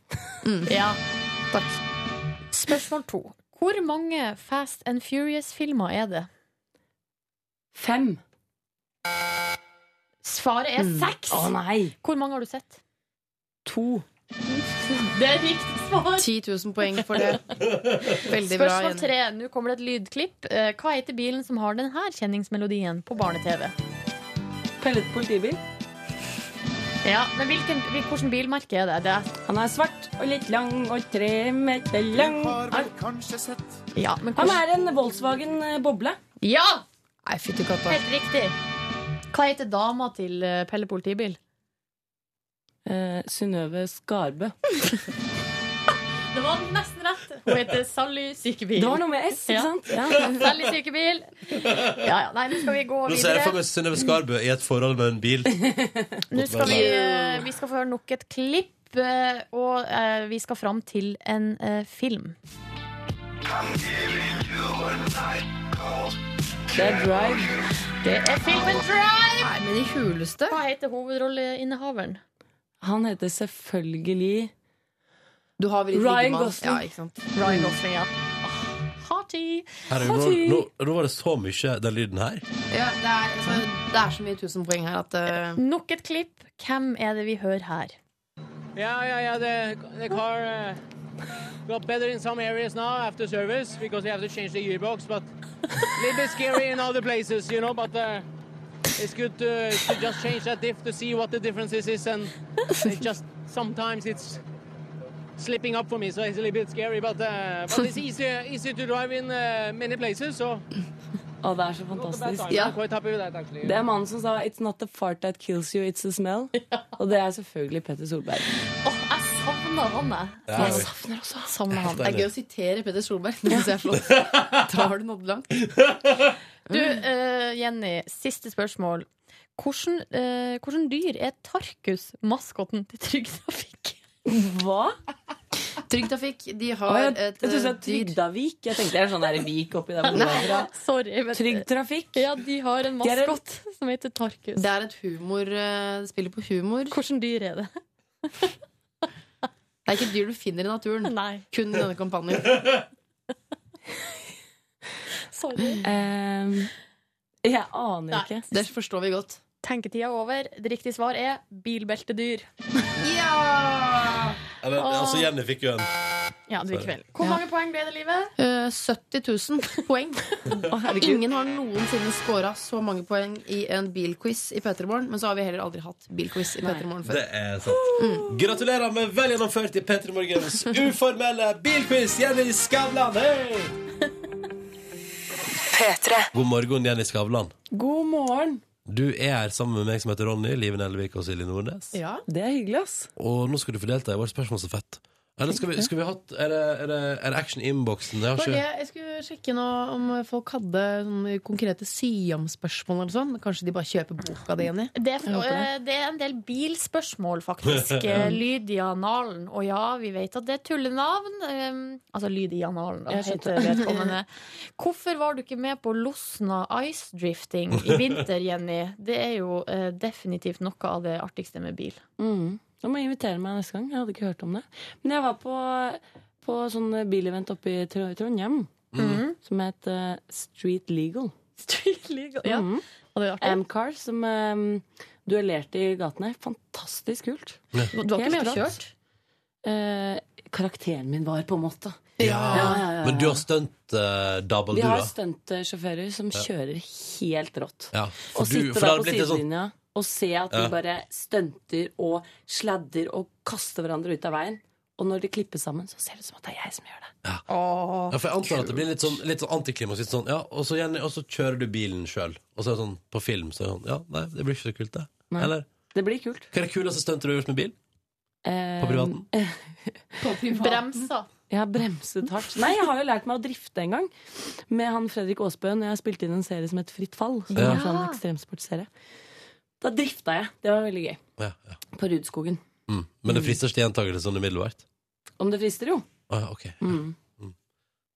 [SPEAKER 4] Ja.
[SPEAKER 5] Takk.
[SPEAKER 4] Spørsmål to. Hvor mange Fast and Furious-filmer er det?
[SPEAKER 9] Fem.
[SPEAKER 4] Svaret er
[SPEAKER 5] Hmm.
[SPEAKER 4] seks!
[SPEAKER 9] Å nei!
[SPEAKER 4] Hvor mange har du sett?
[SPEAKER 9] To.
[SPEAKER 4] Det er riktig svar.
[SPEAKER 5] 10 000 poeng for det. Veldig bra.
[SPEAKER 4] Spørsmål
[SPEAKER 5] Jenny.
[SPEAKER 4] tre. Nå kommer det et lydklipp. Eh, Hva heter bilen som har denne kjenningsmelodien på barne-TV?
[SPEAKER 9] Pellet politibil.
[SPEAKER 4] Ja, men hvilken, hvil- hvordan bilmerke er det? det?
[SPEAKER 9] Han er svart og litt lang og tre meter lang.
[SPEAKER 4] Ja,
[SPEAKER 9] Han
[SPEAKER 4] men hvordan-
[SPEAKER 9] er en Volkswagen eh, boble.
[SPEAKER 4] Ja!
[SPEAKER 5] Nei, fytti katta.
[SPEAKER 4] Helt riktig. Hva heter dama til eh, Pelle Politibil?
[SPEAKER 9] Eh, Synnøve Skarbø.
[SPEAKER 4] Det var nesten rett. Hun heter Sally Sykebil.
[SPEAKER 9] Det var noe med S, ikke sant?
[SPEAKER 4] Ja.
[SPEAKER 9] Ja.
[SPEAKER 4] Sally Sykebil. Ja, ja. Nei, nå skal vi gå
[SPEAKER 2] Nå ser jeg for
[SPEAKER 4] videre.
[SPEAKER 2] meg Synnøve Skarbø i et forhold med en bil.
[SPEAKER 4] Nå skal vi, eh, vi skal få høre nok et klipp, eh, og eh, vi skal fram til en eh, film.
[SPEAKER 9] Det er Drive.
[SPEAKER 4] Det er filmen Drive!
[SPEAKER 5] Nei, men i huleste.
[SPEAKER 4] Hva heter hovedrolleinnehaveren?
[SPEAKER 9] Han heter selvfølgelig
[SPEAKER 5] Du har vel
[SPEAKER 9] Ryan
[SPEAKER 5] Ryan
[SPEAKER 9] Gosling.
[SPEAKER 5] Ja, ikke sant?
[SPEAKER 4] Ryan Gosling, ja. Hottie.
[SPEAKER 2] Herregud, nå, nå, nå var det så mye den lyden her.
[SPEAKER 5] Ja, det, er, altså, det er så mye tusen poeng her at eh,
[SPEAKER 4] Nok et klipp. Hvem er det vi hører her?
[SPEAKER 13] Yeah, yeah, yeah. The the car uh, got better in some areas now after service because we have to change the gearbox, but a little bit scary in other places, you know. But uh, it's good to, to just change that diff to see what the differences is, and it just sometimes it's slipping up for me, so it's a little bit scary. But uh, but it's easy easy to drive in uh, many places, so
[SPEAKER 9] Å, det er så
[SPEAKER 13] not a bad
[SPEAKER 9] fantastisk.
[SPEAKER 13] time. I'm quite happy with that actually.
[SPEAKER 9] Det er mannen som sa 'It's not the fart that kills you, it's the smell'. Og det er selvfølgelig Petter Solberg.
[SPEAKER 4] Jeg savner han, jeg.
[SPEAKER 9] Ja,
[SPEAKER 5] Jeg
[SPEAKER 9] oi.
[SPEAKER 5] savner også.
[SPEAKER 4] Savner han.
[SPEAKER 5] Det er gøy å sitere Peder Solberg. Det synes jeg er flott. Da har du nådd langt.
[SPEAKER 4] Du, eh, Jenny, siste spørsmål. Hvordan, eh, hvordan dyr er Tarkus, maskotten til Trygg Trafikk?
[SPEAKER 9] Hva?
[SPEAKER 5] Trygg Trafikk, de
[SPEAKER 9] Å,
[SPEAKER 5] har
[SPEAKER 9] jeg, jeg
[SPEAKER 5] et
[SPEAKER 9] trodde du sa
[SPEAKER 5] eh, dyr-
[SPEAKER 9] Trygdavik. Jeg tenkte det er sånn der vik oppi der. hvor det er fra.
[SPEAKER 4] Sorry. Men,
[SPEAKER 9] Trygg trafikk.
[SPEAKER 4] Ja, de har en
[SPEAKER 9] De er en-
[SPEAKER 4] maskott som heter Tarkus.
[SPEAKER 5] Det er et humor eh, Det spiller på humor.
[SPEAKER 4] Hvordan dyr er det?
[SPEAKER 5] Det er ikke et dyr du finner i naturen.
[SPEAKER 4] Nei.
[SPEAKER 5] Kun i denne kampanjen.
[SPEAKER 4] Sorry.
[SPEAKER 9] Ehm, jeg aner
[SPEAKER 4] Nei.
[SPEAKER 9] ikke.
[SPEAKER 5] Det forstår vi godt.
[SPEAKER 4] Tenketida er over. Det riktige svar er bilbeltedyr.
[SPEAKER 5] Ja!
[SPEAKER 2] Eller, altså, Jenny fikk jo en.
[SPEAKER 4] Ja, du
[SPEAKER 2] Sorry.
[SPEAKER 4] fikk vel. Hvor
[SPEAKER 5] Ja.
[SPEAKER 4] mange poeng ble det, Livet?
[SPEAKER 5] Eh, 70 000 poeng. Ingen har noensinne scora så mange poeng i en bilquiz i P3 Morgen. Men så har vi heller aldri hatt bilquiz i P3 Morgen før.
[SPEAKER 2] Det er sant. Gratulerer med vel gjennomført i P3 Morgens uformelle bilquiz, Jenny Skavlan! Hei! God morgen, Jenny Skavlan.
[SPEAKER 9] God morgen.
[SPEAKER 2] Du er her sammen med meg som heter Ronny, Liven Elvik og Silje Nordnes.
[SPEAKER 5] Ja.
[SPEAKER 9] Det er hyggelig, ass.
[SPEAKER 2] Og nå skal du få delta i vår spørsmålsstafett. Eller skal vi, skal vi hatt Er det, er det, er det action i innboksen? Jeg har
[SPEAKER 5] Var
[SPEAKER 2] ikke
[SPEAKER 5] det, jeg skulle sjekke nå om folk hadde sånne konkrete Siam-spørsmål. eller sånn Kanskje de bare kjøper boka di, Jenny?
[SPEAKER 4] Det, er-
[SPEAKER 5] Jeg håper
[SPEAKER 4] eh, det er en del bilspørsmål, faktisk. Eh, Lydia Nalen. Og ja, vi vet at det er tullenavn. Eh, altså Lydia Nalen, da.
[SPEAKER 5] Jeg skjønte.
[SPEAKER 4] Heter vedkommende. Hvorfor var du ikke med på Losna Ice Drifting i vinter, Jenny? Det er jo eh, definitivt noe av det artigste med bil.
[SPEAKER 9] Mm. Du må invitere meg neste gang. Jeg hadde ikke hørt om det. Men jeg var på, på sånn bilevent oppe i Tr- Trondheim som het eh, Street Legal.
[SPEAKER 4] Street Legal, ja.
[SPEAKER 5] Mm.
[SPEAKER 9] Mhm.
[SPEAKER 4] Og det er artig.
[SPEAKER 9] Amcar som eh, duellerte i gatene. Fantastisk kult.
[SPEAKER 4] Du har ikke med
[SPEAKER 9] Helt
[SPEAKER 4] og
[SPEAKER 9] rått.
[SPEAKER 4] kjørt?
[SPEAKER 9] Eh, karakteren min var, på en måte.
[SPEAKER 2] Men du har stunt-double,
[SPEAKER 9] Vi
[SPEAKER 2] du,
[SPEAKER 9] har
[SPEAKER 2] da?
[SPEAKER 9] stuntsjåfører som kjører helt rått.
[SPEAKER 2] Ja.
[SPEAKER 9] Og
[SPEAKER 2] For du,
[SPEAKER 9] sitter
[SPEAKER 2] for det
[SPEAKER 9] da
[SPEAKER 2] har
[SPEAKER 9] på
[SPEAKER 2] blitt litt sånn
[SPEAKER 9] sidelinja og se at de
[SPEAKER 2] Ja.
[SPEAKER 9] bare stunter og sladder og kaster hverandre ut av veien. Og når de klipper sammen, så ser det ut som at det er jeg som gjør det.
[SPEAKER 2] Ja, for jeg antar at det blir litt sånn, litt sånn antiklimaks. Litt sånn, ja, og, så Jenny, og så kjører du bilen sjøl. Og så er det sånn på film. Så er det sånn, ja, nei, det blir ikke så kult, det.
[SPEAKER 9] Nei.
[SPEAKER 2] Eller,
[SPEAKER 9] Det blir kult. Ehm,
[SPEAKER 2] hva er det kuleste stuntet du har gjort med bil? På privaten?
[SPEAKER 9] eh,
[SPEAKER 4] Bremsa.
[SPEAKER 9] Jeg har bremset hardt. Nei, jeg har jo lært meg å drifte en gang. Med han Fredrik Aasbø når jeg spilte inn en serie som het Fritt fall. Som
[SPEAKER 2] Ja.
[SPEAKER 9] var sånn ekstremsportserie. Da drifta jeg. Det var veldig gøy.
[SPEAKER 2] Ja, ja.
[SPEAKER 9] På Rudskogen.
[SPEAKER 2] Mm. Men det frister ikke gjentakelse sånn umiddelbart?
[SPEAKER 9] Om det frister, jo.
[SPEAKER 2] Ah, ja, ok.
[SPEAKER 9] Mm.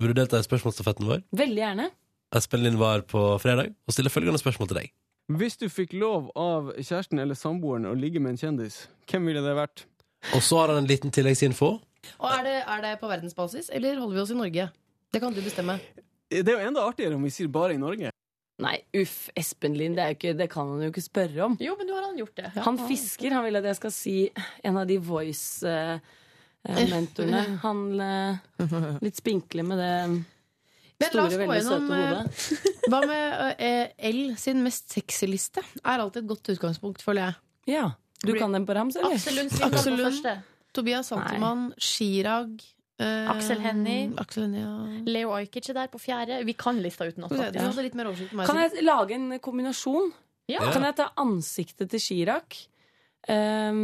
[SPEAKER 2] Vil du delta i spørsmålsstafetten vår?
[SPEAKER 9] Veldig gjerne.
[SPEAKER 2] Espen Lind var på fredag og stiller følgende spørsmål til deg.
[SPEAKER 13] Hvis du fikk lov av kjæresten eller samboeren å ligge med en kjendis, hvem ville det vært?
[SPEAKER 2] Og så har han en liten tilleggsinfo.
[SPEAKER 5] Og er det, er det på verdensbasis, eller holder vi oss i Norge? Det kan du bestemme.
[SPEAKER 13] Det er jo enda artigere om vi sier bare i Norge.
[SPEAKER 9] Nei, uff, Espen Lind, det, er jo ikke, det kan han jo ikke spørre om.
[SPEAKER 4] Jo, men nå har han gjort det.
[SPEAKER 9] Han fisker. Han vil at jeg skal si en av de voice-mentorene. han eh, litt spinkle med det
[SPEAKER 5] Men la oss
[SPEAKER 9] store,
[SPEAKER 5] gå
[SPEAKER 9] veldig søte
[SPEAKER 5] gjennom eh,
[SPEAKER 9] hodet.
[SPEAKER 5] Hva med eh, L sin mest sexy-liste? Er alltid et godt utgangspunkt, føler jeg.
[SPEAKER 9] Ja. Du kan den på rams, eller?
[SPEAKER 4] Aksel Lund Svindal på
[SPEAKER 5] Aksel Lund.
[SPEAKER 4] første.
[SPEAKER 5] Tobias Santelmann, Chirag eh,
[SPEAKER 4] Aksel Hennie.
[SPEAKER 5] Aksel Hennie, ja.
[SPEAKER 4] Leo Ajkic er der på fjerde. Vi kan lista utenat,
[SPEAKER 5] Skal vi se, Du hadde
[SPEAKER 4] faktisk.
[SPEAKER 5] litt mer oversikt enn meg.
[SPEAKER 9] Kan jeg lage en kombinasjon?
[SPEAKER 4] Ja.
[SPEAKER 9] Kan jeg ta ansiktet til Chirag? ehm,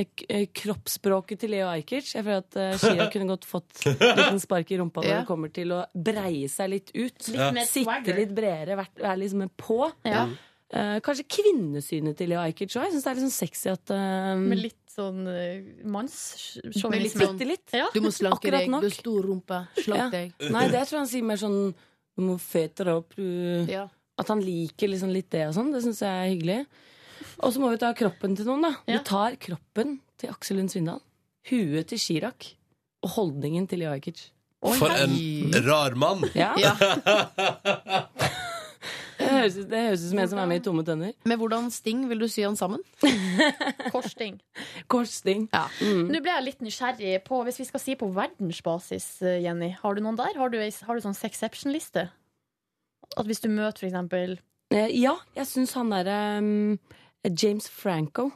[SPEAKER 9] k- eh, kroppsspråket til Leo Ajkic? Jeg føler at eh, Chirag kunne godt fått en liten spark i rumpa når
[SPEAKER 5] Ja.
[SPEAKER 9] det kommer til å breie seg litt ut.
[SPEAKER 5] Litt mer swagger.
[SPEAKER 9] Sitte litt bredere, vært- være liksom mer på. Eh, kanskje kvinnesynet til Leo Ajkic òg. Jeg syns det er litt sånn sexy at ehm,
[SPEAKER 4] Med litt sånn uh,
[SPEAKER 9] Med litt
[SPEAKER 4] mannssjåvinisme.
[SPEAKER 9] sånn- Bittelitt.
[SPEAKER 4] Ja.
[SPEAKER 5] Du må slanke
[SPEAKER 9] Akkurat
[SPEAKER 5] deg,
[SPEAKER 9] nok.
[SPEAKER 5] du har stor rumpe. Slank
[SPEAKER 9] Ja.
[SPEAKER 5] deg.
[SPEAKER 9] Nei, det tror jeg han sier mer sånn Du må fete deg opp. Du,
[SPEAKER 5] Ja.
[SPEAKER 9] At han liker liksom litt det og sånn. Det syns jeg er hyggelig. Og så må vi ta kroppen til noen, da. Vi tar kroppen til Aksel Lund Svindal. Huet til Chirag. Og holdningen til Jajikic.
[SPEAKER 2] For en rar mann!
[SPEAKER 9] Ja. Det høres, ut- det høres ut som en som er med i Tomme tønner.
[SPEAKER 5] Med hvordan sting vil du sy han sammen?
[SPEAKER 4] Korsting.
[SPEAKER 9] Korsting. Mm.
[SPEAKER 4] Nå ble jeg litt nysgjerrig på, hvis vi skal si på verdensbasis, eh, Jenny. Har du noen der? Har du, ei- har du sånn sexception-liste? At hvis du møter for eksempel
[SPEAKER 9] Eh, Ja, jeg syns han derre James Franco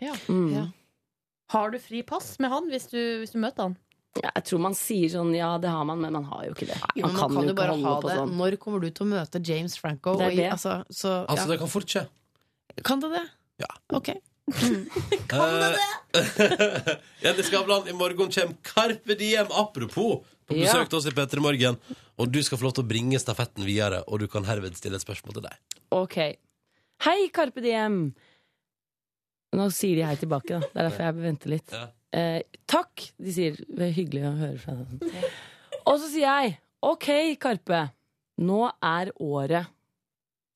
[SPEAKER 4] ja.
[SPEAKER 9] Mm.
[SPEAKER 4] Har du fri pass med han hvis du, hvis du møter han?
[SPEAKER 9] Ja, Jeg tror man sier sånn ja, det har man, men man har jo ikke det.
[SPEAKER 5] Jo, men
[SPEAKER 9] Man kan jo ikke
[SPEAKER 5] bare
[SPEAKER 9] holde
[SPEAKER 5] ha
[SPEAKER 9] på
[SPEAKER 5] det.
[SPEAKER 9] sånn.
[SPEAKER 5] Når kommer du til å møte James Franco?
[SPEAKER 9] Det er
[SPEAKER 5] Og i-
[SPEAKER 9] det.
[SPEAKER 5] Altså, så, ja.
[SPEAKER 2] Altså, det kan fort skje.
[SPEAKER 5] Kan det det? Ok.
[SPEAKER 2] Eh, Jenny Skavlan, i morgen kommer Carpe Diem, apropos, på
[SPEAKER 9] Ja.
[SPEAKER 2] besøk til oss i P3 Morgen. Og du skal få lov til å bringe stafetten videre, og du kan herved stille et spørsmål til deg.
[SPEAKER 9] Ok. Hei, Carpe Diem! Nå sier de hei tilbake, da. Det er derfor jeg venter litt. Eh, takk! De sier det er hyggelig å høre fra deg. Og så sier jeg OK, Karpe. Nå er året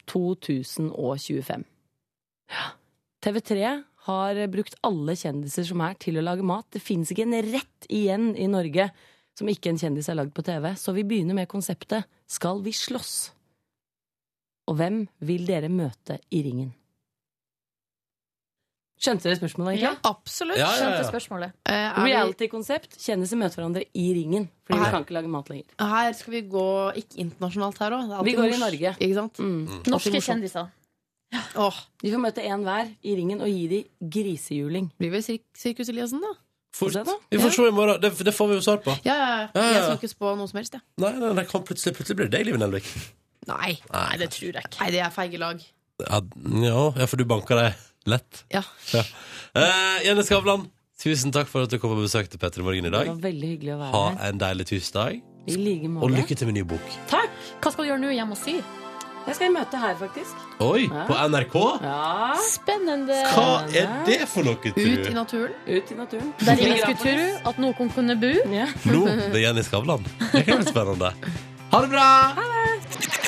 [SPEAKER 9] 2025. Ja. TV3 har brukt alle kjendiser som er, til å lage mat. Det fins ikke en rett igjen i Norge som ikke en kjendis er lagd på TV. Så vi begynner med konseptet Skal vi slåss? Og hvem vil dere møte i ringen? Skjønte dere spørsmålet? egentlig?
[SPEAKER 5] Absolutt.
[SPEAKER 9] Ja, ja, ja. Skjønte spørsmålet.
[SPEAKER 5] Eh, er vi-
[SPEAKER 9] Reality-konsept. Kjendiser møter hverandre i ringen. Fordi vi kan ikke lage mat lenger.
[SPEAKER 5] Her skal vi gå ikke internasjonalt her òg.
[SPEAKER 9] Vi går i Norge.
[SPEAKER 5] Ikke sant?
[SPEAKER 4] Norske kjendiser.
[SPEAKER 9] Mm. De får møte én hver i ringen og gi de grisehjuling.
[SPEAKER 5] Blir vel Sir- Sirkus Eliassen, da.
[SPEAKER 2] Fort.
[SPEAKER 9] Se da.
[SPEAKER 2] Vi får se i morgen. Det, det får vi jo svar på.
[SPEAKER 5] Ja, ja, ja.
[SPEAKER 2] Ja, ja, ja.
[SPEAKER 5] Jeg skal ikke spå noe som helst, jeg.
[SPEAKER 2] Nei, nei, nei kan plutselig, plutselig blir det deg, Liven Elvik.
[SPEAKER 5] Nei.
[SPEAKER 2] Nei,
[SPEAKER 4] det tror jeg ikke.
[SPEAKER 5] Nei, det er feige lag.
[SPEAKER 2] Ja, ja, for du banker deg lett.
[SPEAKER 5] Ja.
[SPEAKER 2] Eh, Jenny Skavlan, tusen takk for at du kom på besøk til P3 Morgen i
[SPEAKER 9] Det
[SPEAKER 2] dag.
[SPEAKER 9] var veldig hyggelig å være
[SPEAKER 2] Ha
[SPEAKER 9] her.
[SPEAKER 2] en deilig tirsdag,
[SPEAKER 9] I like
[SPEAKER 2] og
[SPEAKER 9] måte.
[SPEAKER 2] lykke til med ny bok.
[SPEAKER 9] Takk!
[SPEAKER 4] Hva skal du gjøre nå hjemme og sy?
[SPEAKER 9] Jeg skal i møte her, faktisk.
[SPEAKER 2] Oi, på NRK?
[SPEAKER 9] Ja.
[SPEAKER 4] Spennende!
[SPEAKER 2] Hva er det for noe,
[SPEAKER 5] Ut i
[SPEAKER 2] tru?
[SPEAKER 5] naturen.
[SPEAKER 9] Ut i naturen.
[SPEAKER 4] Der ringer Skuturu at noen kunne bu.
[SPEAKER 2] Nå med Jenny Skavlan. Det kan være spennende. Ha det bra!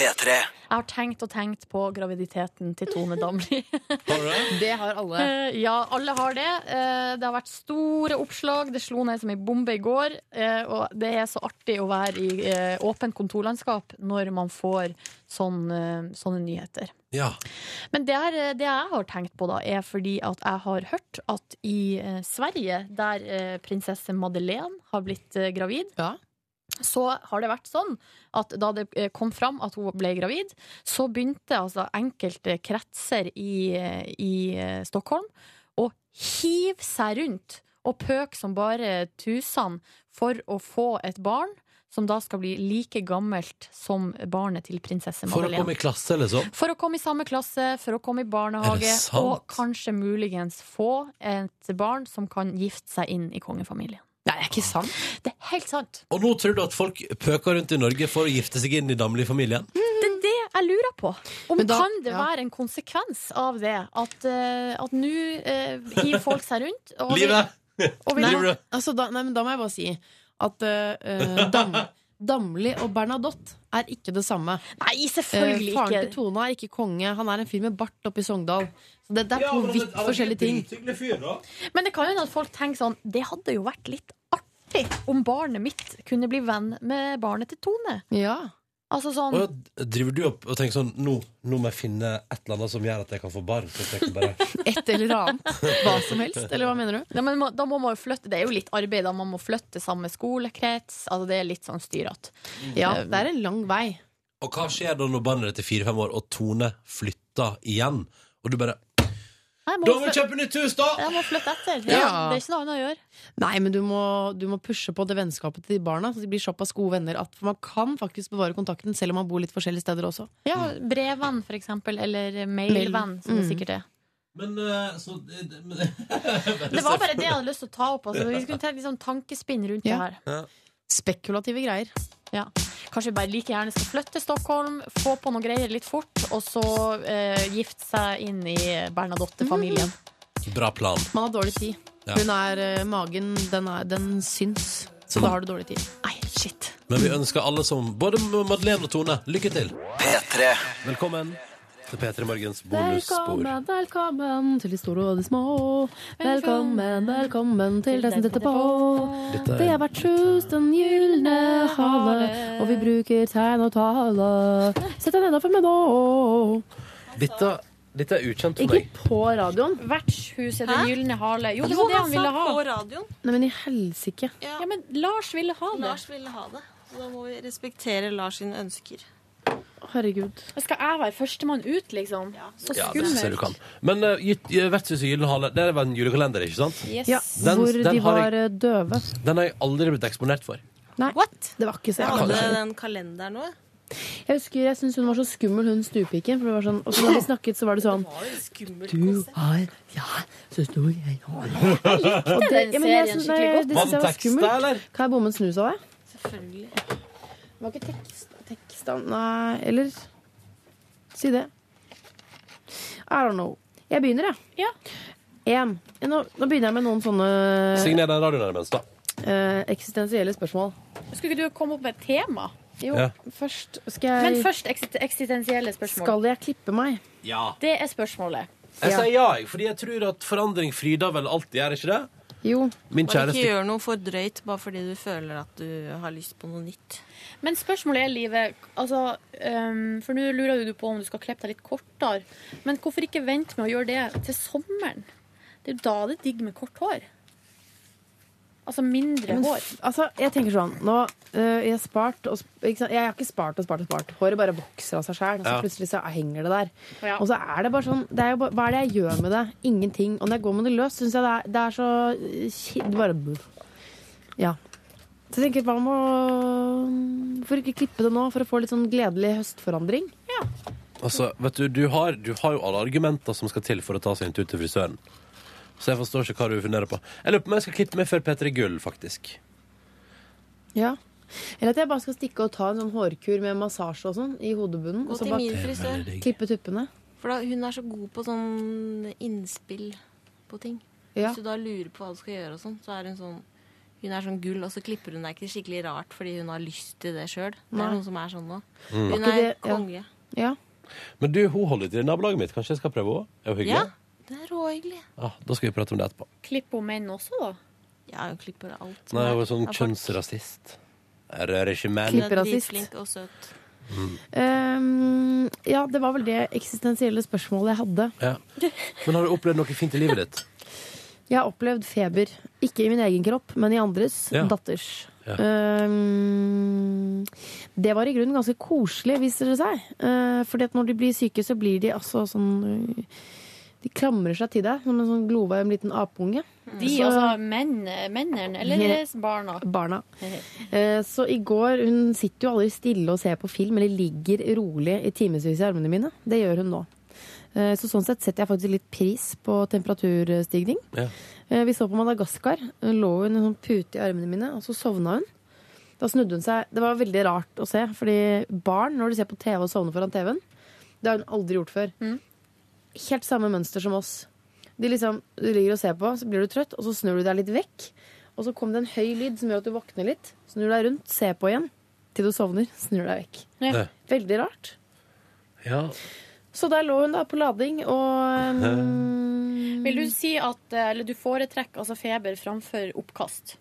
[SPEAKER 2] P3.
[SPEAKER 4] Jeg har tenkt og tenkt på graviditeten til Tone Damli.
[SPEAKER 5] Det har alle.
[SPEAKER 4] Eh, ja, alle har det. Eh, det har vært store oppslag. Det slo ned som ei bombe i går. Eh, og det er så artig å være i eh, åpent kontorlandskap når man får sånn, eh, sånne nyheter.
[SPEAKER 2] Ja.
[SPEAKER 4] Men det, er, eh, det jeg har tenkt på, da, er fordi at jeg har hørt at i eh, Sverige, der eh, prinsesse Madeleine har blitt eh, gravid,
[SPEAKER 5] Ja.
[SPEAKER 4] så har det vært sånn at da det eh, kom fram at hun ble gravid, så begynte altså enkelte kretser i, eh, i eh, Stockholm å hive seg rundt og pøke som bare tusen for å få et barn som da skal bli like gammelt som barnet til prinsesse
[SPEAKER 2] For å
[SPEAKER 4] Madeleine.
[SPEAKER 2] komme i klasse, eller sånn.
[SPEAKER 4] For å komme i samme klasse, for å komme i
[SPEAKER 2] Er det
[SPEAKER 4] barnehage,
[SPEAKER 2] sant?
[SPEAKER 4] og kanskje muligens få et barn som kan gifte seg inn i kongefamilien.
[SPEAKER 5] Nei, det er ikke sant.
[SPEAKER 4] Det er helt sant!
[SPEAKER 2] Og nå tror du at folk pøker rundt i Norge for å gifte seg inn i damlig-familien?
[SPEAKER 4] Det er det jeg lurer på. Om
[SPEAKER 5] Men da-
[SPEAKER 4] kan det
[SPEAKER 5] ja.
[SPEAKER 4] være en konsekvens av det? At, eh, at nå eh, hiver folk seg rundt. og-
[SPEAKER 2] Livet!
[SPEAKER 4] og vil-
[SPEAKER 5] Nei,
[SPEAKER 2] Driver du?
[SPEAKER 5] altså, da, nei, men da må jeg bare si at eh, Dam, Damli og Bernadotte er ikke det samme.
[SPEAKER 4] Nei,
[SPEAKER 5] Eh,
[SPEAKER 4] selvfølgelig
[SPEAKER 5] faren til
[SPEAKER 4] ikke!
[SPEAKER 5] Tone er ikke konge, han er en fyr med bart oppe i Sogndal. Så det, det er to vidt forskjellige ting.
[SPEAKER 4] Men det kan jo hende at folk tenker sånn Det hadde jo vært litt artig om barnet mitt kunne bli venn med barnet til Tone.
[SPEAKER 5] Ja.
[SPEAKER 4] Altså
[SPEAKER 2] Og
[SPEAKER 4] sånn
[SPEAKER 2] ja, driver du opp og tenker sånn Nå, nå må jeg finne et eller annet som gjør at jeg kan få barn. Så jeg kan bare...
[SPEAKER 5] Et eller annet. Hva som helst, eller hva mener du?
[SPEAKER 4] Ja, men må- da må man jo flytte. Det er jo litt arbeid, da. Man må flytte samme skolekrets. Altså, det er litt sånn styrete.
[SPEAKER 5] Ja, det er en lang vei.
[SPEAKER 2] Og hva skjer da når barnet ditt er fire-fem år, og Tone flytter igjen? Og du bare
[SPEAKER 4] Jeg må
[SPEAKER 2] Da må vi
[SPEAKER 4] flytte-
[SPEAKER 2] kjøpe nytt hus, da!
[SPEAKER 4] Jeg må flytte etter.
[SPEAKER 5] Ja.
[SPEAKER 4] Det er ikke noe annet å gjøre.
[SPEAKER 5] Nei, men du må, du må pushe på det vennskapet til de barna, så de blir såpass gode venner at man kan faktisk bevare kontakten selv om man bor litt forskjellige steder også.
[SPEAKER 4] Ja, brevvenn, for eksempel, eller mailvenn, som det
[SPEAKER 5] Mm.
[SPEAKER 4] sikkert er.
[SPEAKER 12] Men eh, så eh, det- men-
[SPEAKER 4] Det var bare det jeg hadde lyst til å ta opp. Altså. Vi skulle tenke litt sånn tankespinn rundt det her.
[SPEAKER 12] Ja.
[SPEAKER 5] Spekulative greier.
[SPEAKER 4] Ja. Kanskje vi bare like gjerne skal flytte til Stockholm, få på noen greier litt fort, og så eh, gifte seg inn i Bernadotte-familien.
[SPEAKER 12] Bra plan.
[SPEAKER 5] Man har dårlig tid.
[SPEAKER 12] Ja.
[SPEAKER 5] Hun er eh, Magen, den, er, den syns. Så da har du dårlig tid.
[SPEAKER 4] Nei, shit.
[SPEAKER 12] Men vi ønsker alle som Både Madeleine og Tone, lykke til. P3. Velkommen til P3 Morgens bonusspor.
[SPEAKER 5] Velkommen, velkommen til de store og de små. Velkommen, velkommen til det som detter på.
[SPEAKER 12] Dette er-
[SPEAKER 5] Det er hvert hus den gylne hale, og vi bruker tegn og tale. Sett deg nedover med nå.
[SPEAKER 2] Dette, dette er ukjent for
[SPEAKER 5] Ikke
[SPEAKER 2] meg.
[SPEAKER 5] på radioen.
[SPEAKER 4] Vertshuset Den gylne hale. Jo,
[SPEAKER 3] Jo,
[SPEAKER 4] det var det
[SPEAKER 3] han
[SPEAKER 4] han
[SPEAKER 3] sa
[SPEAKER 4] ville ha.
[SPEAKER 3] på radioen.
[SPEAKER 5] Nei, men i helsike.
[SPEAKER 3] Ja.
[SPEAKER 4] men Lars ville ha det.
[SPEAKER 3] Lars ville ha det. Så da må vi respektere Lars sine ønsker.
[SPEAKER 5] Herregud.
[SPEAKER 4] Skal jeg være førstemann ut, liksom? Så
[SPEAKER 2] Ja, det synes jeg du kan.
[SPEAKER 4] skummelt.
[SPEAKER 2] Men uh, Vertshuset Gyllenhale, det var en julekalender, ikke sant?
[SPEAKER 4] Yes.
[SPEAKER 5] Ja,
[SPEAKER 2] Den-
[SPEAKER 5] hvor
[SPEAKER 2] den
[SPEAKER 5] de
[SPEAKER 2] har jeg-
[SPEAKER 5] var eh, døve.
[SPEAKER 2] Den har jeg aldri blitt eksponert for.
[SPEAKER 5] Nei, det var ikke så
[SPEAKER 3] Hadde
[SPEAKER 5] jævlig.
[SPEAKER 3] den kalenderen noe?
[SPEAKER 5] Jeg husker jeg syntes hun var så skummel, hun stuepiken. For det var sånn, og så når vi snakket, så var det sånn Du har Ja, så stor jeg har. Og det-
[SPEAKER 4] den
[SPEAKER 5] ja, men jeg
[SPEAKER 4] serien
[SPEAKER 5] syns- nei,
[SPEAKER 4] skikkelig godt.
[SPEAKER 5] det syns jeg var
[SPEAKER 4] Vanntekst
[SPEAKER 5] skummelt.
[SPEAKER 4] der, eller?
[SPEAKER 5] Kan jeg bomme en snus av deg?
[SPEAKER 3] Selvfølgelig.
[SPEAKER 5] Det var ikke tekst, tekst da. Nei, eller Si det. I don't know. Jeg begynner, jeg. En. Nå, nå begynner jeg med noen sånne
[SPEAKER 2] Signer den radioen her imens, da.
[SPEAKER 5] eh, eksistensielle spørsmål.
[SPEAKER 4] Skulle ikke du komme opp med et tema?
[SPEAKER 5] Jo,
[SPEAKER 2] Ja.
[SPEAKER 5] først skal jeg
[SPEAKER 4] Men først eksist- eksistensielle spørsmål.
[SPEAKER 5] Skal jeg klippe meg?
[SPEAKER 2] Ja.
[SPEAKER 4] Det er spørsmålet.
[SPEAKER 2] Jeg sier ja, jeg, fordi jeg tror at forandring fryder vel alltid, gjør ikke det?
[SPEAKER 5] Jo.
[SPEAKER 2] Min
[SPEAKER 3] Bare
[SPEAKER 2] kjæreste-
[SPEAKER 3] ikke gjør noe for drøyt bare fordi du føler at du har lyst på noe nytt.
[SPEAKER 4] Men spørsmålet er, Live, altså, ehm, for nå lurer du på om du skal klippe deg litt kortere. Men hvorfor ikke vente med å gjøre det til sommeren? Det er jo da det er digg med kort hår. Altså mindre
[SPEAKER 5] Men,
[SPEAKER 4] hår.
[SPEAKER 5] f- altså, jeg tenker sånn Nå øh, jeg har spart og, sp- ikke sant? Jeg har ikke spart og spart og spart. Håret bare vokser av seg sjæl. Så
[SPEAKER 4] Ja.
[SPEAKER 5] plutselig så henger det der.
[SPEAKER 4] Ja.
[SPEAKER 5] Og så er det bare sånn det er jo bare, Hva er det jeg gjør med det? Ingenting. Og når jeg går med det løs, syns jeg det er, det er så øh, ki- det Bare buff. Ja. Så jeg tenker, hva med å Hvorfor ikke klippe det nå for å få litt sånn gledelig høstforandring?
[SPEAKER 2] Altså, vet du, du har, du har jo alle argumenter som skal til for å ta seg en tur til frisøren. Så jeg forstår ikke hva du funderer på. Jeg lurer på om jeg skal klippe meg før P3 Gull, faktisk.
[SPEAKER 5] Ja. Eller at jeg bare skal stikke og ta en sånn hårkur med massasje og sånn i hodebunnen.
[SPEAKER 3] Gå
[SPEAKER 5] og så
[SPEAKER 3] til
[SPEAKER 5] bare
[SPEAKER 3] min frisør.
[SPEAKER 5] Klippe tuppene.
[SPEAKER 3] For da, hun er så god på sånn innspill på ting.
[SPEAKER 5] Ja.
[SPEAKER 3] Hvis du da lurer på hva du skal gjøre, og sånn, så er hun sånn hun er sånn gull, og så klipper hun deg ikke skikkelig rart fordi hun har lyst til det sjøl. Det
[SPEAKER 5] Nei.
[SPEAKER 3] er noen som er sånn nå.
[SPEAKER 2] Mm.
[SPEAKER 3] Hun
[SPEAKER 5] Ikke
[SPEAKER 3] er
[SPEAKER 5] det- ja.
[SPEAKER 3] konge.
[SPEAKER 5] Ja.
[SPEAKER 2] Men du, hun holder til i nabolaget mitt. Kanskje jeg skal prøve henne? Er hun hyggelig?
[SPEAKER 3] Ja, det er råhyggelig.
[SPEAKER 2] Ah, da skal vi prate om det etterpå.
[SPEAKER 4] Klipp om menn også, da.
[SPEAKER 3] Ja, hun klipper alt.
[SPEAKER 2] Nei, hun er sånn
[SPEAKER 3] Ja, folk-
[SPEAKER 2] kjønnsrasist. Jeg rører ikke menn.
[SPEAKER 3] Hun er
[SPEAKER 5] Klipperasist.
[SPEAKER 3] Dritflink og søt.
[SPEAKER 2] Mm.
[SPEAKER 5] Ehm, ja, det var vel det eksistensielle spørsmålet jeg hadde.
[SPEAKER 2] Ja. Men har du opplevd noe fint i livet ditt?
[SPEAKER 5] Jeg har opplevd feber. Ikke i min egen kropp, men i andres.
[SPEAKER 2] Ja.
[SPEAKER 5] Datters.
[SPEAKER 2] Ja.
[SPEAKER 5] Ehm, det var i grunnen ganske koselig, viser det seg. Uh, fordi at når de blir syke, så blir de altså sånn øh, De klamrer seg til deg som en sånn glovarm liten apeunge.
[SPEAKER 4] De,
[SPEAKER 5] Mm. Så-
[SPEAKER 4] altså menn, mennene, eller
[SPEAKER 5] Ja.
[SPEAKER 4] barna.
[SPEAKER 5] Barna. Eh, Så i går Hun sitter jo aldri stille og ser på film, eller ligger rolig i timevis i armene mine. Det gjør hun nå. Eh, Så sånn sett setter jeg faktisk litt pris på temperaturstigning.
[SPEAKER 2] Ja.
[SPEAKER 5] Eh, Vi så på Madagaskar. Hun lå hun i en sånn pute i armene mine, og så sovna hun. Da snudde hun seg. Det var veldig rart å se, fordi barn, når de ser på TV og sovner foran TV-en, det har hun aldri gjort før. Helt samme mønster som oss. De liksom, du ligger og ser på, så blir du trøtt, og så snur du deg litt vekk. Og så kom det en høy lyd som gjør at du våkner litt. Snur deg rundt, ser på igjen til du sovner. Snur deg vekk.
[SPEAKER 2] Ja.
[SPEAKER 5] Veldig rart.
[SPEAKER 2] Ja.
[SPEAKER 5] Så der lå hun da på lading, og um,
[SPEAKER 4] Vil du si at eh, Eller du foretrekker altså feber framfor oppkast?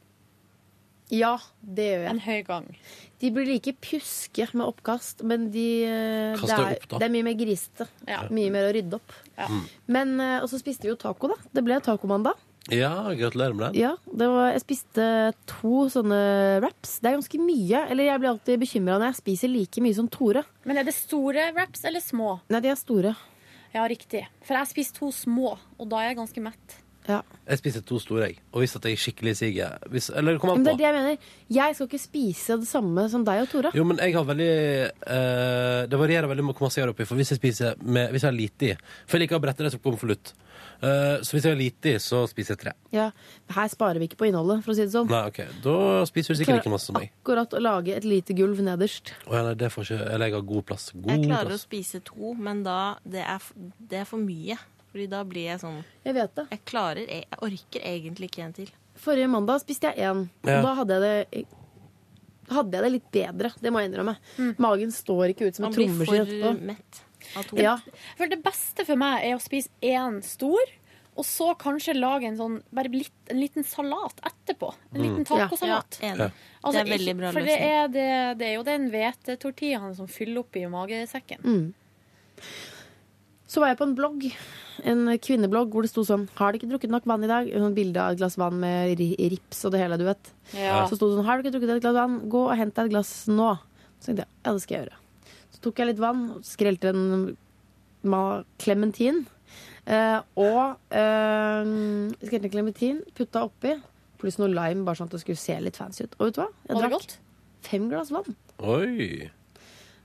[SPEAKER 5] Ja, det gjør jeg.
[SPEAKER 4] En høy gang.
[SPEAKER 5] De blir like pjuske med oppkast, men de, eh, det,
[SPEAKER 4] Kaster
[SPEAKER 5] er,
[SPEAKER 4] opp, da.
[SPEAKER 5] det er mye mer grisete. Mye mer å rydde opp.
[SPEAKER 2] Mm.
[SPEAKER 5] Men, eh, Og så spiste vi jo taco, da. Det ble tacomandag.
[SPEAKER 2] ja, gratulerer med den.
[SPEAKER 5] Ja, det var, jeg spiste to sånne wraps. Det er ganske mye. Eller jeg blir alltid bekymra når jeg spiser like mye som Tore.
[SPEAKER 4] Men er det store wraps eller små?
[SPEAKER 5] Nei, de er store.
[SPEAKER 4] Ja, riktig. For jeg spiser to små, og da er jeg ganske mett.
[SPEAKER 2] Jeg spiser to store, jeg. Og hvis at jeg skikkelig siger hvis, Eller kom an
[SPEAKER 5] Men det
[SPEAKER 2] på.
[SPEAKER 5] er det jeg mener. Jeg skal ikke spise det samme som deg og Tora.
[SPEAKER 2] Jo, men jeg har veldig eh, Det varierer veldig med hvor masse jeg har oppi. For hvis jeg spiser med, hvis jeg har lite i For jeg liker å brette det som konvolutt. Uh, så hvis jeg har lite i, så spiser jeg tre.
[SPEAKER 5] Ja. Her sparer vi ikke på innholdet, for å si det sånn.
[SPEAKER 2] Nei, ok, Da spiser du sikkert like masse som meg.
[SPEAKER 5] Akkurat å lage et lite gulv nederst.
[SPEAKER 2] Å, ja, nei, det får ikke Eller jeg har god plass.
[SPEAKER 3] Jeg
[SPEAKER 2] God
[SPEAKER 3] klarer å
[SPEAKER 2] plass.
[SPEAKER 3] spise to, men da det er, f- det er for mye. Fordi da blir jeg sånn
[SPEAKER 5] Jeg vet det.
[SPEAKER 3] Jeg klarer Jeg jeg orker egentlig ikke en til.
[SPEAKER 5] Forrige mandag spiste jeg én. og
[SPEAKER 3] Ja.
[SPEAKER 5] Da hadde jeg det hadde jeg det litt bedre, det må jeg innrømme. Magen står ikke ut som
[SPEAKER 4] Mm. Man
[SPEAKER 5] et
[SPEAKER 4] blir
[SPEAKER 5] trommeskinn
[SPEAKER 4] for mett
[SPEAKER 3] av
[SPEAKER 5] to. Ja.
[SPEAKER 4] For det beste for meg er å spise én stor, og så kanskje lage en sånn bare litt, en liten salat etterpå. En liten
[SPEAKER 3] Mm. Ja.
[SPEAKER 4] tacosalat.
[SPEAKER 3] Ja, enig. Ja.
[SPEAKER 4] Altså,
[SPEAKER 3] Det er veldig bra
[SPEAKER 4] ikke- For det er, det, det er jo den hvetetortillaen som fyller opp i magesekken.
[SPEAKER 5] Mm. Så var jeg på en blogg, en kvinneblogg, hvor det sto sånn 'Har du ikke drukket nok vann i dag?' Hun bilde av et glass vann med ri- rips og det hele, du vet.
[SPEAKER 4] Ja.
[SPEAKER 5] Så sto det sånn 'Har du ikke drukket et glass vann? Gå og hent deg et glass nå'. Så tenkte jeg ja, det skal jeg gjøre. Så tok jeg litt vann, og skrelte en ma- clementin. eh, og eh, skrelte en clementin, putta oppi, pluss noe lime, bare sånn at det skulle se litt fancy ut. Og vet du hva? Jeg
[SPEAKER 4] Var det
[SPEAKER 5] drakk fem glass vann.
[SPEAKER 2] Oi.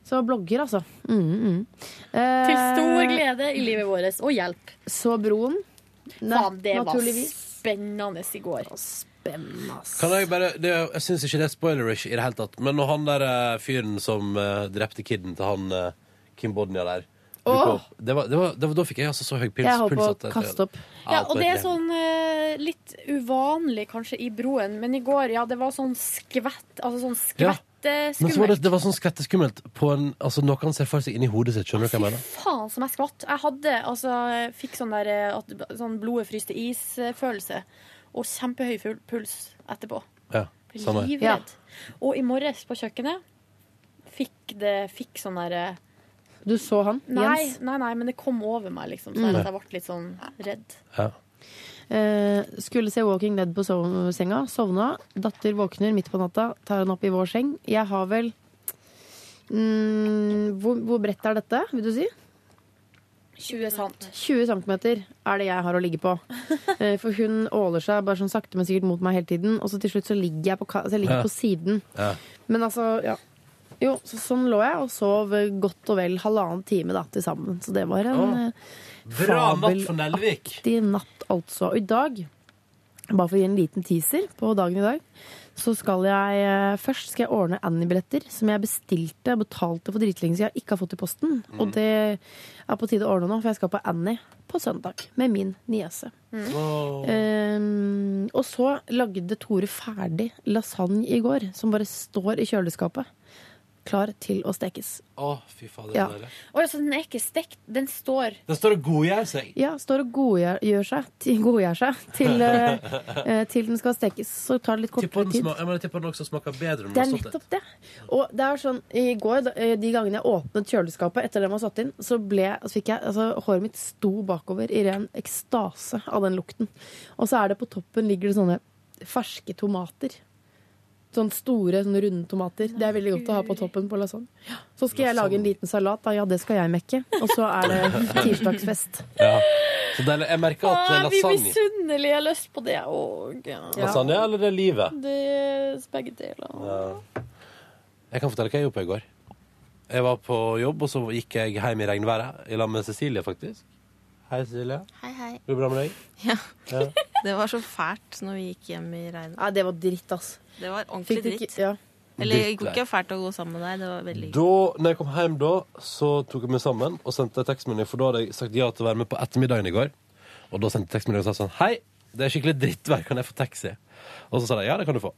[SPEAKER 5] Så blogger, altså.
[SPEAKER 4] Mm,
[SPEAKER 5] Eh,
[SPEAKER 4] Til stor glede i livet vårt. Og hjelp.
[SPEAKER 5] Så broen.
[SPEAKER 4] Faen, det var
[SPEAKER 5] naturligvis.
[SPEAKER 4] spennende i går.
[SPEAKER 5] Spennende.
[SPEAKER 2] Kan jeg bare det, Jeg syns ikke det er spoilerish i det hele tatt, men når han der eh, fyren som eh, drepte kiden til han eh, Kim Bodnia der dukket
[SPEAKER 4] Åh.
[SPEAKER 2] opp, det var, det var, det var, Da fikk jeg altså så høy pils.
[SPEAKER 5] Jeg holdt
[SPEAKER 2] puls
[SPEAKER 5] på å
[SPEAKER 2] at jeg-
[SPEAKER 5] kaste opp.
[SPEAKER 4] Ja, og det er
[SPEAKER 2] det-
[SPEAKER 4] sånn eh, litt uvanlig kanskje i broen, men i går, ja, det var sånn skvett, altså sånn
[SPEAKER 2] Ja. Men så var
[SPEAKER 4] skvetteskummelt.
[SPEAKER 2] det, det var sånn skvetteskummelt på en Altså, noe han ser for seg inni hodet sitt. Skjønner du hva jeg mener?
[SPEAKER 4] Faen som jeg skvatt. Jeg hadde, altså, jeg fikk sånn der, eh, at, sånn blodet fryste is-følelse, og kjempehøy ful- puls etterpå.
[SPEAKER 2] Ja,
[SPEAKER 4] Ble
[SPEAKER 2] samme her.
[SPEAKER 4] Livredd. Og i morges på kjøkkenet fikk det, fikk sånn der... eh,
[SPEAKER 5] Du så han,
[SPEAKER 4] Nei,
[SPEAKER 5] Jens?
[SPEAKER 4] nei, nei, men det kom over meg liksom, så
[SPEAKER 5] Mm.
[SPEAKER 4] jeg- at jeg ble litt sånn redd.
[SPEAKER 5] Eh, skulle se Walking Dead på sov senga. Sovna. Datter våkner midt på natta, tar han opp i vår seng. Jeg har vel mm, hvor, hvor bredt er dette, vil du si?
[SPEAKER 4] 20 sant.
[SPEAKER 5] 20 cm er det jeg har å ligge på. Eh, For hun åler seg bare sånn sakte, men sikkert mot meg hele tiden. Og så til slutt så ligger jeg på, ka- altså jeg ligger
[SPEAKER 14] Ja.
[SPEAKER 5] på siden.
[SPEAKER 2] Ja.
[SPEAKER 5] Men altså, ja. Jo, så sånn lå jeg og sov godt og vel halvannen time da, til sammen. Så det var en
[SPEAKER 2] Åh.
[SPEAKER 5] eh,
[SPEAKER 2] Bra natt for Nelvik.
[SPEAKER 5] fabelaktig natt, altså. Og i dag, bare for å gi en liten teaser på dagen i dag, så skal jeg eh, først skal jeg ordne Annie-billetter som jeg bestilte og betalte for dritlenge siden jeg ikke har fått i posten.
[SPEAKER 14] Mm.
[SPEAKER 5] Og det er på tide å ordne nå, for jeg skal på Annie på søndag med min niese.
[SPEAKER 2] Mm.
[SPEAKER 4] Mm.
[SPEAKER 5] Ehm, og så lagde Tore ferdig lasagne i går, som bare står i kjøleskapet. Klar til å stekes.
[SPEAKER 2] Å, fy fader.
[SPEAKER 5] Ja.
[SPEAKER 2] det er det.
[SPEAKER 4] Å, altså, den er ikke stekt, den står
[SPEAKER 2] Den står og godgjør seg.
[SPEAKER 5] Ja, står og godgjør gjør seg, til, godgjør seg til, eh, eh, til den skal stekes. Så tar det litt
[SPEAKER 2] Tipper
[SPEAKER 5] kortere
[SPEAKER 2] den,
[SPEAKER 5] tid.
[SPEAKER 2] sma- jeg mener, tipper den også smaker bedre.
[SPEAKER 5] Det er nettopp det. Og det er sånn, i går, da- eh, de gangene jeg åpnet kjøleskapet etter det man satt inn, så ble, så fikk jeg, altså, håret mitt sto bakover i ren ekstase av den lukten. Og så er det på toppen ligger det sånne ferske tomater. Sånne store, sånne runde tomater. Det er veldig godt å ha på toppen på lasagne. Så skal jeg lage en liten salat, da. Ja, det skal jeg mekke. Og så er det tirsdagsfest.
[SPEAKER 2] Ja. Så deilig. Jeg merker at det er
[SPEAKER 4] Jeg blir
[SPEAKER 2] lasagne
[SPEAKER 4] misunnelig. Jeg har lyst på det òg.
[SPEAKER 2] Lasagne, eller det er livet?
[SPEAKER 4] Det er begge deler.
[SPEAKER 2] Ja. Jeg kan fortelle hva jeg gjorde på i går. Jeg var på jobb, og så gikk jeg hjem i regnværet i lag med Cecilie, faktisk. Hei, Cecilie.
[SPEAKER 3] Hei, hei.
[SPEAKER 2] Går det bra med deg?
[SPEAKER 3] Ja.
[SPEAKER 2] Ja.
[SPEAKER 3] Det var så fælt når vi gikk hjem i regnet.
[SPEAKER 5] Ja, det var dritt, ass.
[SPEAKER 3] Det var ordentlig
[SPEAKER 5] Fikk ikke-
[SPEAKER 3] dritt.
[SPEAKER 5] ja.
[SPEAKER 3] Eller det
[SPEAKER 2] Dritt,
[SPEAKER 3] gikk
[SPEAKER 2] ja.
[SPEAKER 3] ikke fælt å gå sammen med deg. Det var veldig
[SPEAKER 2] Da når jeg kom hjem, da, så tok jeg meg sammen og sendte en tekstmelding, for da hadde jeg sagt ja til å være med på ettermiddagen i går. Og da sendte jeg tekstmelding og sa sånn Hei, det er skikkelig drittvær, kan jeg få taxi? Og så sa de ja, det kan du få.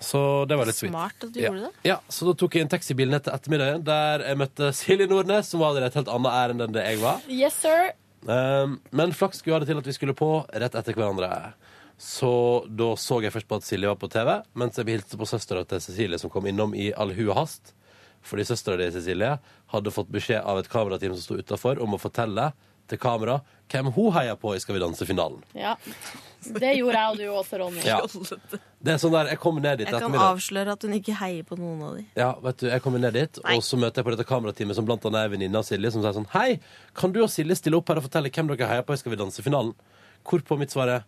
[SPEAKER 2] Så det var litt sweet.
[SPEAKER 3] Smart at du
[SPEAKER 2] ja.
[SPEAKER 3] gjorde det.
[SPEAKER 2] Ja, så da tok jeg en taxibil ned til ettermiddagen, der jeg møtte Silje Nordnes, som var der i et helt annet ærend enn det jeg var.
[SPEAKER 4] Yes, sir.
[SPEAKER 2] Um, men flaks skulle ha det til at vi skulle på rett etter hverandre. Så da så jeg først på at Silje var på TV, mens jeg hilste på søstera til Cecilie, som kom innom i all hu og hast. Fordi søstera di, Cecilie, hadde fått beskjed av et kamerateam som sto utafor, om å fortelle til kamera hvem hun heier på i Skal vi danse-finalen.
[SPEAKER 4] Ja. Det gjorde jeg og du også, Ronny.
[SPEAKER 2] Ja. Det er sånn der, Jeg kommer ned dit
[SPEAKER 3] Jeg kan
[SPEAKER 2] ettermiddag.
[SPEAKER 3] avsløre at hun ikke heier på noen av de.
[SPEAKER 2] Ja, vet du, jeg kommer ned dit, og så møter jeg på dette kamerateamet som blant annet er venninna av Silje, som sier sånn Hei, kan du og Silje stille opp her og fortelle hvem dere heier på i Skal vi danse-finalen? Hvorpå mitt svar er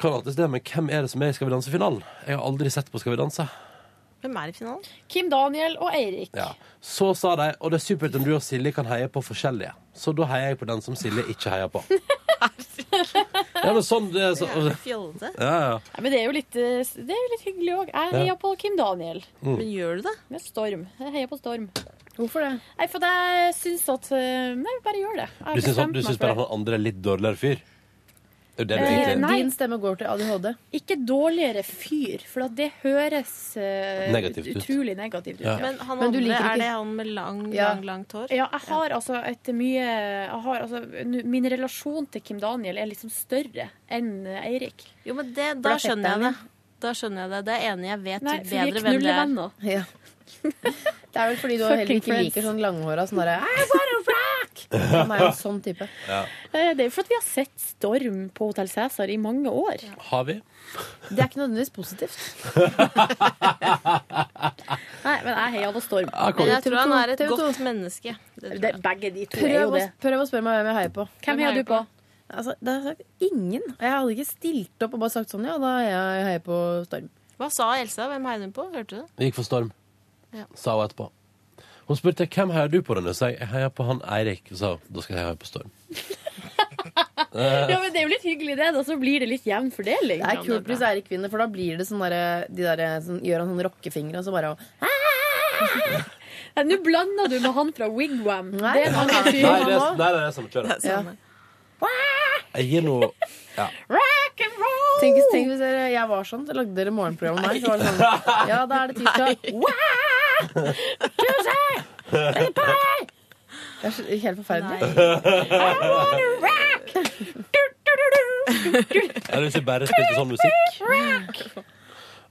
[SPEAKER 2] Kan alltid det, men hvem er det som er i Skal vi danse-finalen? Jeg har aldri sett på Skal vi danse.
[SPEAKER 3] Hvem er i finalen?
[SPEAKER 4] Kim Daniel og Eirik.
[SPEAKER 2] Ja. Så sa de Og det er supert om du og Silje kan heie på forskjellige. Så da heier jeg på den som Silje ikke heier på. Ja, men sånn det er så,
[SPEAKER 4] Fjollete.
[SPEAKER 2] ja, ja.
[SPEAKER 4] Ja, men det er jo litt, eh, det er jo litt hyggelig òg. Jeg
[SPEAKER 2] Ja.
[SPEAKER 4] heier på Kim Daniel.
[SPEAKER 2] Mm. Men
[SPEAKER 4] gjør du det? Med Storm. Jeg heier på Storm. Hvorfor det? Nei, for jeg syns at eh, Nei, bare gjør det. Jeg har
[SPEAKER 2] Du syns, han, du
[SPEAKER 4] bestemt meg
[SPEAKER 2] syns
[SPEAKER 4] for
[SPEAKER 2] bare
[SPEAKER 4] det.
[SPEAKER 2] han andre er litt dårligere fyr? Det er jo det du
[SPEAKER 4] Eh,
[SPEAKER 2] egentlig
[SPEAKER 4] Din stemme går til ADHD. Ikke dårligere fyr, for at det høres eh,
[SPEAKER 2] Negativt ut.
[SPEAKER 4] utrolig negativt ut.
[SPEAKER 2] Ja.
[SPEAKER 3] Men han Men du andre, liker er ikke- det han med lang, lang, langt hår?
[SPEAKER 4] Ja, jeg har altså et mye jeg har, altså, n- Min relasjon til Kim Daniel er liksom større enn eh, Eirik.
[SPEAKER 3] Jo, men det, Da skjønner jeg det. Da skjønner jeg det. Det er enig, jeg vet
[SPEAKER 4] Nei, for vi er
[SPEAKER 3] bedre hvem det er.
[SPEAKER 4] knullevenner.
[SPEAKER 5] Ja. Det er vel fordi du heller
[SPEAKER 4] Fucking
[SPEAKER 5] ikke liker
[SPEAKER 4] friends.
[SPEAKER 5] sånn langhåra sånn derre «I wanna rock!» Han er jo en sånn type.
[SPEAKER 4] Eh, Det er jo fordi vi har sett Storm på Hotell Cæsar i mange år.
[SPEAKER 2] Har vi?
[SPEAKER 5] Det er ikke nødvendigvis positivt.
[SPEAKER 4] Nei, men jeg heier på Storm.
[SPEAKER 2] Eh,
[SPEAKER 3] Men jeg tror han er et
[SPEAKER 5] TV2.
[SPEAKER 3] godt menneske. Det tror jeg.
[SPEAKER 4] Begge de to er jo
[SPEAKER 5] Prøv å,
[SPEAKER 4] det.
[SPEAKER 5] prøv å spørre meg hvem jeg heier på.
[SPEAKER 4] Hvem heier du på?
[SPEAKER 5] Altså, da har jeg sagt ingen. Og Jeg hadde ikke stilt opp og bare sagt sånn, ja, da heier jeg jeg heier på Storm.
[SPEAKER 3] Hva sa Elsa? Hvem heier hun på? Hørte du det?
[SPEAKER 2] Vi gikk for storm,
[SPEAKER 3] Ja.
[SPEAKER 2] sa hun etterpå. Hun spurte hvem heier du på, Rønne. Så jeg jeg heier på han Eirik. Og sa hun, da skal jeg heie på Storm. Eh,
[SPEAKER 4] Ja, men Det er jo litt hyggelig, det. Da så blir det litt jevn fordeling.
[SPEAKER 5] Det er kult hvis Eirik vinner, for da blir det sånn derre de derre- sånn, Gjør han sånn rockefingre, og så bare
[SPEAKER 4] Nei, Eh, Nå blander du med han fra Wigwam. Nei, det er en
[SPEAKER 2] nei,
[SPEAKER 4] annen
[SPEAKER 2] det
[SPEAKER 4] fyr.
[SPEAKER 2] er, nei, det er samme kjøret.
[SPEAKER 5] Ja.
[SPEAKER 2] Jeg gir noe ja.
[SPEAKER 4] Rock and roll!
[SPEAKER 5] Tenk, hvis- tenk hvis dere, jeg var sånn, så lagde dere morgenprogram om meg. Så var det sånn, ja, da er det tirsdag. Wow! Tuesday! Eller party! Det er så- helt forferdelig.
[SPEAKER 2] Jeg har lyst til å bare spille sånn musikk.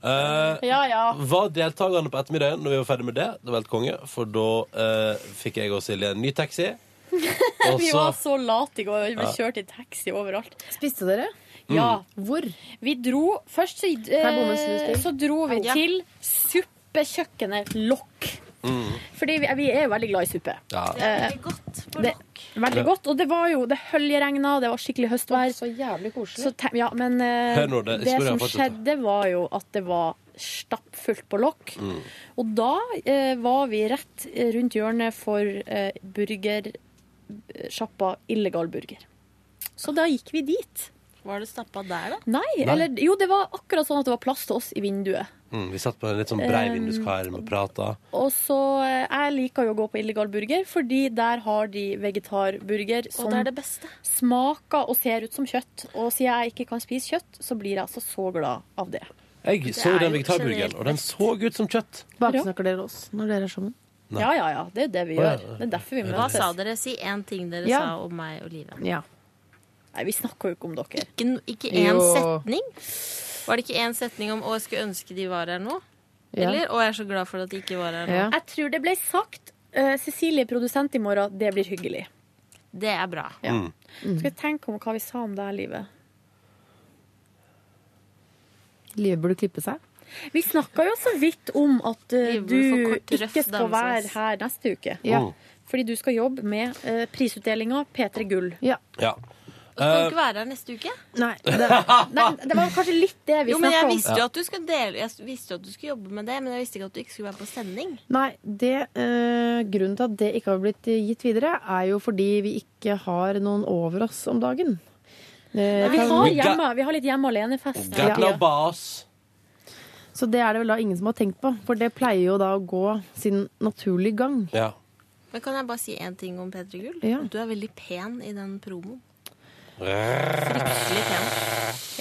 [SPEAKER 2] Eh,
[SPEAKER 4] Ja, ja.
[SPEAKER 2] Var deltakerne på ettermiddagen når vi var ferdig med det. Det var helt konge, for da eh, fikk jeg og Silje en ny taxi. Og
[SPEAKER 4] Vi
[SPEAKER 2] så
[SPEAKER 4] var så late i går. Vi ble
[SPEAKER 2] Ja. Mm.
[SPEAKER 4] kjørt i taxi overalt.
[SPEAKER 5] Spiste dere?
[SPEAKER 4] Ja.
[SPEAKER 5] Hvor?
[SPEAKER 4] Vi dro Først så,
[SPEAKER 5] jeg bomme en snus
[SPEAKER 4] eh,
[SPEAKER 5] til?
[SPEAKER 4] så dro vi
[SPEAKER 5] Ja.
[SPEAKER 4] til suppekjøkkenet Lokk.
[SPEAKER 2] Mm.
[SPEAKER 4] Fordi vi, vi er jo veldig glad i suppe.
[SPEAKER 2] Ja.
[SPEAKER 4] Det er veldig godt for lokk. Veldig godt, og det var jo Det høljeregna, det var skikkelig høstvær. Så jævlig koselig. ja, men eh,
[SPEAKER 2] Hør nå, det-
[SPEAKER 4] det,
[SPEAKER 2] historien
[SPEAKER 4] som
[SPEAKER 2] fortsetter.
[SPEAKER 4] skjedde, var jo at det var stappfullt på lokk.
[SPEAKER 2] Mm.
[SPEAKER 4] Og da eh, var vi rett rundt hjørnet for eh, burgersjappa Illegal Burger. Så da gikk vi dit.
[SPEAKER 3] Var det stappa der, da?
[SPEAKER 4] Nei,
[SPEAKER 2] Nei.
[SPEAKER 4] eller Jo, det var akkurat sånn at det var plass til oss i vinduet.
[SPEAKER 2] mm, Vi satt på en litt sånn brei
[SPEAKER 4] Um,
[SPEAKER 2] vinduskarm og prata.
[SPEAKER 4] Og så, eh, Jeg liker jo å gå på Illegal Burger, fordi der har de vegetarburger som
[SPEAKER 3] det er det
[SPEAKER 4] smaker og ser ut som kjøtt. Og siden jeg ikke kan spise kjøtt, så blir jeg altså så glad av det.
[SPEAKER 2] Jeg så den vegetarburgeren, og den så ut som kjøtt.
[SPEAKER 5] Baksnakker dere oss når dere er sammen?
[SPEAKER 2] Nei.
[SPEAKER 4] Ja, ja, ja. Det er det vi
[SPEAKER 2] Å, ja.
[SPEAKER 4] gjør. Det er derfor vi møtes.
[SPEAKER 3] Hva sa dere? Si én ting dere
[SPEAKER 4] Ja.
[SPEAKER 3] sa om meg og livet.
[SPEAKER 4] Nei, vi snakker jo ikke om dere.
[SPEAKER 3] Ikke, ikke én
[SPEAKER 4] Jo.
[SPEAKER 3] setning? Var det ikke én setning om 'Å, jeg skulle ønske de var her nå'?
[SPEAKER 4] Ja.
[SPEAKER 3] Eller 'Å, jeg er så glad for at de ikke var her nå'?
[SPEAKER 4] Jeg tror det ble sagt eh, Cecilie produsent i morgen, det blir hyggelig.
[SPEAKER 3] Det er bra.
[SPEAKER 4] Ja.
[SPEAKER 3] Mm.
[SPEAKER 4] Skal vi tenke om hva vi sa om det her livet?
[SPEAKER 5] Livet burde klippe seg.
[SPEAKER 4] Vi snakka jo så vidt om at eh,
[SPEAKER 5] Livet burde få
[SPEAKER 4] du
[SPEAKER 5] kort, røff
[SPEAKER 4] ikke skal være
[SPEAKER 5] dansesveis.
[SPEAKER 4] her neste uke.
[SPEAKER 5] Ja. Mm.
[SPEAKER 4] Fordi du skal jobbe med uh, prisutdelinga P3 Gull.
[SPEAKER 2] Ja.
[SPEAKER 3] Kan
[SPEAKER 2] Eh,
[SPEAKER 3] ikke være her neste uke?
[SPEAKER 5] Nei.
[SPEAKER 4] Det, nei, det var kanskje litt det vi
[SPEAKER 3] Jo, men
[SPEAKER 4] snakket
[SPEAKER 3] jeg
[SPEAKER 4] om.
[SPEAKER 3] visste
[SPEAKER 2] Ja.
[SPEAKER 3] jo at du skulle dele Jeg visste jo at du skulle jobbe med det, men jeg visste ikke at du ikke skulle være på sending.
[SPEAKER 5] Nei, det, eh, grunnen til at det ikke har blitt eh, gitt videre, er jo fordi vi ikke har noen over oss om dagen. Eh,
[SPEAKER 4] Vi
[SPEAKER 5] kan-
[SPEAKER 4] har, hjemme, vi har litt hjemme alene-fest.
[SPEAKER 5] Got no
[SPEAKER 2] boss.
[SPEAKER 5] Så det er det vel da ingen som har tenkt på, for det pleier jo da å gå sin naturlige gang.
[SPEAKER 2] ja.
[SPEAKER 3] Men kan jeg bare si én ting om P3 Gull?
[SPEAKER 5] Ja.
[SPEAKER 3] Du er veldig pen i den promoen.
[SPEAKER 2] Fryktelig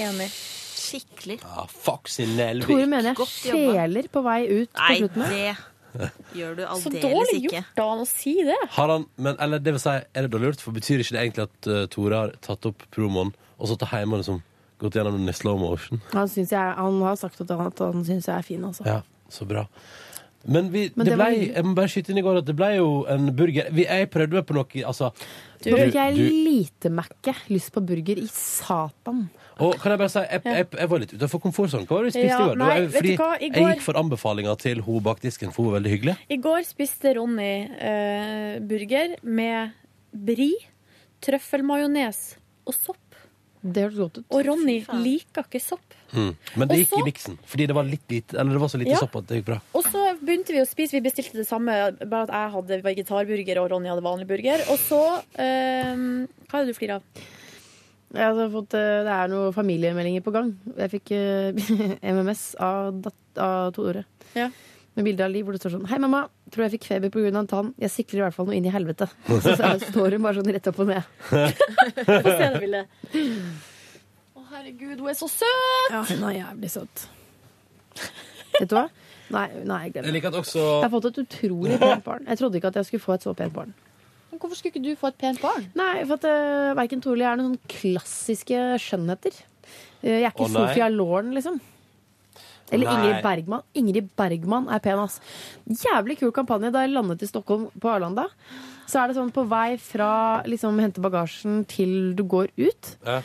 [SPEAKER 4] Enig.
[SPEAKER 3] Skikkelig.
[SPEAKER 2] Ja, Ah, fuck sin Nelvik.
[SPEAKER 5] Tore mener jeg
[SPEAKER 3] Godt jobba.
[SPEAKER 5] sjeler på vei ut på
[SPEAKER 3] Nei,
[SPEAKER 5] slutten. her.
[SPEAKER 3] det gjør du
[SPEAKER 4] Så
[SPEAKER 3] aldeles
[SPEAKER 4] dårlig
[SPEAKER 3] ikke.
[SPEAKER 4] gjort av han å si det.
[SPEAKER 2] Har han, men, eller det vil si, er det dårlig gjort? For betyr ikke det egentlig at eh, Tore har tatt opp promoen og satt hjemme og liksom gått gjennom den i slow motion?
[SPEAKER 5] Han, synes jeg, han har sagt at han, at han syns jeg er fin, altså.
[SPEAKER 2] Ja, så bra. Men vi,
[SPEAKER 5] Men
[SPEAKER 2] det ble,
[SPEAKER 5] det var-
[SPEAKER 2] jeg må bare skyte inn i går at det ble jo en burger vi, Jeg prøvde meg på noe altså,
[SPEAKER 5] Du, jeg lite Mac-e. Lyst på burger i satan.
[SPEAKER 2] og kan jeg bare si, jeg, jeg, jeg var litt utenfor komfortsonen. Hva var det du spiste
[SPEAKER 4] Ja,
[SPEAKER 2] i går? Det var-
[SPEAKER 4] nei, vet du
[SPEAKER 2] fordi
[SPEAKER 4] hva, i
[SPEAKER 2] jeg
[SPEAKER 4] går-
[SPEAKER 2] gikk for anbefalinga til hun bak disken, for hun var veldig hyggelig.
[SPEAKER 4] I går spiste Ronny eh, burger med bri, trøffelmajones og sopp.
[SPEAKER 5] Det hørtes godt ut.
[SPEAKER 4] Og Ronny liker ikke sopp.
[SPEAKER 2] Mm. Men det
[SPEAKER 4] Og
[SPEAKER 2] gikk i
[SPEAKER 4] så-
[SPEAKER 2] miksen, fordi det var, litt lite, eller det var så lite
[SPEAKER 4] Ja.
[SPEAKER 2] sopp at det gikk bra.
[SPEAKER 4] Og så begynte vi å spise, vi bestilte det samme, bare at jeg hadde vegetarburger og Ronny hadde vanlig burger. Og så eh, Hva er det du flirer av?
[SPEAKER 5] Jeg har fått, eh, det er noen familiemeldinger på gang. Jeg fikk eh, MMS av, dat av Tore. Med bilde av Liv hvor det står sånn Hei, mamma. Tror jeg fikk feber pga. en tann. Jeg sikler i hvert fall noe inn i helvete. Og Så er- står hun bare sånn rett opp og ned.
[SPEAKER 4] Få se det bildet.
[SPEAKER 15] Å, herregud, hun er så søt!
[SPEAKER 5] Ja, hun er jævlig søt. Vet du hva? Nei, nei
[SPEAKER 2] Jeg
[SPEAKER 5] glem det.
[SPEAKER 2] liker at også
[SPEAKER 5] Jeg har fått et utrolig pent barn. Jeg trodde ikke at jeg skulle få et så pent barn.
[SPEAKER 15] Men hvorfor skulle ikke du få et pent barn?
[SPEAKER 5] Nei, for at uh, verken Tore eller jeg er noen sånn klassiske skjønnheter. Eh, jeg er ikke
[SPEAKER 2] Å, nei.
[SPEAKER 5] Sofia Lauren, liksom. Eller
[SPEAKER 2] Nei.
[SPEAKER 5] Ingrid Bergman. Ingrid Bergman er pen, ass. Jævlig kul kampanje. Da jeg landet i Stockholm på Arlanda, så er det sånn på vei fra liksom hente bagasjen til du går ut,
[SPEAKER 2] Ja.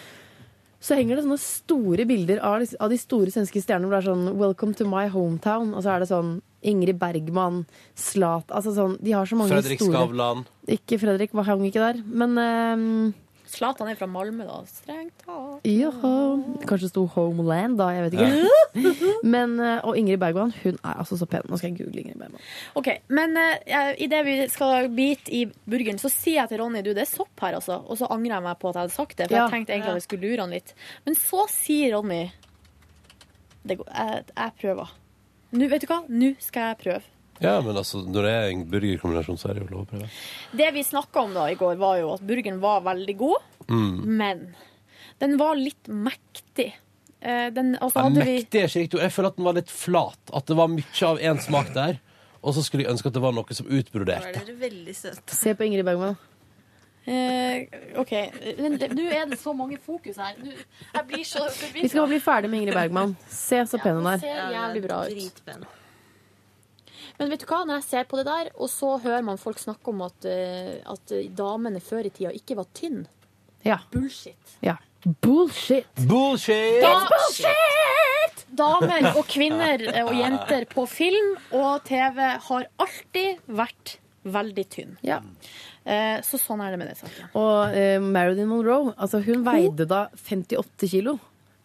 [SPEAKER 5] så henger det sånne store bilder av, liksom- av de store svenske stjernene hvor det er sånn 'Welcome to my hometown', og så er det sånn Ingrid Bergman, Slat Altså sånn De har så mange
[SPEAKER 2] Fredrik
[SPEAKER 5] store
[SPEAKER 2] Skavlan.
[SPEAKER 5] Ikke Fredrik, var hang ikke der. Men ehm,
[SPEAKER 4] Zlatan er fra Malmö, da. Strengt tatt.
[SPEAKER 5] Jaha. Kanskje det sto Homeland, da. Jeg vet ikke. Men, eh, og Ingrid Bergman, hun er altså så pen. Nå skal jeg google Ingrid Bergman.
[SPEAKER 4] OK. Men uh, idet vi skal bite i burgeren, så sier jeg til Ronny du, det er sopp her, altså. Og så angrer jeg meg på at jeg hadde sagt det, for
[SPEAKER 5] Ja.
[SPEAKER 4] jeg tenkte
[SPEAKER 5] Ja.
[SPEAKER 4] egentlig at jeg skulle lure han litt. Men så sier Ronny det går, jeg, jeg prøver. Nå, vet du hva? Nå skal jeg prøve.
[SPEAKER 2] Ja, men altså, når det er en burgerkombinasjon, så er det jo lov å prøve.
[SPEAKER 4] Det vi snakka om da i går, var jo at burgeren var veldig god,
[SPEAKER 2] Mm.
[SPEAKER 4] men den var litt mektig. Eh, Den, altså
[SPEAKER 2] Ja,
[SPEAKER 4] hadde vi
[SPEAKER 2] mektig er ikke riktig. ord. Jeg føler at den var litt flat. At det var mye av én smak der. Og så skulle jeg ønske at det var noe som utbroderte.
[SPEAKER 4] dere veldig søte.
[SPEAKER 5] Se på Ingrid Bergman.
[SPEAKER 4] Eh, OK. Men det- nå er det så mange fokus her. Nå, jeg blir så forvirra.
[SPEAKER 5] Vi skal bare bli ferdig med Ingrid Bergman. Se så pen hun er.
[SPEAKER 15] ser jævlig bra ut.
[SPEAKER 4] Dritpen.
[SPEAKER 15] Men vet du hva, når jeg ser på det der, og så hører man folk snakke om at, eh, at damene før i tida ikke var tynne.
[SPEAKER 5] Ja.
[SPEAKER 15] Bullshit.
[SPEAKER 5] ja. Bullshit!
[SPEAKER 2] Bullshit!
[SPEAKER 4] Da- Damer og kvinner eh, og jenter på film og TV har alltid vært veldig tynn. Eh, Så sånn er det med det saken.
[SPEAKER 5] Og eh, Marilyn Monroe, altså hun veide da 58 kilo.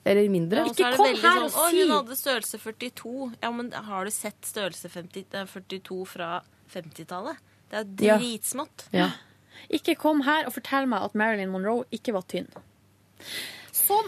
[SPEAKER 5] Eller mindre.
[SPEAKER 3] og så er det veldig sånn, «Å, Hun hadde størrelse 42. Ja, men har du sett størrelse 50, eh, 42 fra 50-tallet? Det er
[SPEAKER 4] Ja.
[SPEAKER 3] jo dritsmått.
[SPEAKER 4] Ikke kom her og fortell meg at Marilyn Monroe ikke var tynn. Sånn.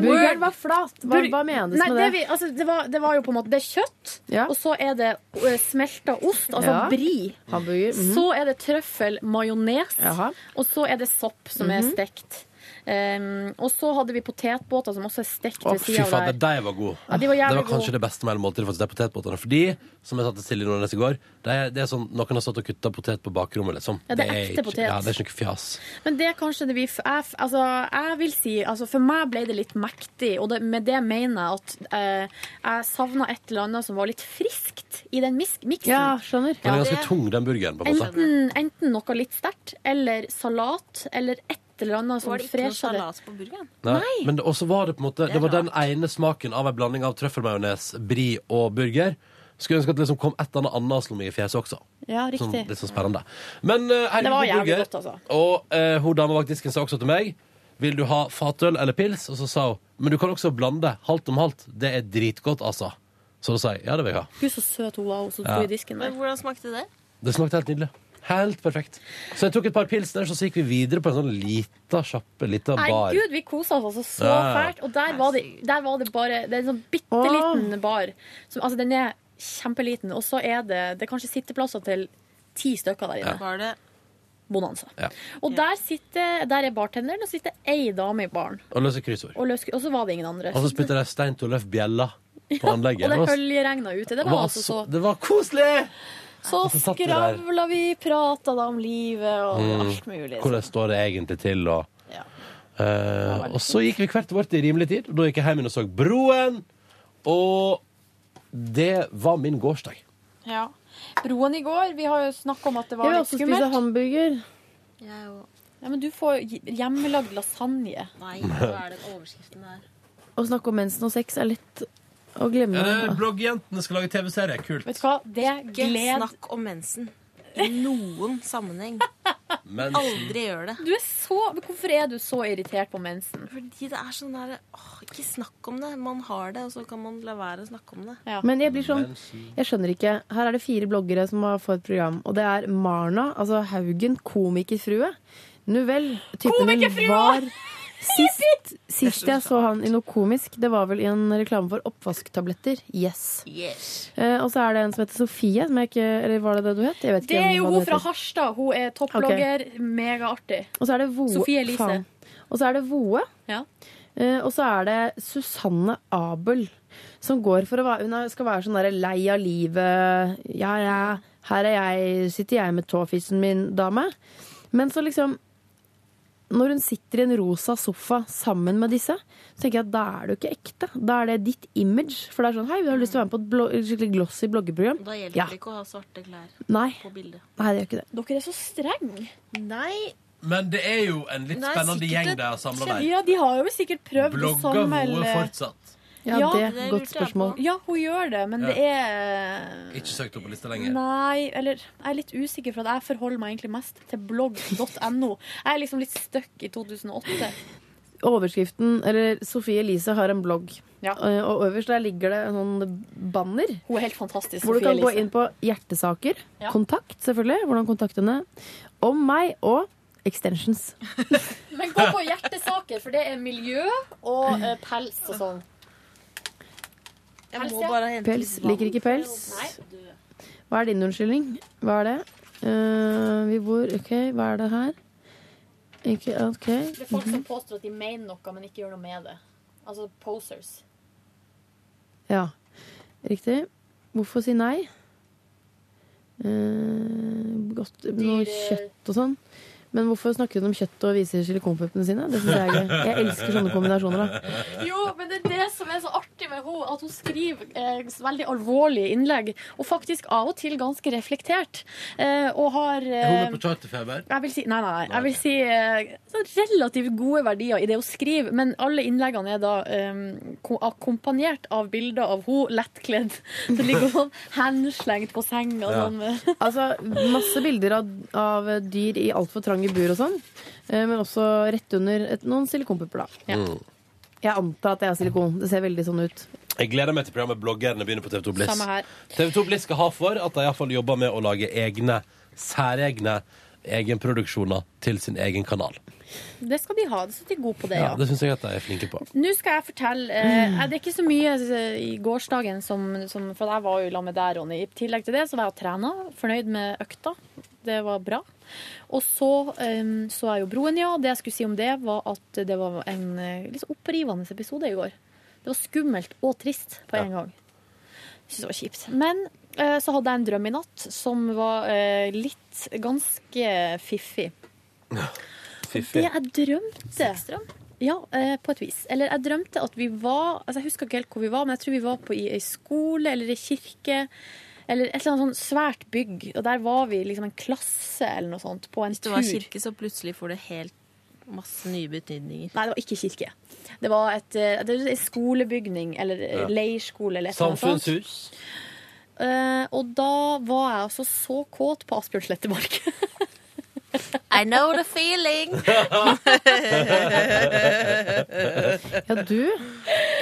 [SPEAKER 5] Burgeren var flat. Hva, hva menes
[SPEAKER 4] Nei,
[SPEAKER 5] med
[SPEAKER 4] det?
[SPEAKER 5] det?
[SPEAKER 4] vi, altså, det, var, det var jo på en måte Det er kjøtt,
[SPEAKER 5] Ja.
[SPEAKER 4] og så er det eh, smelta ost, altså
[SPEAKER 5] Ja.
[SPEAKER 4] bri.
[SPEAKER 5] Hamburger. mhm.
[SPEAKER 4] Så er det trøffel, majones,
[SPEAKER 5] Jaha.
[SPEAKER 4] og så er det sopp som
[SPEAKER 5] Mhm.
[SPEAKER 4] er stekt. Um, og så hadde vi potetbåter som også er stekt
[SPEAKER 2] Å,
[SPEAKER 4] ved
[SPEAKER 2] fy
[SPEAKER 4] sida av
[SPEAKER 2] faen,
[SPEAKER 4] der.
[SPEAKER 2] de var gode.
[SPEAKER 4] Ja, de var jævlig
[SPEAKER 2] det var kanskje
[SPEAKER 4] gode.
[SPEAKER 2] det beste med hele måltidet, faktisk, de potetbåtene. Fordi, som jeg sa til Silje Nordnes i går, det er, det er sånn noen har stått og kutta potet på bakrommet, liksom.
[SPEAKER 4] Ja, det er ekte
[SPEAKER 2] ikke,
[SPEAKER 4] potet.
[SPEAKER 2] Ja, det er ikke noe fjas.
[SPEAKER 4] Men det er kanskje det vi f- jeg, f- altså, jeg vil si altså, For meg ble det litt mektig, og det, med det mener jeg at eh, jeg savna et eller annet som var litt friskt i den mis- miksen.
[SPEAKER 5] Ja, skjønner.
[SPEAKER 2] Den er ganske tung, den burgeren, på en måte.
[SPEAKER 4] Enten, enten noe litt sterkt, eller salat, eller et Sånn eller annet som
[SPEAKER 3] Var det ikke noe
[SPEAKER 4] fresha det.
[SPEAKER 3] salat på burgeren?
[SPEAKER 2] Nei. Men det, også var det på en måte
[SPEAKER 3] Det er
[SPEAKER 2] Det var den ene smaken av en blanding av trøffelmajones, bri og burger. Skulle ønske at det liksom kom et eller annet annet slo meg i fjeset også.
[SPEAKER 4] Ja, riktig.
[SPEAKER 2] Sånn, litt sånn spennende. Men eh, herregud,
[SPEAKER 4] Det var
[SPEAKER 2] god
[SPEAKER 4] jævlig
[SPEAKER 2] burger.
[SPEAKER 4] godt, altså.
[SPEAKER 2] Og eh, hun dama bak disken sa også til meg Vil du ha fatøl eller pils? Og så sa hun Men du kan også blande halvt om halvt. Det er dritgodt, altså. Så da sa jeg ja, det vil jeg ha.
[SPEAKER 4] Gud, så søt hun var, hun som
[SPEAKER 2] Ja.
[SPEAKER 4] sto i disken der.
[SPEAKER 3] Men hvordan smakte det?
[SPEAKER 2] Det smakte helt nydelig. Helt perfekt. Så jeg tok et par pils der, så gikk vi videre på en sånn lita sjappe, lita bar.
[SPEAKER 4] Herregud, vi kosa oss altså så
[SPEAKER 2] Ja, ja.
[SPEAKER 4] fælt. Og der var det, der var det bare Det er en sånn bitte liten bar. Som, altså, den er kjempeliten, og så er det Det er kanskje sitteplasser til ti stykker der inne.
[SPEAKER 3] Ja. Var det
[SPEAKER 4] Bonanza.
[SPEAKER 2] Ja.
[SPEAKER 4] Og der, sitter, der er bartenderen, og sitter ei dame i baren.
[SPEAKER 2] Og løse kryssord.
[SPEAKER 4] Og, løs, og så var det ingen andre.
[SPEAKER 2] Og så spytta de Stein Torleif Bjella på anlegget.
[SPEAKER 4] Og det høljeregna ute. Det
[SPEAKER 2] Det var
[SPEAKER 4] var altså
[SPEAKER 2] så-
[SPEAKER 4] så
[SPEAKER 2] det var koselig!
[SPEAKER 4] Så
[SPEAKER 2] Og så satt vi der.
[SPEAKER 4] skravla vi, prata da om livet og alt mulig.
[SPEAKER 2] Mm. Hvordan står det egentlig til, og Eh, Og så gikk vi hvert vårt i rimelig tid. Og da gikk jeg hjem inn og så Broen. Og det var min gårsdag.
[SPEAKER 4] Ja. Broen i går, vi har jo snakket om at det var
[SPEAKER 5] vil
[SPEAKER 4] litt
[SPEAKER 5] også spise
[SPEAKER 4] skummelt.
[SPEAKER 5] hamburger.
[SPEAKER 4] Ja, men du får hj- hjemmelagd lasagne.
[SPEAKER 3] Nei, hva er den overskriften der?
[SPEAKER 5] Å snakke om mensen og sex er litt å glemme.
[SPEAKER 2] Eh, Bloggjentene skal lage TV-serie. Kult.
[SPEAKER 3] Vet
[SPEAKER 4] du hva? Det
[SPEAKER 3] Ikke
[SPEAKER 2] gled-
[SPEAKER 3] snakk om mensen. I noen sammenheng.
[SPEAKER 2] Men
[SPEAKER 3] Aldri gjør det.
[SPEAKER 4] Du er så, men hvorfor er du så irritert på mensen?
[SPEAKER 3] Fordi det er sånn der åh, Ikke snakk om det. Man har det, og så kan man la være å snakke om det.
[SPEAKER 5] Men jeg blir sånn, jeg skjønner ikke. Her er det fire bloggere som har fått program. Og det er Marna, altså Haugen, komikerfrue. Nu vel, typen
[SPEAKER 11] Komikerfrua!
[SPEAKER 5] hun var sist, sist jeg så han i noe komisk, det var vel i en reklame for oppvasktabletter. Yes. Eh, og så er det en som heter Sofie, som jeg ikke, eller var det det du het? Jeg vet ikke
[SPEAKER 4] Det er
[SPEAKER 5] hvem-
[SPEAKER 4] jo
[SPEAKER 5] hva
[SPEAKER 4] hun
[SPEAKER 5] du
[SPEAKER 4] fra
[SPEAKER 5] heter.
[SPEAKER 4] Harstad. Hun er topplogger. Megaartig.
[SPEAKER 5] Og så er det Voe.
[SPEAKER 4] Sofie Elise.
[SPEAKER 5] faen. Og så er det Voe.
[SPEAKER 4] Ja.
[SPEAKER 5] Eh, og så er det Susanne Abel, som går for å være Hun er- skal være sånn derre lei av livet. Ja, ja, her er jeg, sitter jeg med tåfissen min, dame. Men så liksom Når hun sitter i en rosa sofa sammen med disse, så tenker jeg at da er du ikke ekte. Da er det ditt image. For det er sånn Hei, vi har lyst til å være med på et blog skikkelig glossy bloggeprogram.
[SPEAKER 3] Da hjelper
[SPEAKER 5] Ja.
[SPEAKER 3] det ikke å ha svarte klær
[SPEAKER 5] Nei.
[SPEAKER 3] på bildet.
[SPEAKER 5] Nei, det gjør ikke det.
[SPEAKER 4] Dere er så strenge.
[SPEAKER 3] Nei.
[SPEAKER 2] Men det er jo en litt
[SPEAKER 4] Nei,
[SPEAKER 2] spennende
[SPEAKER 4] sikkert
[SPEAKER 2] gjeng
[SPEAKER 4] et
[SPEAKER 2] de har samla der.
[SPEAKER 4] Ja, de har jo sikkert prøvd å
[SPEAKER 2] Blogger
[SPEAKER 4] samle
[SPEAKER 2] Voe fortsatt?
[SPEAKER 5] Ja, det er et godt
[SPEAKER 4] lurte jeg
[SPEAKER 5] spørsmål.
[SPEAKER 4] på. Ja, hun gjør det, men
[SPEAKER 2] Ja.
[SPEAKER 4] det er
[SPEAKER 2] Ikke søkt opp på lista lenger.
[SPEAKER 4] Nei, eller jeg er litt usikker, for at jeg forholder meg egentlig mest til blogg.no. Jeg er liksom litt stuck i 2008.
[SPEAKER 5] overskriften Eller Sofie Elise har en blogg.
[SPEAKER 4] Ja.
[SPEAKER 5] Eh, Og øverst der ligger det en sånn banner.
[SPEAKER 4] Hun er helt fantastisk.
[SPEAKER 5] Hvor du
[SPEAKER 4] Sofie
[SPEAKER 5] kan gå
[SPEAKER 4] Elise.
[SPEAKER 5] inn på hjertesaker,
[SPEAKER 4] Ja.
[SPEAKER 5] kontakt selvfølgelig, hvordan kontakte henne, om meg og extensions.
[SPEAKER 4] Men gå på hjertesaker, for det er miljø og eh, pels og sånn.
[SPEAKER 3] Jeg må bare hente
[SPEAKER 5] Pels.
[SPEAKER 3] litt vann.
[SPEAKER 5] Liker ikke pels. Hva er din unnskyldning? Hva er det? Eh, vi bor OK, hva er det her? Ikke OK.
[SPEAKER 4] Det er folk som påstår at de mener noe, men ikke gjør noe med det. Altså posers.
[SPEAKER 5] Ja, riktig. Hvorfor si nei? Eh, godt, noe kjøtt og sånn. Men hvorfor snakker hun om kjøtt og viser silikonpuppene sine? Det synes jeg er gøy. Jeg elsker sånne kombinasjoner. da
[SPEAKER 4] Jo, men det er det som er så artig med henne, at hun skriver eh, veldig alvorlige innlegg, og faktisk av og til ganske reflektert. Eh, og har
[SPEAKER 2] Er
[SPEAKER 4] eh,
[SPEAKER 2] hun med på charterfeber?
[SPEAKER 4] jeg vil si, nei, nei, nei. Jeg vil si eh, sånn relativt gode verdier i det hun skriver, men alle innleggene er da eh, ko- akkompagnert av bilder av hun lettkledd. Så ligger hun sånn henslengt på senga.
[SPEAKER 5] Ja.
[SPEAKER 4] Sånn, med-
[SPEAKER 5] Altså, Masse bilder av, av dyr i altfor trange bur og sånn. Eh, Men også rett under et, noen silikonpupper, da.
[SPEAKER 2] Mm.
[SPEAKER 5] Jeg antar at jeg har silikon. Det ser veldig sånn ut.
[SPEAKER 2] Jeg gleder meg til programmet Bloggerne begynner på TV2 Bliss.
[SPEAKER 5] Samme her.
[SPEAKER 2] TV2 Bliss skal ha for at de iallfall jobber med å lage egne, særegne egenproduksjoner til sin egen kanal.
[SPEAKER 4] Det skal de ha. Det står de god på det,
[SPEAKER 2] Ja,
[SPEAKER 4] ja.
[SPEAKER 2] Det syns jeg at de er flinke på.
[SPEAKER 4] Nå skal jeg fortelle eh, Det er ikke så mye eh, i gårsdagen som, som For jeg var jo i lag med deg, Ronny. I tillegg til det så var jeg og trena. Fornøyd med økta. Det var bra. Og så eh, så jeg jo Broen, ja. Det jeg skulle si om det, var at det var en eh, litt så opprivende episode i går. Det var skummelt og trist på en gang. Jeg synes det var kjipt. Men eh, så hadde jeg en drøm i natt som var eh, litt ganske fiffig. Det jeg drømte Ja, eh, på et vis. Eller jeg drømte at vi var altså Jeg husker ikke helt hvor vi var, men jeg tror vi var på i ei skole eller ei kirke. Eller et eller annet sånn svært bygg. Og der var vi liksom en klasse eller noe sånt på en
[SPEAKER 3] Hvis det var
[SPEAKER 4] tur.
[SPEAKER 3] kirke, så plutselig får det helt masse nye betydninger.
[SPEAKER 4] Nei, det var ikke kirke. Det var et, eh, det var en skolebygning eller eh,
[SPEAKER 3] Ja.
[SPEAKER 4] leirskole eller et eller annet sånt.
[SPEAKER 2] Samfunnshus.
[SPEAKER 4] Eh, og da var jeg altså så kåt på Asbjørn Slettemark.
[SPEAKER 3] I know the feeling!
[SPEAKER 5] Ja, du,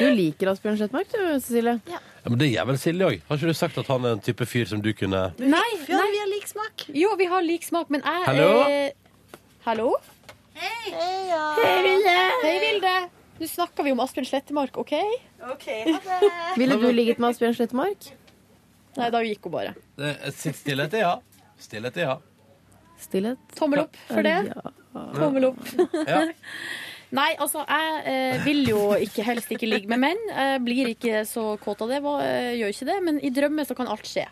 [SPEAKER 5] du liker Asbjørn Slettmark, du, Cecilie.
[SPEAKER 2] Ja, men det gjør vel Silje òg. Har ikke du sagt at han er en type fyr som du kunne
[SPEAKER 4] Nei, nei, vi har lik smak. Jo, vi har lik smak, men jeg
[SPEAKER 2] Hallo?
[SPEAKER 4] Eh, hallo? Hei! Hei, Vilde! Nå snakker vi om Asbjørn Slettemark, OK? OK,
[SPEAKER 5] Ville du ligget med Asbjørn Slettmark?
[SPEAKER 4] Nei, da gikk hun bare.
[SPEAKER 2] Det er- Stillhet er ja. Stillhet er ja.
[SPEAKER 5] Stillhet.
[SPEAKER 4] Tommel opp for det. Tommel opp.
[SPEAKER 2] Ja.
[SPEAKER 4] Nei, altså, jeg eh, vil jo ikke helst ikke ligge med menn. Jeg blir ikke så kåt av det. Hva, eh, gjør ikke det. Men i drømmen så kan alt skje.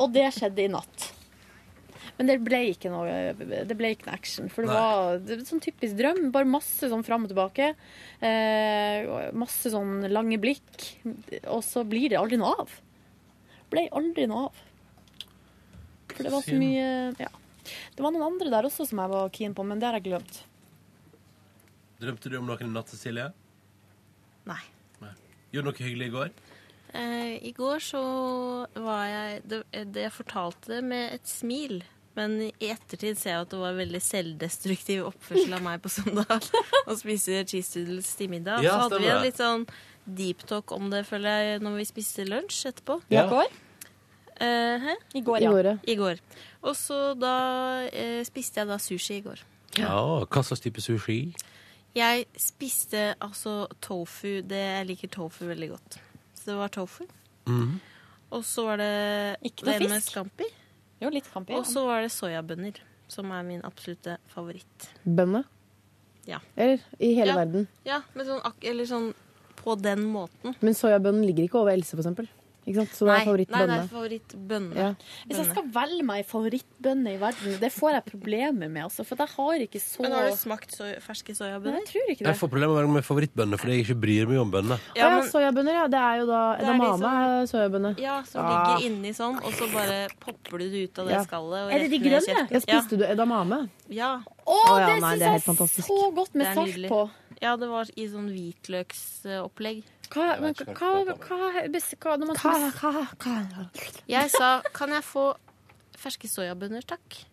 [SPEAKER 4] Og det skjedde i natt. Men det ble ikke noe, det ble ikke noe action. For det
[SPEAKER 3] Nei.
[SPEAKER 4] var det, var sånn typisk drøm. Bare masse sånn fram og tilbake. Eh, og masse sånn lange blikk. Og så blir det aldri noe av. Ble aldri noe av. For det var så
[SPEAKER 16] Synd.
[SPEAKER 4] mye ja. Det var noen andre der også som jeg var keen på, men det har jeg glemt.
[SPEAKER 2] Drømte du om noen i natt, Cecilie?
[SPEAKER 3] Nei.
[SPEAKER 2] Nei. Gjorde noe hyggelig i går?
[SPEAKER 3] Eh, I går så var jeg det, det Jeg fortalte det med et smil. Men i ettertid ser jeg at det var veldig selvdestruktiv oppførsel av meg på søndag. Å spise cheese doodles til middag.
[SPEAKER 8] Ja,
[SPEAKER 3] så hadde vi
[SPEAKER 8] stemmer
[SPEAKER 3] en
[SPEAKER 8] det.
[SPEAKER 3] litt sånn deep talk om det, føler jeg, når vi spiste lunsj etterpå.
[SPEAKER 8] Ja. I går?
[SPEAKER 3] Eh, hæ? I går,
[SPEAKER 8] I
[SPEAKER 3] ja.
[SPEAKER 8] går, ja.
[SPEAKER 3] I går. Og så da eh, spiste jeg da sushi i går.
[SPEAKER 2] Ja, Hva slags type sushi?
[SPEAKER 3] Jeg spiste altså tofu. Det, jeg liker tofu veldig godt. Så det var tofu.
[SPEAKER 2] Mhm.
[SPEAKER 3] Og så var det
[SPEAKER 4] Ikke noe
[SPEAKER 3] det med
[SPEAKER 4] fisk?
[SPEAKER 3] Scampi.
[SPEAKER 4] Jo, litt kampi.
[SPEAKER 3] Og så var det soyabønner, som er min absolutte favoritt.
[SPEAKER 5] Bønne.
[SPEAKER 3] Ja.
[SPEAKER 5] Eller i hele
[SPEAKER 3] Ja.
[SPEAKER 5] verden.
[SPEAKER 3] Ja, men sånn, ak- eller sånn på den måten.
[SPEAKER 5] Men soyabønnen ligger ikke over Else, for eksempel. Ikke sant? Så det er
[SPEAKER 3] nei, det
[SPEAKER 5] favorittbønne.
[SPEAKER 3] er favorittbønne.
[SPEAKER 5] Ja.
[SPEAKER 4] Hvis jeg skal velge meg favorittbønne i verden, det får jeg problemer med, altså. For jeg har ikke så
[SPEAKER 3] Men har du smakt soy ferske
[SPEAKER 4] Nei,
[SPEAKER 3] soyabønner?
[SPEAKER 4] jeg tror ikke det.
[SPEAKER 2] Jeg får problemer med favorittbønner fordi jeg ikke bryr meg om bønner.
[SPEAKER 5] Å ja, soyabønner, ja. Det er jo da
[SPEAKER 3] er de
[SPEAKER 5] edamame er soyabønne.
[SPEAKER 3] Ja, som
[SPEAKER 5] Ah.
[SPEAKER 3] ligger inni sånn, og så bare popper du det ut av det
[SPEAKER 5] Ja.
[SPEAKER 3] skallet. og
[SPEAKER 5] Er
[SPEAKER 3] rett
[SPEAKER 5] det de
[SPEAKER 3] ned i
[SPEAKER 5] grønne?
[SPEAKER 3] kjøttet.
[SPEAKER 5] Ja, spiste du edamame?
[SPEAKER 3] Ja.
[SPEAKER 5] Å, Å, ja, det nei, synes det er jeg helt fantastisk.
[SPEAKER 4] så godt med
[SPEAKER 3] Det er
[SPEAKER 4] salt
[SPEAKER 3] nydelig.
[SPEAKER 4] på.
[SPEAKER 3] Ja, det var i sånn hvitløksopplegg.
[SPEAKER 4] Hva, men, hva, hva, hva, hva, når man
[SPEAKER 3] Jeg sa 'kan jeg få ferske soyabønner, takk'?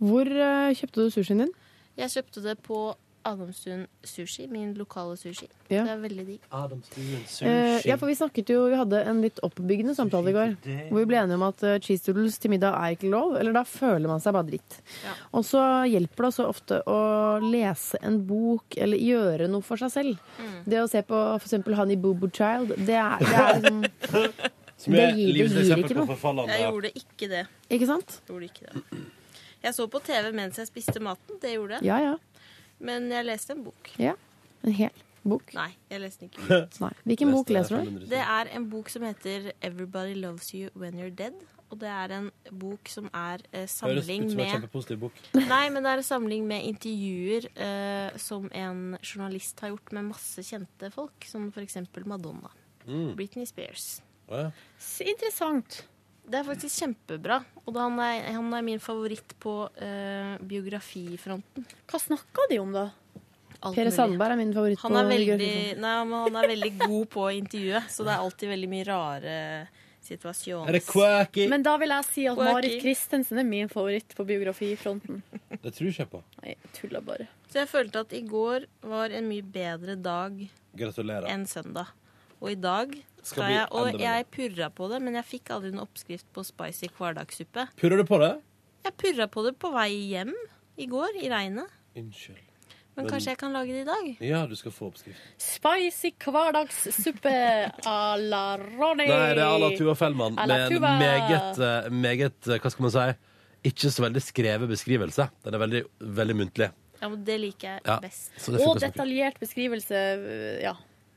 [SPEAKER 5] Hvor eh, kjøpte du sushien din?
[SPEAKER 3] Jeg kjøpte det på Adamstuen Sushi, min lokale sushi.
[SPEAKER 5] Ja.
[SPEAKER 3] Det er veldig digg.
[SPEAKER 2] Adamstuen
[SPEAKER 5] Eh, ja, for vi snakket jo, vi hadde en litt oppbyggende samtale i går. Hvor vi ble enige om at eh, cheese doodles til middag er ikke lov. Eller da føler man seg bare dritt. Og så hjelper det også ofte å lese en bok eller gjøre noe for seg selv.
[SPEAKER 3] Mm.
[SPEAKER 5] Det å se på f.eks. Honey Boo Boo Child, det er, det er liksom
[SPEAKER 2] Som er
[SPEAKER 5] Det gir- det
[SPEAKER 2] livets
[SPEAKER 5] gir
[SPEAKER 2] eksempel
[SPEAKER 5] ikke
[SPEAKER 2] på
[SPEAKER 5] noe.
[SPEAKER 2] forfallende
[SPEAKER 3] Jeg gjorde ikke det.
[SPEAKER 5] Ikke sant?
[SPEAKER 3] Gjorde ikke det. Jeg så på TV mens jeg spiste maten. Det gjorde jeg.
[SPEAKER 5] Ja, ja.
[SPEAKER 3] Men jeg leste en bok.
[SPEAKER 5] ja. En hel bok.
[SPEAKER 3] Nei, jeg leste den ikke.
[SPEAKER 5] Nei. Hvilken bok leser du?
[SPEAKER 3] Det er en bok som heter 'Everybody Loves You When You're Dead'. Og det er en bok som er eh,
[SPEAKER 2] Høres ut
[SPEAKER 3] samling
[SPEAKER 2] som en
[SPEAKER 3] med
[SPEAKER 2] kjempepositiv bok.
[SPEAKER 3] Nei, men det er en samling med intervjuer eh, som en journalist har gjort med masse kjente folk, som for eksempel Madonna.
[SPEAKER 2] Mm.
[SPEAKER 3] Britney Spears.
[SPEAKER 2] Å, ja.
[SPEAKER 4] Så interessant.
[SPEAKER 3] Det er faktisk kjempebra. Og da han, er, han er min favoritt på eh, biografifronten.
[SPEAKER 4] Hva snakka de om, da?
[SPEAKER 3] Alt
[SPEAKER 5] Per
[SPEAKER 3] mulig.
[SPEAKER 5] Sandberg er min favoritt.
[SPEAKER 3] Han er,
[SPEAKER 5] på
[SPEAKER 3] veldig,
[SPEAKER 5] Georg Olsen.
[SPEAKER 3] nei, men han er veldig god på å intervjue, så det er alltid veldig mye rare situasjoner.
[SPEAKER 4] Men da vil jeg si at
[SPEAKER 3] Quirky.
[SPEAKER 4] Marit Christensen er min favoritt på biografifronten.
[SPEAKER 2] Det tror jeg ikke på.
[SPEAKER 4] Nei, jeg tuller bare.
[SPEAKER 3] Så jeg følte at i går var en mye bedre dag
[SPEAKER 2] Gratulerer.
[SPEAKER 3] enn søndag. Og i dag
[SPEAKER 2] Skal
[SPEAKER 3] skal
[SPEAKER 2] bli
[SPEAKER 3] jeg
[SPEAKER 2] enda
[SPEAKER 3] Og
[SPEAKER 2] bedre.
[SPEAKER 3] jeg purra på det, men jeg fikk aldri en oppskrift på spicy hverdagssuppe.
[SPEAKER 2] Purrer du på det?
[SPEAKER 3] Jeg purra på det på vei hjem i går, i regnet.
[SPEAKER 2] Unnskyld.
[SPEAKER 3] Men kanskje jeg kan lage det i dag?
[SPEAKER 2] Ja, du skal få oppskrift.
[SPEAKER 4] Spicy hverdagssuppe à la Ronny.
[SPEAKER 2] Nei, det er à la Tuva Fellmann
[SPEAKER 4] À la
[SPEAKER 2] med en
[SPEAKER 4] Tuva.
[SPEAKER 2] meget, eh, meget eh, Hva skal man si? Ikke så veldig skrevet beskrivelse. Den er veldig, veldig muntlig.
[SPEAKER 3] Ja, men det liker jeg
[SPEAKER 2] Ja,
[SPEAKER 3] best.
[SPEAKER 2] så det funker
[SPEAKER 4] Og
[SPEAKER 2] som-
[SPEAKER 4] detaljert beskrivelse ja,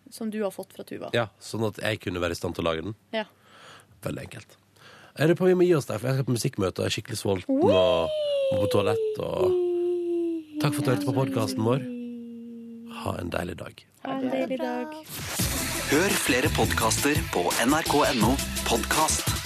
[SPEAKER 4] som du har fått fra Tuva.
[SPEAKER 2] Ja, Sånn at jeg kunne være i stand til å lage den.
[SPEAKER 4] Ja.
[SPEAKER 2] Veldig enkelt. Jeg lurer på om vi må gi oss der, for jeg skal på musikkmøte og er skikkelig sulten og må på toalett og Takk for at du hørte på podkasten vår. Ha en deilig dag.
[SPEAKER 4] Ha en deilig dag.
[SPEAKER 7] Hør flere podkaster på nrk.no podkast.